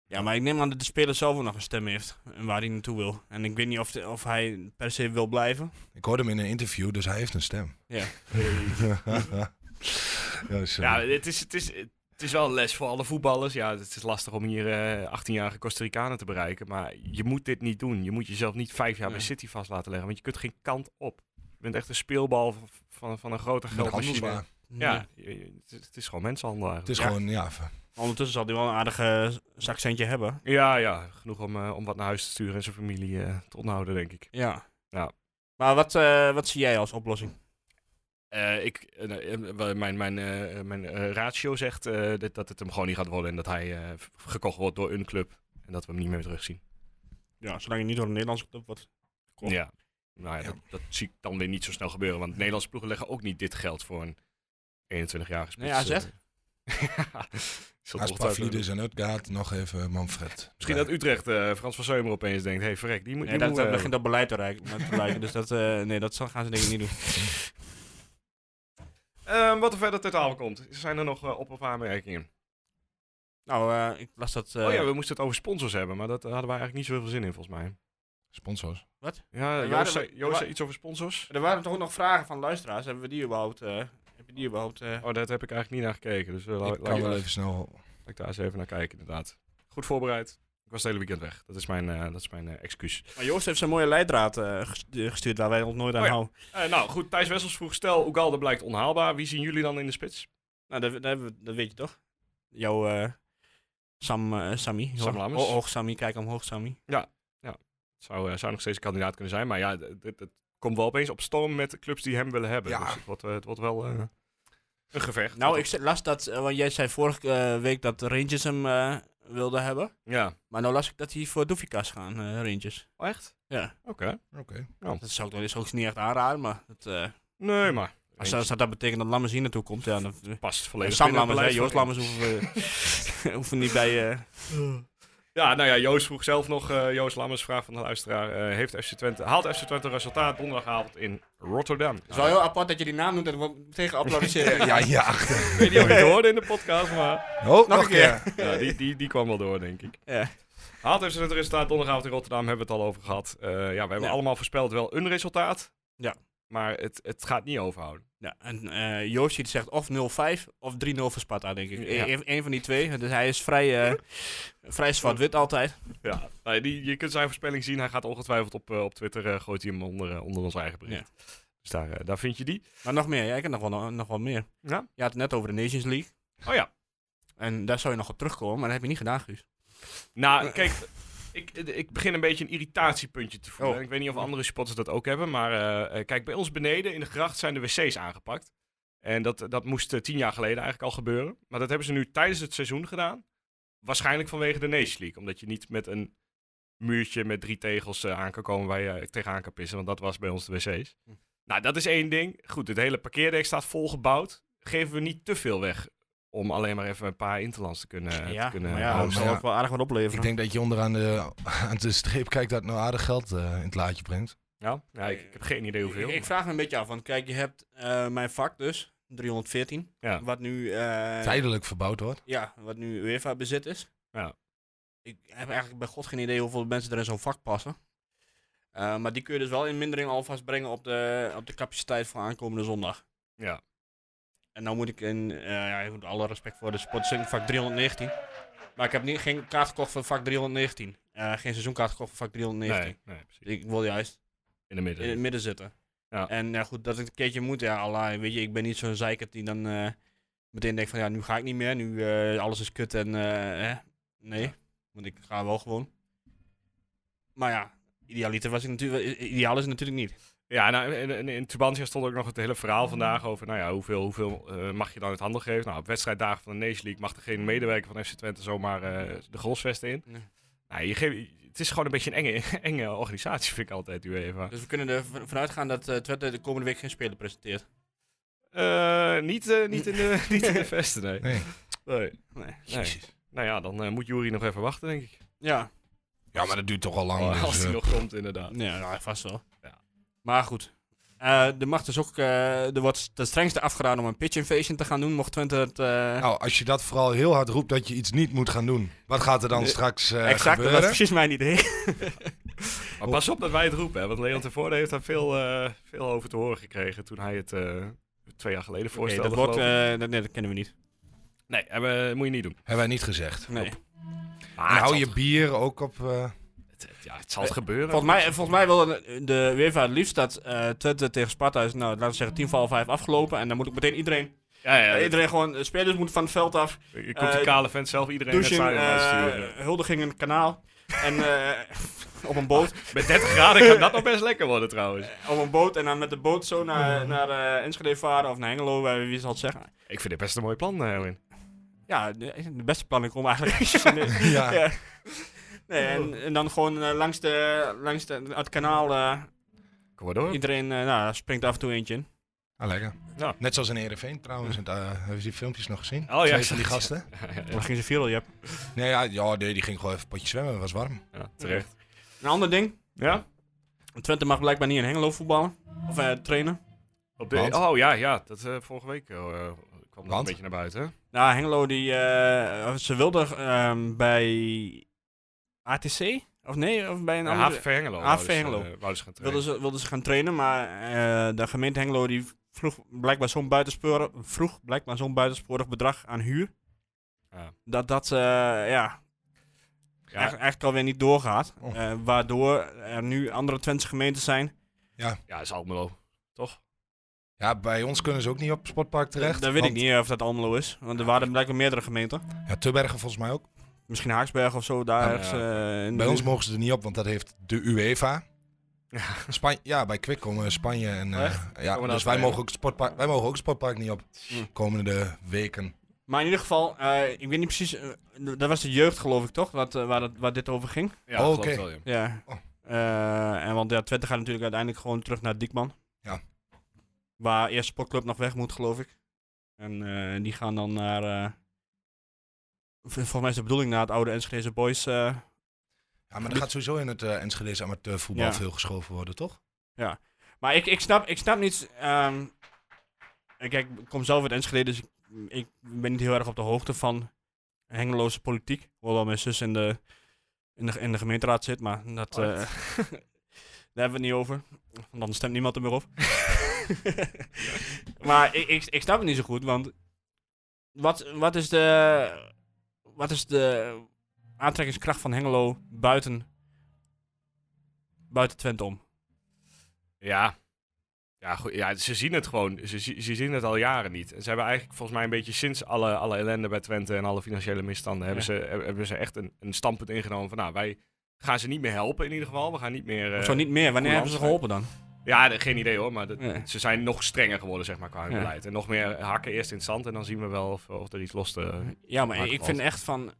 Speaker 5: Ja, maar ik neem aan dat de speler zelf ook nog een stem heeft. En waar hij naartoe wil. En ik weet niet of, de- of hij per se wil blijven.
Speaker 4: ik hoorde hem in een interview, dus hij heeft een stem. eh,
Speaker 5: Ja.
Speaker 4: ja, sorry.
Speaker 1: Ja, het is, het, is, het is wel een les voor alle voetballers. Ja, het is lastig om hier eh 18-jarige Costa Ricanen te bereiken. Maar je moet dit niet doen. Je moet jezelf niet vijf jaar bij
Speaker 5: Nee.
Speaker 1: City vast laten leggen. Want je kunt geen kant op. Je bent echt een speelbal van, van, van een grote
Speaker 4: Met
Speaker 1: geldmachine.
Speaker 4: handelsbaar.
Speaker 1: Ja, je- je- het, is- het is gewoon mensenhandel
Speaker 4: Het
Speaker 1: eigenlijk.
Speaker 4: is
Speaker 5: Ja.
Speaker 4: gewoon, ja... v-
Speaker 5: Ondertussen zal hij wel een aardige zakcentje hebben.
Speaker 1: Ja, ja, genoeg om, eh, om wat naar huis te sturen en zijn familie eh, te onderhouden, denk ik.
Speaker 5: Ja.
Speaker 1: Ja.
Speaker 5: Maar wat, eh, wat zie jij als oplossing?
Speaker 1: Eh, ik, eh, nou, eh, wel, mijn mijn, eh, mijn eh, ratio zegt eh, dat, dat het hem gewoon niet gaat worden en dat hij eh, v- gekocht wordt door een club en dat we hem niet meer terugzien.
Speaker 5: Ja, zolang je niet door een Nederlandse club wordt. Klopt.
Speaker 1: Ja. Nou ja,
Speaker 4: Ja.
Speaker 1: Dat, dat zie ik dan weer niet zo snel gebeuren, want Nederlandse ploegen leggen ook niet dit geld voor een 21-jarige spits.
Speaker 5: Nee, AZ?
Speaker 1: eh. Ja, zal toch wel tijd-
Speaker 4: Aspavlidis en Utgaard, nog even Manfred.
Speaker 1: Misschien dat Utrecht eh, Frans van Zeumer opeens denkt, hey, verrek, die moet...
Speaker 5: Nee,
Speaker 1: die
Speaker 5: dat
Speaker 1: moet,
Speaker 5: eh,
Speaker 1: eh,
Speaker 5: begint dat beleid te reiken- te lijken. dus dat, eh, nee, dat zal- gaan ze denk ik niet doen.
Speaker 1: Ehm, wat er verder ter tafel komt, zijn er nog eh, op- of aanmerkingen?
Speaker 5: Nou, eh, ik las dat... eh,
Speaker 1: Oh ja, we moesten het over sponsors hebben, maar dat eh, hadden we eigenlijk niet zoveel zin in volgens mij.
Speaker 4: Sponsors.
Speaker 1: Ja,
Speaker 5: En
Speaker 1: Joost,
Speaker 5: waren
Speaker 1: zei,
Speaker 5: we-
Speaker 1: Joost
Speaker 5: wa-
Speaker 1: zei iets over sponsors.
Speaker 5: Er waren toch nog vragen van luisteraars. Hebben we die überhaupt... eh, heb je die überhaupt... eh,
Speaker 1: Oh, dat heb ik eigenlijk niet naar gekeken, dus eh, la-
Speaker 4: Ik
Speaker 1: laten
Speaker 4: kan
Speaker 1: we-
Speaker 4: wel
Speaker 1: laat
Speaker 4: even snel...
Speaker 1: ik daar eens even naar kijken inderdaad. Goed voorbereid. Ik was het hele weekend weg. Dat is mijn, eh, dat is mijn eh, excuus.
Speaker 5: Maar Joost heeft zijn mooie leidraad eh, ges- eh, gestuurd waar wij ons nooit aan
Speaker 1: Oh ja.
Speaker 5: houden.
Speaker 1: Eh, nou goed, Thijs Wessels vroeg, stel Ugalde blijkt onhaalbaar. Wie zien jullie dan in de spits?
Speaker 5: Nou, dat, dat, hebben we- dat weet je toch? Jouw eh, Sam, eh, Sammy.
Speaker 1: Sam
Speaker 5: Ho-
Speaker 1: Lammers.
Speaker 5: ho- Hoog Sammy, kijk omhoog Sammy.
Speaker 1: Zou, eh, zou nog steeds een kandidaat kunnen zijn, maar ja, d- dit- het komt wel opeens op storm met clubs die hem willen hebben.
Speaker 4: Ja.
Speaker 1: Dus het wordt, eh, het wordt wel eh, een gevecht.
Speaker 5: Nou, ik
Speaker 1: Wat-
Speaker 5: z- las dat, eh, want jij zei vorige eh, week dat de Rangers hem eh, wilde hebben.
Speaker 1: Ja.
Speaker 5: Maar nou las ik dat hij voor Doefikas gaan, eh, Rangers.
Speaker 1: Oh, echt?
Speaker 5: Ja,
Speaker 1: Oké.
Speaker 4: Oké.
Speaker 5: dat zou ik wel eens ook niet echt aanraden, maar dat, eh,
Speaker 1: Nee, maar...
Speaker 5: als, dat, als dat betekent dat Lammers hier naartoe komt, ja, dan...
Speaker 1: past
Speaker 5: eh,
Speaker 1: volledig
Speaker 5: Sam
Speaker 1: binnen het beleid
Speaker 5: Lammers, hè, Joost
Speaker 1: van-
Speaker 5: Lammers hoeven, we- hoeven niet bij... eh,
Speaker 1: Ja, nou ja, Joost vroeg zelf nog, eh, Joost Lammers, vraag van de luisteraar. eh, heeft FC Twente, haalt FC Twente resultaat donderdagavond in Rotterdam? Nou,
Speaker 5: Het is wel heel apart dat je die naam noemt en we tegen applaudisseren.
Speaker 4: Ja, hier achter.
Speaker 1: ik weet niet of je het hoorde in de podcast, maar
Speaker 4: Oh, nog,
Speaker 5: een
Speaker 4: een keer.
Speaker 1: ja, die, die, die kwam wel door, denk ik.
Speaker 5: Ja.
Speaker 1: Haalt FC Twente dus resultaat donderdagavond in Rotterdam, hebben we het al over gehad. Eh, ja, we hebben
Speaker 5: Ja.
Speaker 1: allemaal voorspeld wel een resultaat.
Speaker 5: Ja.
Speaker 1: Maar het, het gaat niet overhouden.
Speaker 5: Ja, en eh Joost die zegt of 0-5 of 3-0 voor Sparta, denk ik.
Speaker 1: Ja.
Speaker 5: Eén Eén van die twee. Dus hij is vrij, eh, vrij zwart-wit altijd.
Speaker 1: Ja, nou ja, die, je kunt zijn voorspelling zien. Hij gaat ongetwijfeld op, eh, op Twitter, eh, gooit hij hem onder, eh, onder ons eigen bericht. Dus daar, eh, daar vind je die.
Speaker 5: Maar nog meer, ja, ik heb nog wel, nog wel meer.
Speaker 1: Ja.
Speaker 5: Je had het net over de Nations League.
Speaker 1: Oh ja,
Speaker 5: En daar zou je nog op terugkomen, maar dat heb je niet gedaan, Guus. Eh.
Speaker 1: Nou, kijk, ik, eh, ik begin een beetje een irritatiepuntje te voelen.
Speaker 5: Oh.
Speaker 1: Ik weet niet of andere supporters dat ook hebben, maar eh, eh, kijk, bij ons beneden in de gracht zijn de wc's aangepakt. En dat, dat moest eh, tien jaar geleden eigenlijk al gebeuren. Maar dat hebben ze nu tijdens het seizoen gedaan. Waarschijnlijk vanwege de Nations League. Omdat je niet met een muurtje met drie tegels eh, aan kan komen waar je eh, tegenaan kan pissen. Want dat was bij ons de wc's.
Speaker 5: Hm.
Speaker 1: Nou, dat is één ding. Goed, het hele parkeerdek staat volgebouwd. Geven we niet te veel weg om alleen maar even een paar interlands te kunnen,
Speaker 5: ja,
Speaker 1: te kunnen
Speaker 5: maar ja,
Speaker 4: maar
Speaker 5: dat zal
Speaker 4: ja.
Speaker 5: ook wel aardig wat
Speaker 4: Ik
Speaker 5: opleveren.
Speaker 4: denk dat je onderaan de, aan de streep kijkt dat het nou aardig geld eh, in het laadje brengt.
Speaker 1: Ja, Nou, ja ik, ik heb geen idee hoeveel.
Speaker 5: Ik, ik vraag me een beetje af, want kijk, je hebt eh, mijn vak dus, 314,
Speaker 1: Ja.
Speaker 5: wat nu, eh,
Speaker 4: Tijdelijk verbouwd wordt.
Speaker 5: ja, wat nu UEFA bezit is.
Speaker 1: Ja.
Speaker 5: Ik heb eigenlijk bij god geen idee hoeveel mensen er in zo'n vak passen. Eh, maar die kun je dus wel in mindering alvast brengen op de, op de capaciteit van aankomende zondag.
Speaker 1: Ja.
Speaker 5: En nou moet ik in, eh, ja, ik moet alle respect voor de sportzin, vak 319. Maar ik heb niet, geen kaart gekocht voor vak 319. Eh, geen seizoenkaart gekocht voor vak 319.
Speaker 1: nee, nee, precies.
Speaker 5: Ik wil juist
Speaker 1: In de midden.
Speaker 5: in het midden zitten.
Speaker 1: Ja.
Speaker 5: En ja, goed, dat ik een keertje moet, ja, Allah, weet je, ik ben niet zo'n zeikert die dan eh, meteen denkt van, ja, nu ga ik niet meer, nu eh, alles is kut en, eh, hè. nee, want ik ga wel gewoon. Maar ja, idealiter was ik natuurlijk, i- i- ideaal is het natuurlijk niet.
Speaker 1: Ja, nou, in, in, in Tubantia stond ook nog het hele
Speaker 5: Mm.
Speaker 1: verhaal vandaag over nou ja, hoeveel, hoeveel eh, mag je dan uit handen geven. Nou, op wedstrijddagen van de Nation League mag er geen medewerker van FC Twente zomaar eh, de goalsvesten in.
Speaker 5: Nee.
Speaker 1: Nou, je geeft, het is gewoon een beetje een enge, enge organisatie, vind ik altijd, UEFA.
Speaker 5: Dus we kunnen er v- vanuit gaan dat eh, Twente de komende week geen speler presenteert.
Speaker 1: Eh niet, eh, niet, in de, niet in de vesten, nee.
Speaker 4: Nee.
Speaker 1: Nee.
Speaker 5: Nee.
Speaker 1: nee. Nou ja, dan eh, moet Jury nog even wachten, denk ik.
Speaker 5: Ja,
Speaker 4: Ja, maar dat duurt toch al lang.
Speaker 5: Oh,
Speaker 4: dus,
Speaker 1: als hij
Speaker 4: eh,
Speaker 1: nog komt, inderdaad.
Speaker 5: nee, nou, vast wel.
Speaker 1: Ja.
Speaker 5: Maar goed. Eh, er mag dus ook, eh, er wordt ten strengste afgeraden om een pitch invasion te gaan doen, mocht Twente het... eh,
Speaker 4: Nou, als je dat vooral heel hard roept dat je iets niet moet gaan doen, wat gaat er dan
Speaker 5: Nee,
Speaker 4: straks eh,
Speaker 5: exact, dat was
Speaker 4: gebeuren?
Speaker 5: precies mijn idee.
Speaker 1: Maar pas op dat wij het roepen, hè, want Leon Tevoorde heeft daar veel, eh, veel over te horen gekregen toen hij het eh, twee jaar geleden
Speaker 5: Oké,
Speaker 1: voorstelde.
Speaker 5: dat wordt,
Speaker 1: geloof ik.
Speaker 5: eh, dat, nee, dat kennen we niet.
Speaker 1: Nee, hebben- moet je niet doen.
Speaker 4: Hebben wij niet gezegd.
Speaker 5: Nee. Ah,
Speaker 1: Maar
Speaker 5: nou,
Speaker 4: En
Speaker 1: het
Speaker 4: hou
Speaker 1: zal-
Speaker 4: je bier ook op. eh,
Speaker 1: het- het- ja, het zal het gebeuren.
Speaker 5: Eh, Volgens mij, volgens mij wil de- de UEFA het liefst dat eh, Twente tegen Sparta is, nou, laten we zeggen, 10 voor half 5 afgelopen. En dan moet ook meteen iedereen,
Speaker 1: ja, ja,
Speaker 5: eh,
Speaker 1: iedereen,
Speaker 5: iedereen gewoon, eh, spelers moeten van het veld af,
Speaker 1: ik kom die
Speaker 5: eh,
Speaker 1: kale vent zelf iedereen
Speaker 5: douchen,
Speaker 1: het stadion uitsturen.
Speaker 5: eh huldigingen, kanaal. en eh, op een boot.
Speaker 1: Met 30 graden kan dat nog best lekker worden trouwens.
Speaker 5: Op een boot en dan met de boot zo naar, naar eh, Enschede varen of naar Hengelo, eh, wie zal het zeggen.
Speaker 1: Ik vind dit best een mooi plan, eh, Erwin.
Speaker 5: Ja, de, de beste plannen komen eigenlijk. Nee.
Speaker 4: ja.
Speaker 5: Ja. Nee, en, en dan gewoon eh, langs, de, langs de, het kanaal, eh,
Speaker 1: Kom maar door.
Speaker 5: iedereen eh, nou, daar springt af en toe eentje in.
Speaker 4: Ah, lekker.
Speaker 1: Ja.
Speaker 4: Net zoals in Ereveen trouwens. en daar hebben ze die filmpjes nog gezien?
Speaker 5: Oh,
Speaker 1: ja,
Speaker 4: Twee
Speaker 1: ik
Speaker 4: van die
Speaker 1: zag het,
Speaker 4: gasten.
Speaker 5: Dan ging ze viral, ja.
Speaker 4: Nee, ja, ja, nee, die ging gewoon even een potje zwemmen. Het was warm.
Speaker 1: Ja, terecht.
Speaker 5: Een ander ding.
Speaker 1: Ja?
Speaker 5: Twente mag blijkbaar niet in Hengelo voetballen. Of eh, trainen.
Speaker 1: Op de,
Speaker 4: Want?
Speaker 1: oh ja, ja. Dat eh, vorige week eh, kwam dat een
Speaker 4: Want?
Speaker 1: beetje naar buiten. hè?
Speaker 5: Nou, Hengelo die... eh, ze wilde ehm, bij ATC? Of nee, of bij een
Speaker 1: Ja,
Speaker 5: andere...
Speaker 1: HVV Hengelo.
Speaker 5: HVV
Speaker 1: wouden ze,
Speaker 5: Hengelo.
Speaker 1: eh, wouden ze gaan
Speaker 5: wilden,
Speaker 1: trainen.
Speaker 5: ze, wilden ze gaan trainen, maar eh, de gemeente Hengelo die vroeg blijkbaar zo'n buitensporig, vroeg blijkbaar zo'n buitensporig bedrag aan huur.
Speaker 1: Ja.
Speaker 5: Dat dat, eh, ja,
Speaker 1: Ja.
Speaker 5: Eigenlijk, eigenlijk alweer niet doorgaat.
Speaker 4: Oh.
Speaker 5: Eh, waardoor er nu andere Twentse gemeenten zijn
Speaker 1: Ja, is Almelo. Toch?
Speaker 4: Ja, bij ons kunnen ze ook niet op het sportpark terecht.
Speaker 5: Dat weet ik
Speaker 4: want-
Speaker 5: niet eh, of dat Almelo is. Want er waren blijkbaar meerdere gemeenten.
Speaker 4: Ja, Tubbergen volgens mij ook.
Speaker 5: Misschien Haaksberg of zo, daar
Speaker 1: Ja,
Speaker 5: ergens.
Speaker 1: ja.
Speaker 5: eh, in de
Speaker 4: Bij ons
Speaker 5: buurt.
Speaker 4: mogen ze er niet op, want dat heeft de UEFA. Span- ja, bij Kwik komen Spanje en... eh,
Speaker 1: Echt?
Speaker 4: ja,
Speaker 1: Komen
Speaker 4: dus
Speaker 1: dat
Speaker 4: wij
Speaker 1: bij?
Speaker 4: mogen, ook het sportpark, wij mogen ook het sportpark niet op
Speaker 5: Hm.
Speaker 4: komende weken.
Speaker 5: Maar in ieder geval, eh, ik weet niet precies. eh, dat was de jeugd, geloof ik toch? Wat, eh, waar, dat, waar dit over ging.
Speaker 1: Ja,
Speaker 4: Oh,
Speaker 1: geloof
Speaker 4: oké.
Speaker 1: het wel, ja.
Speaker 5: Ja.
Speaker 4: Oh.
Speaker 5: Eh, en want ja, Twente gaat natuurlijk uiteindelijk gewoon terug naar Diekman.
Speaker 4: Ja.
Speaker 5: Waar eerst Sportclub nog weg moet, geloof ik. En eh, die gaan dan naar. eh, v- volgens mij is de bedoeling naar het oude Enschedeze Boys. eh,
Speaker 4: Ja, maar er gaat sowieso in het eh Enschedeze amateurvoetbal
Speaker 5: Ja.
Speaker 4: veel geschoven worden, toch?
Speaker 5: Maar ik, ik, snap, ik snap niet. ehm, kijk, ik kom zelf uit Enschede, dus ik, ik ben niet heel erg op de hoogte van Hengeloze politiek. Hoewel mijn zus in de, in de, in de gemeenteraad zit, maar dat,
Speaker 1: Oh,
Speaker 5: eh, daar hebben we het niet over. Want dan stemt niemand er meer op. maar ik, ik, ik snap het niet zo goed, want wat, wat, is de, wat is de aantrekkingskracht van Hengelo buiten, buiten Twente om?
Speaker 1: Ja. Ja, goed, ja, ze zien het gewoon. Ze, zi- ze zien het al jaren niet. En Ze hebben eigenlijk volgens mij een beetje sinds alle, alle ellende bij Twente en alle financiële misstanden... hebben,
Speaker 5: Ja.
Speaker 1: ze, heb- hebben ze echt een, een standpunt ingenomen van... nou, wij gaan ze niet meer helpen in ieder geval. We gaan niet meer... eh,
Speaker 5: Of zo niet meer. Wanneer hebben ze
Speaker 1: Goeland,
Speaker 5: geholpen dan?
Speaker 1: Ja, de- geen idee hoor, maar dat-
Speaker 5: Ja.
Speaker 1: ze zijn nog strenger geworden zeg maar, qua hun
Speaker 5: Ja.
Speaker 1: beleid. En nog meer hakken eerst in het zand en dan zien we wel of, of er iets eh, los te...
Speaker 5: Ja, maar
Speaker 1: Mark
Speaker 5: ik
Speaker 1: Goeland.
Speaker 5: vind echt van...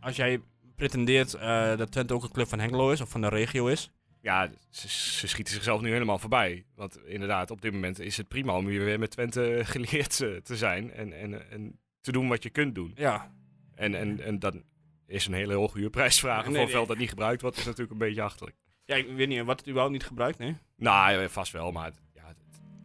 Speaker 5: Als jij pretendeert eh, dat Twente ook een club van Hengelo is, of van de regio is.
Speaker 1: Ja, ze, ze schieten zichzelf nu helemaal voorbij. Want inderdaad, op dit moment is het prima om hier weer met Twente geleerd eh, te zijn. En, en, en te doen wat je kunt doen.
Speaker 5: Ja,
Speaker 1: En, en, en dan is een hele hoge huurprijsvraag.
Speaker 5: Nee,
Speaker 1: voor een
Speaker 5: nee.
Speaker 1: veld dat niet gebruikt wordt, is natuurlijk een beetje achterlijk.
Speaker 5: ja ik weet niet, wat het überhaupt niet gebruikt, nee.
Speaker 1: Nou, ja, vast wel, maar het- ja, het-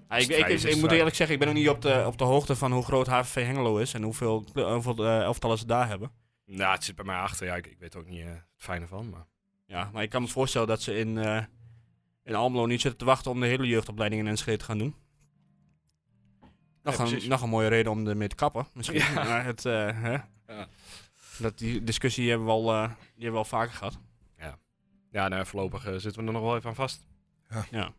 Speaker 5: Ja, ik, ik,
Speaker 1: Strijden
Speaker 5: ik-
Speaker 1: is
Speaker 5: ik moet
Speaker 1: strijden.
Speaker 5: eerlijk zeggen, ik ben nog niet op de, op de hoogte van hoe groot HVV Hengelo is en hoeveel, hoeveel eh, elftallen ze daar hebben.
Speaker 1: nou, het zit bij mij achter. Ja, ik, ik weet er ook niet eh, het fijne van. Maar...
Speaker 5: Ja, maar ik kan me voorstellen dat ze in, eh, in Almelo niet zitten te wachten om de hele jeugdopleiding in Enschede te gaan doen. Nog,
Speaker 1: Ja,
Speaker 5: een,
Speaker 1: precies.
Speaker 5: nog een mooie reden om ermee te kappen, misschien.
Speaker 1: Ja.
Speaker 5: Maar het, eh, hè?
Speaker 1: Ja.
Speaker 5: Dat die discussie hebben we al, eh, die hebben we al vaker gehad.
Speaker 1: Ja, nou, voorlopig eh, zitten we er nog wel even aan vast.
Speaker 5: Ja.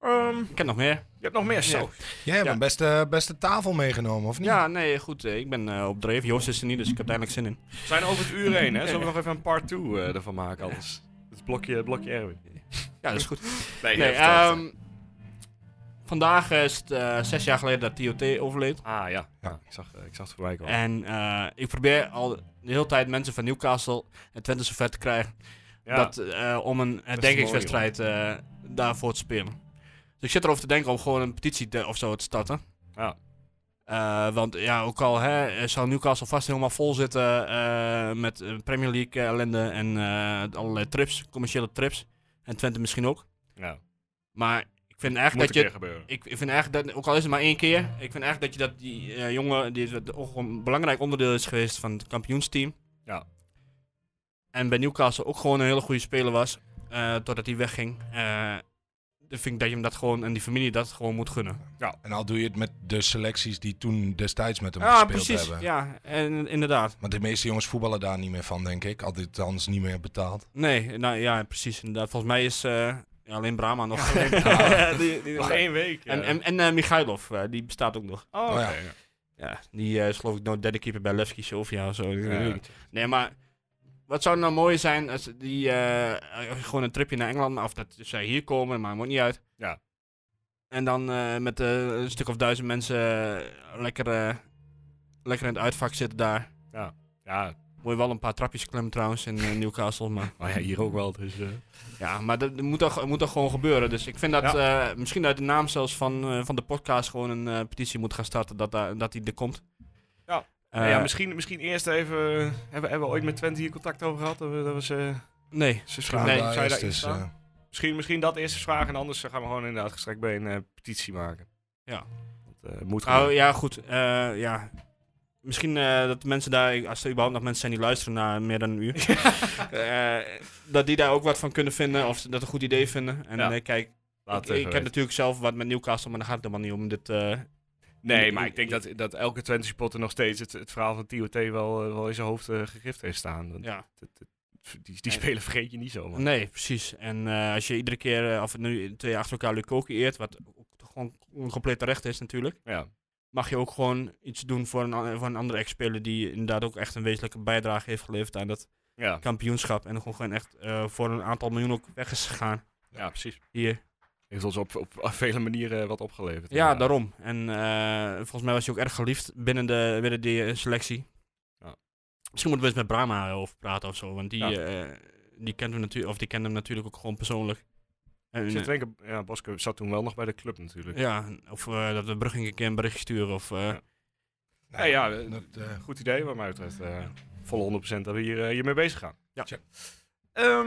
Speaker 1: Ehm,
Speaker 5: Ik heb nog meer.
Speaker 1: je hebt nog meer zo.
Speaker 4: Jij hebt
Speaker 5: Ja.
Speaker 4: een beste, beste tafel meegenomen, of niet?
Speaker 5: Ja, nee, goed. eh, Ik ben eh, op dreef. Joost is er niet, dus ik heb daar eindelijk zin in.
Speaker 1: We zijn over het uur heen, hè? Zullen we nog even een part 2 ervan maken? Anders het blokje, blokje Erwin.
Speaker 5: Ja, dat is goed.
Speaker 1: Nee,
Speaker 5: Nee,
Speaker 1: even terug.
Speaker 5: ehm, vandaag is het eh, zes jaar geleden dat TOT overleed.
Speaker 1: Ah ja, ja ik, zag, eh, ik zag het voorbij komen.
Speaker 5: En eh, ik probeer al de hele tijd mensen van Newcastle en Twente zover te krijgen
Speaker 1: ja.
Speaker 5: dat, eh, om een herdenkingswedstrijd eh, daarvoor te spelen. Dus ik zit erover te denken om gewoon een petitie te- of zo te starten.
Speaker 1: Ja.
Speaker 5: Eh, want ja, ook al hè, zou Newcastle vast helemaal vol zitten eh, met eh, Premier League eh, ellende en eh, allerlei trips, commerciële trips. En Twente misschien ook.
Speaker 1: ja.
Speaker 5: Maar ik vind
Speaker 1: Moet
Speaker 5: eigenlijk
Speaker 1: een
Speaker 5: dat je
Speaker 1: keer gebeuren.
Speaker 5: ik, ik vind eigenlijk dat, ook al is het maar één keer, ik vind eigenlijk dat je dat die eh, jongen, die is wat- ook een belangrijk onderdeel is geweest van het kampioensteam.
Speaker 1: Ja.
Speaker 5: En bij Newcastle ook gewoon een hele goede speler was, eh, totdat hij wegging. Eh dan vind ik dat je hem dat gewoon, en die familie dat gewoon moet gunnen.
Speaker 4: En al doe je het met de selecties die toen destijds met hem
Speaker 5: Ja,
Speaker 4: gespeeld
Speaker 5: precies.
Speaker 4: hebben.
Speaker 5: Ja, en, inderdaad.
Speaker 4: Want de meeste jongens voetballen daar niet meer van, denk ik. Althans, niet meer betaald.
Speaker 5: Nee, nou ja, precies. Inderdaad. Volgens mij is eh, ja, alleen Brahma nog. Die- die-
Speaker 1: Nog één week.
Speaker 5: En,
Speaker 1: ja.
Speaker 5: en, en eh, Michailov, eh, die bestaat ook nog.
Speaker 1: oh,
Speaker 4: Oh, ja.
Speaker 1: oké, ja.
Speaker 5: Ja, die eh, is geloof ik nou derde keeper bij Levski Sofia of zo. Ik weet
Speaker 1: Ja.
Speaker 5: het niet. Nee, maar wat zou nou mooi zijn als die eh, als je gewoon een tripje naar Engeland, of dat zij hier komen, maar maakt niet uit.
Speaker 1: Ja.
Speaker 5: En dan eh, met eh, een stuk of duizend mensen eh, lekker, eh, lekker in het uitvak zitten daar.
Speaker 1: Ja,
Speaker 5: Moet je wel een paar trapjes klimmen trouwens in eh, Newcastle, maar
Speaker 1: maar ja, hier ook wel. Dus, eh,
Speaker 5: ja, maar dat, dat moet, toch, moet toch gewoon gebeuren. Dus ik vind dat eh, misschien uit de naam zelfs van, eh, van de podcast gewoon een eh, petitie moet gaan starten dat, daar- dat die er komt.
Speaker 1: Ja.
Speaker 5: Eh,
Speaker 1: Nou ja, misschien, misschien eerst even... eh, Hebben, hebben we ooit met Twente hier contact over gehad? Dat we- dat was, eh,
Speaker 5: Nee.
Speaker 1: ze schreven-
Speaker 5: Nee,
Speaker 1: zou je
Speaker 4: is
Speaker 1: daar iets
Speaker 4: dus,
Speaker 1: aan?
Speaker 4: eh,
Speaker 1: misschien, misschien dat eerst eens vragen. En anders eh, gaan we gewoon inderdaad gestrekt bij een eh, petitie maken.
Speaker 5: Ja.
Speaker 1: Dat eh, moet
Speaker 5: Nou
Speaker 1: gewoon.
Speaker 5: ja, goed. eh, ja. Misschien eh, dat de mensen daar, als er überhaupt nog mensen zijn die luisteren naar meer dan een uur, eh, dat die daar ook wat van kunnen vinden of ze dat een goed idee vinden. En
Speaker 1: Ja.
Speaker 5: eh, kijk,
Speaker 1: Laat
Speaker 5: ik,
Speaker 1: het even
Speaker 5: ik heb
Speaker 1: weten.
Speaker 5: natuurlijk zelf wat met Newcastle, maar daar gaat het helemaal niet om. Dit, eh,
Speaker 1: Nee, maar ik denk dat, dat elke Twente supporter nog steeds het, het verhaal van TOT wel, eh, wel in zijn hoofd eh, gegrift heeft staan. Want
Speaker 5: ja. Mm.
Speaker 1: Die, die spelen vergeet je niet zomaar.
Speaker 5: Nee, precies. En eh, als je iedere keer, eh, of het nu twee jaar achter elkaar Lukoki eert, wat ook toch gewoon een compleet terecht is natuurlijk,
Speaker 1: Ja.
Speaker 5: mag je ook gewoon iets doen voor een, an- voor een andere ex-speler die inderdaad ook echt een wezenlijke bijdrage heeft geleverd aan dat
Speaker 1: Ja.
Speaker 5: kampioenschap. En gewoon, gewoon echt eh, voor een aantal miljoen ook weg is gegaan.
Speaker 1: ja, precies.
Speaker 5: Hier.
Speaker 1: Heeft ons op, op vele manieren wat opgeleverd.
Speaker 5: Ja,
Speaker 1: inderdaad.
Speaker 5: daarom. En eh, volgens mij was hij ook erg geliefd binnen, de, binnen die eh, selectie.
Speaker 1: Ja.
Speaker 5: Misschien moeten we eens met Brahma eh, over praten of zo. Want die,
Speaker 1: Ja.
Speaker 5: eh, die, kent hem natuurlijk, of die kent hem natuurlijk ook gewoon persoonlijk. En,
Speaker 1: Ik zit
Speaker 5: eh,
Speaker 1: te denken, ja, Boske zat toen wel nog bij de club natuurlijk.
Speaker 5: ja, of eh, dat we Brugging een keer een berichtje sturen. Of, eh,
Speaker 1: Ja. Nee, ja, eh,
Speaker 4: dat, eh,
Speaker 1: Goed idee, wat mij betreft. eh volle 100% dat we hier, eh, hiermee bezig gaan.
Speaker 5: Ja.
Speaker 1: Tja.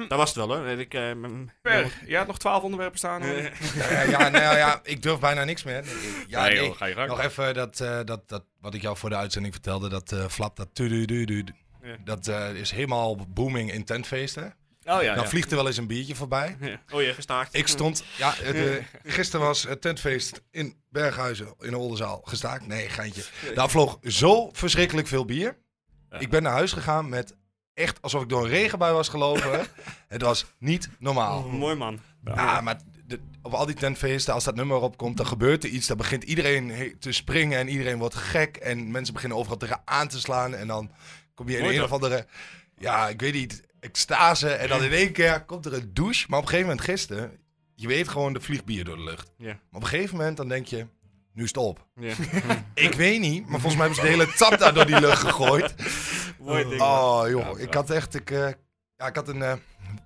Speaker 5: Dat was het wel hoor. Ik, eh, m-
Speaker 1: per, jij had nog 12 onderwerpen staan. hoor.
Speaker 5: eh,
Speaker 4: ja, ja, nou ja, ik durf bijna niks meer. Nee, Ja,
Speaker 1: nee, joh,
Speaker 4: nee.
Speaker 1: ga je gang. Oh,
Speaker 4: Nog even dat, eh, dat, dat, wat ik jou voor de uitzending vertelde, dat eh, flap, dat tudu,
Speaker 5: Ja.
Speaker 4: dat eh, is helemaal booming in tentfeesten.
Speaker 1: Oh ja,
Speaker 4: Dan
Speaker 1: ja.
Speaker 4: vliegt er wel eens een biertje voorbij.
Speaker 5: ja. oh je gestaakt.
Speaker 4: Ik stond, ja, het, eh, gisteren was het tentfeest in Berghuizen in Oldenzaal gestaakt. Nee, geintje. Daar vloog zo verschrikkelijk veel bier.
Speaker 1: Ja.
Speaker 4: Ik ben naar huis gegaan met echt alsof ik door een regenbui was gelopen. het was niet normaal.
Speaker 5: Oh, mooi man.
Speaker 4: Ja, Ah, maar de- op al die tentfeesten, als dat nummer opkomt, dan gebeurt er iets. Dan begint iedereen he- te springen en iedereen wordt gek. En mensen beginnen overal tegen aan te slaan. En dan kom je in
Speaker 5: Mooi
Speaker 4: een
Speaker 5: toch?
Speaker 4: of andere, ja, ik weet niet, extase. En dan in één keer komt er een douche. Maar op een gegeven moment gisteren, je weet gewoon, de vliegt bier door de lucht.
Speaker 5: Ja.
Speaker 4: Maar op een gegeven moment dan denk je, nu is het op.
Speaker 5: Ja.
Speaker 4: Ik weet niet, maar volgens mij hebben ze de hele tap daar door die lucht gegooid.
Speaker 5: Mooi ding. man.
Speaker 4: Oh
Speaker 1: Ja,
Speaker 4: joh, ik had echt, ik, eh, ja, ik had een eh,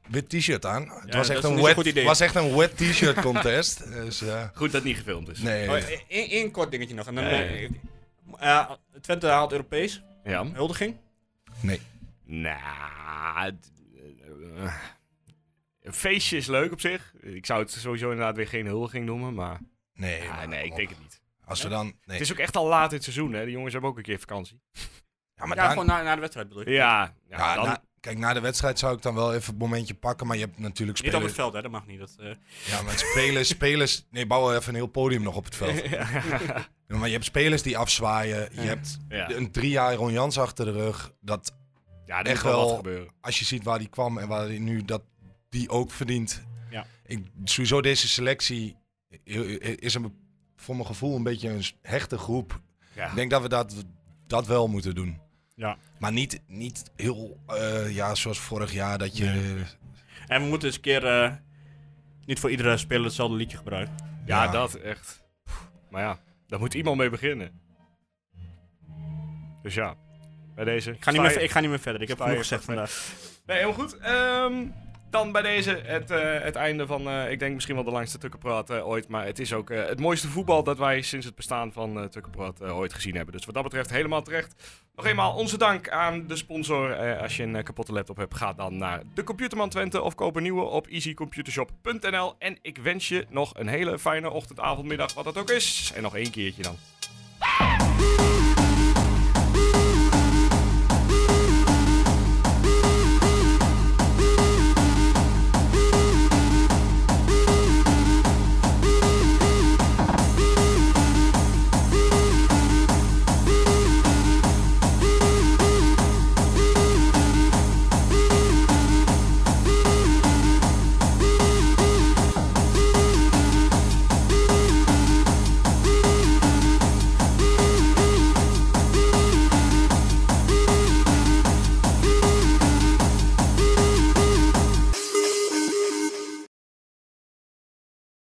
Speaker 4: wit t-shirt aan. Het
Speaker 5: Ja,
Speaker 4: was, echt
Speaker 5: dat is
Speaker 4: een
Speaker 5: niet een goed
Speaker 4: wet,
Speaker 5: idee.
Speaker 4: was echt een wet t-shirt contest. dus eh,
Speaker 1: Goed dat het niet gefilmd is.
Speaker 4: nee.
Speaker 5: Oh, één, één kort dingetje nog. En dan,
Speaker 1: Ja, ja, ja.
Speaker 5: eh, ik- Eh, Twente haalt Europees.
Speaker 1: Ja.
Speaker 5: Huldiging.
Speaker 1: Nou, d- eh, eh, een feestje is leuk op zich. Ik zou het sowieso inderdaad weer geen huldiging noemen, maar
Speaker 4: Nee,
Speaker 1: Ja,
Speaker 4: maar oh,
Speaker 1: nee, ik denk het niet.
Speaker 4: Als we dan... Nee.
Speaker 1: Het is ook echt al laat in het seizoen, hè? De jongens hebben ook een keer vakantie.
Speaker 4: Ja, maar
Speaker 5: ja,
Speaker 4: dan-
Speaker 5: gewoon na, na de wedstrijd bedoel ik.
Speaker 1: Ja, ja,
Speaker 4: ja, nou,
Speaker 1: dan,
Speaker 4: na- kijk, na de wedstrijd zou ik dan wel even het momentje pakken. Maar je hebt natuurlijk
Speaker 5: Niet op het
Speaker 4: spelers...
Speaker 5: veld, hè? Dat mag niet. Dat, eh,
Speaker 4: Ja, maar spelers... spelers nee, bouw wel even een heel podium nog op het veld. Ja, maar je hebt spelers die afzwaaien. Je hebt
Speaker 1: ja.
Speaker 4: een drie jaar Ron Jans achter de rug. Dat
Speaker 1: ja er
Speaker 4: echt
Speaker 1: moet wel wat
Speaker 4: wel-
Speaker 1: gebeuren.
Speaker 4: als je ziet waar die kwam en waar die nu dat die ook verdient.
Speaker 5: Ja.
Speaker 4: Ik, sowieso deze selectie is een, voor mijn gevoel een beetje een hechte groep.
Speaker 1: Ja.
Speaker 4: Ik denk dat we dat, dat wel moeten doen.
Speaker 5: Ja.
Speaker 4: Maar niet, niet heel, eh, ja, zoals vorig jaar, dat je...
Speaker 5: En we moeten eens een keer eh, niet voor iedere speler hetzelfde liedje gebruiken.
Speaker 1: Ja,
Speaker 4: Ja.
Speaker 1: dat echt. Maar ja, daar moet iemand mee beginnen. Dus ja, bij deze.
Speaker 5: Ik ga niet, meer, ik ga niet meer verder. Ik heb
Speaker 1: Sta je
Speaker 5: genoeg gezegd
Speaker 1: even-
Speaker 5: vandaag.
Speaker 1: Nee, helemaal goed. Ehm, dan bij deze het, eh, het einde van, eh, ik denk misschien wel de langste Tukkenpraat eh, ooit. Maar het is ook eh, het mooiste voetbal dat wij sinds het bestaan van eh Tukkenpraat eh, ooit gezien hebben. Dus wat dat betreft helemaal terecht. Nog eenmaal onze dank aan de sponsor. Eh, als je een eh, kapotte laptop hebt, ga dan naar de Computerman Twente of koop een nieuwe op easycomputershop.nl. En ik wens je nog een hele fijne ochtend, avond, middag, wat dat ook is. En nog één keertje dan.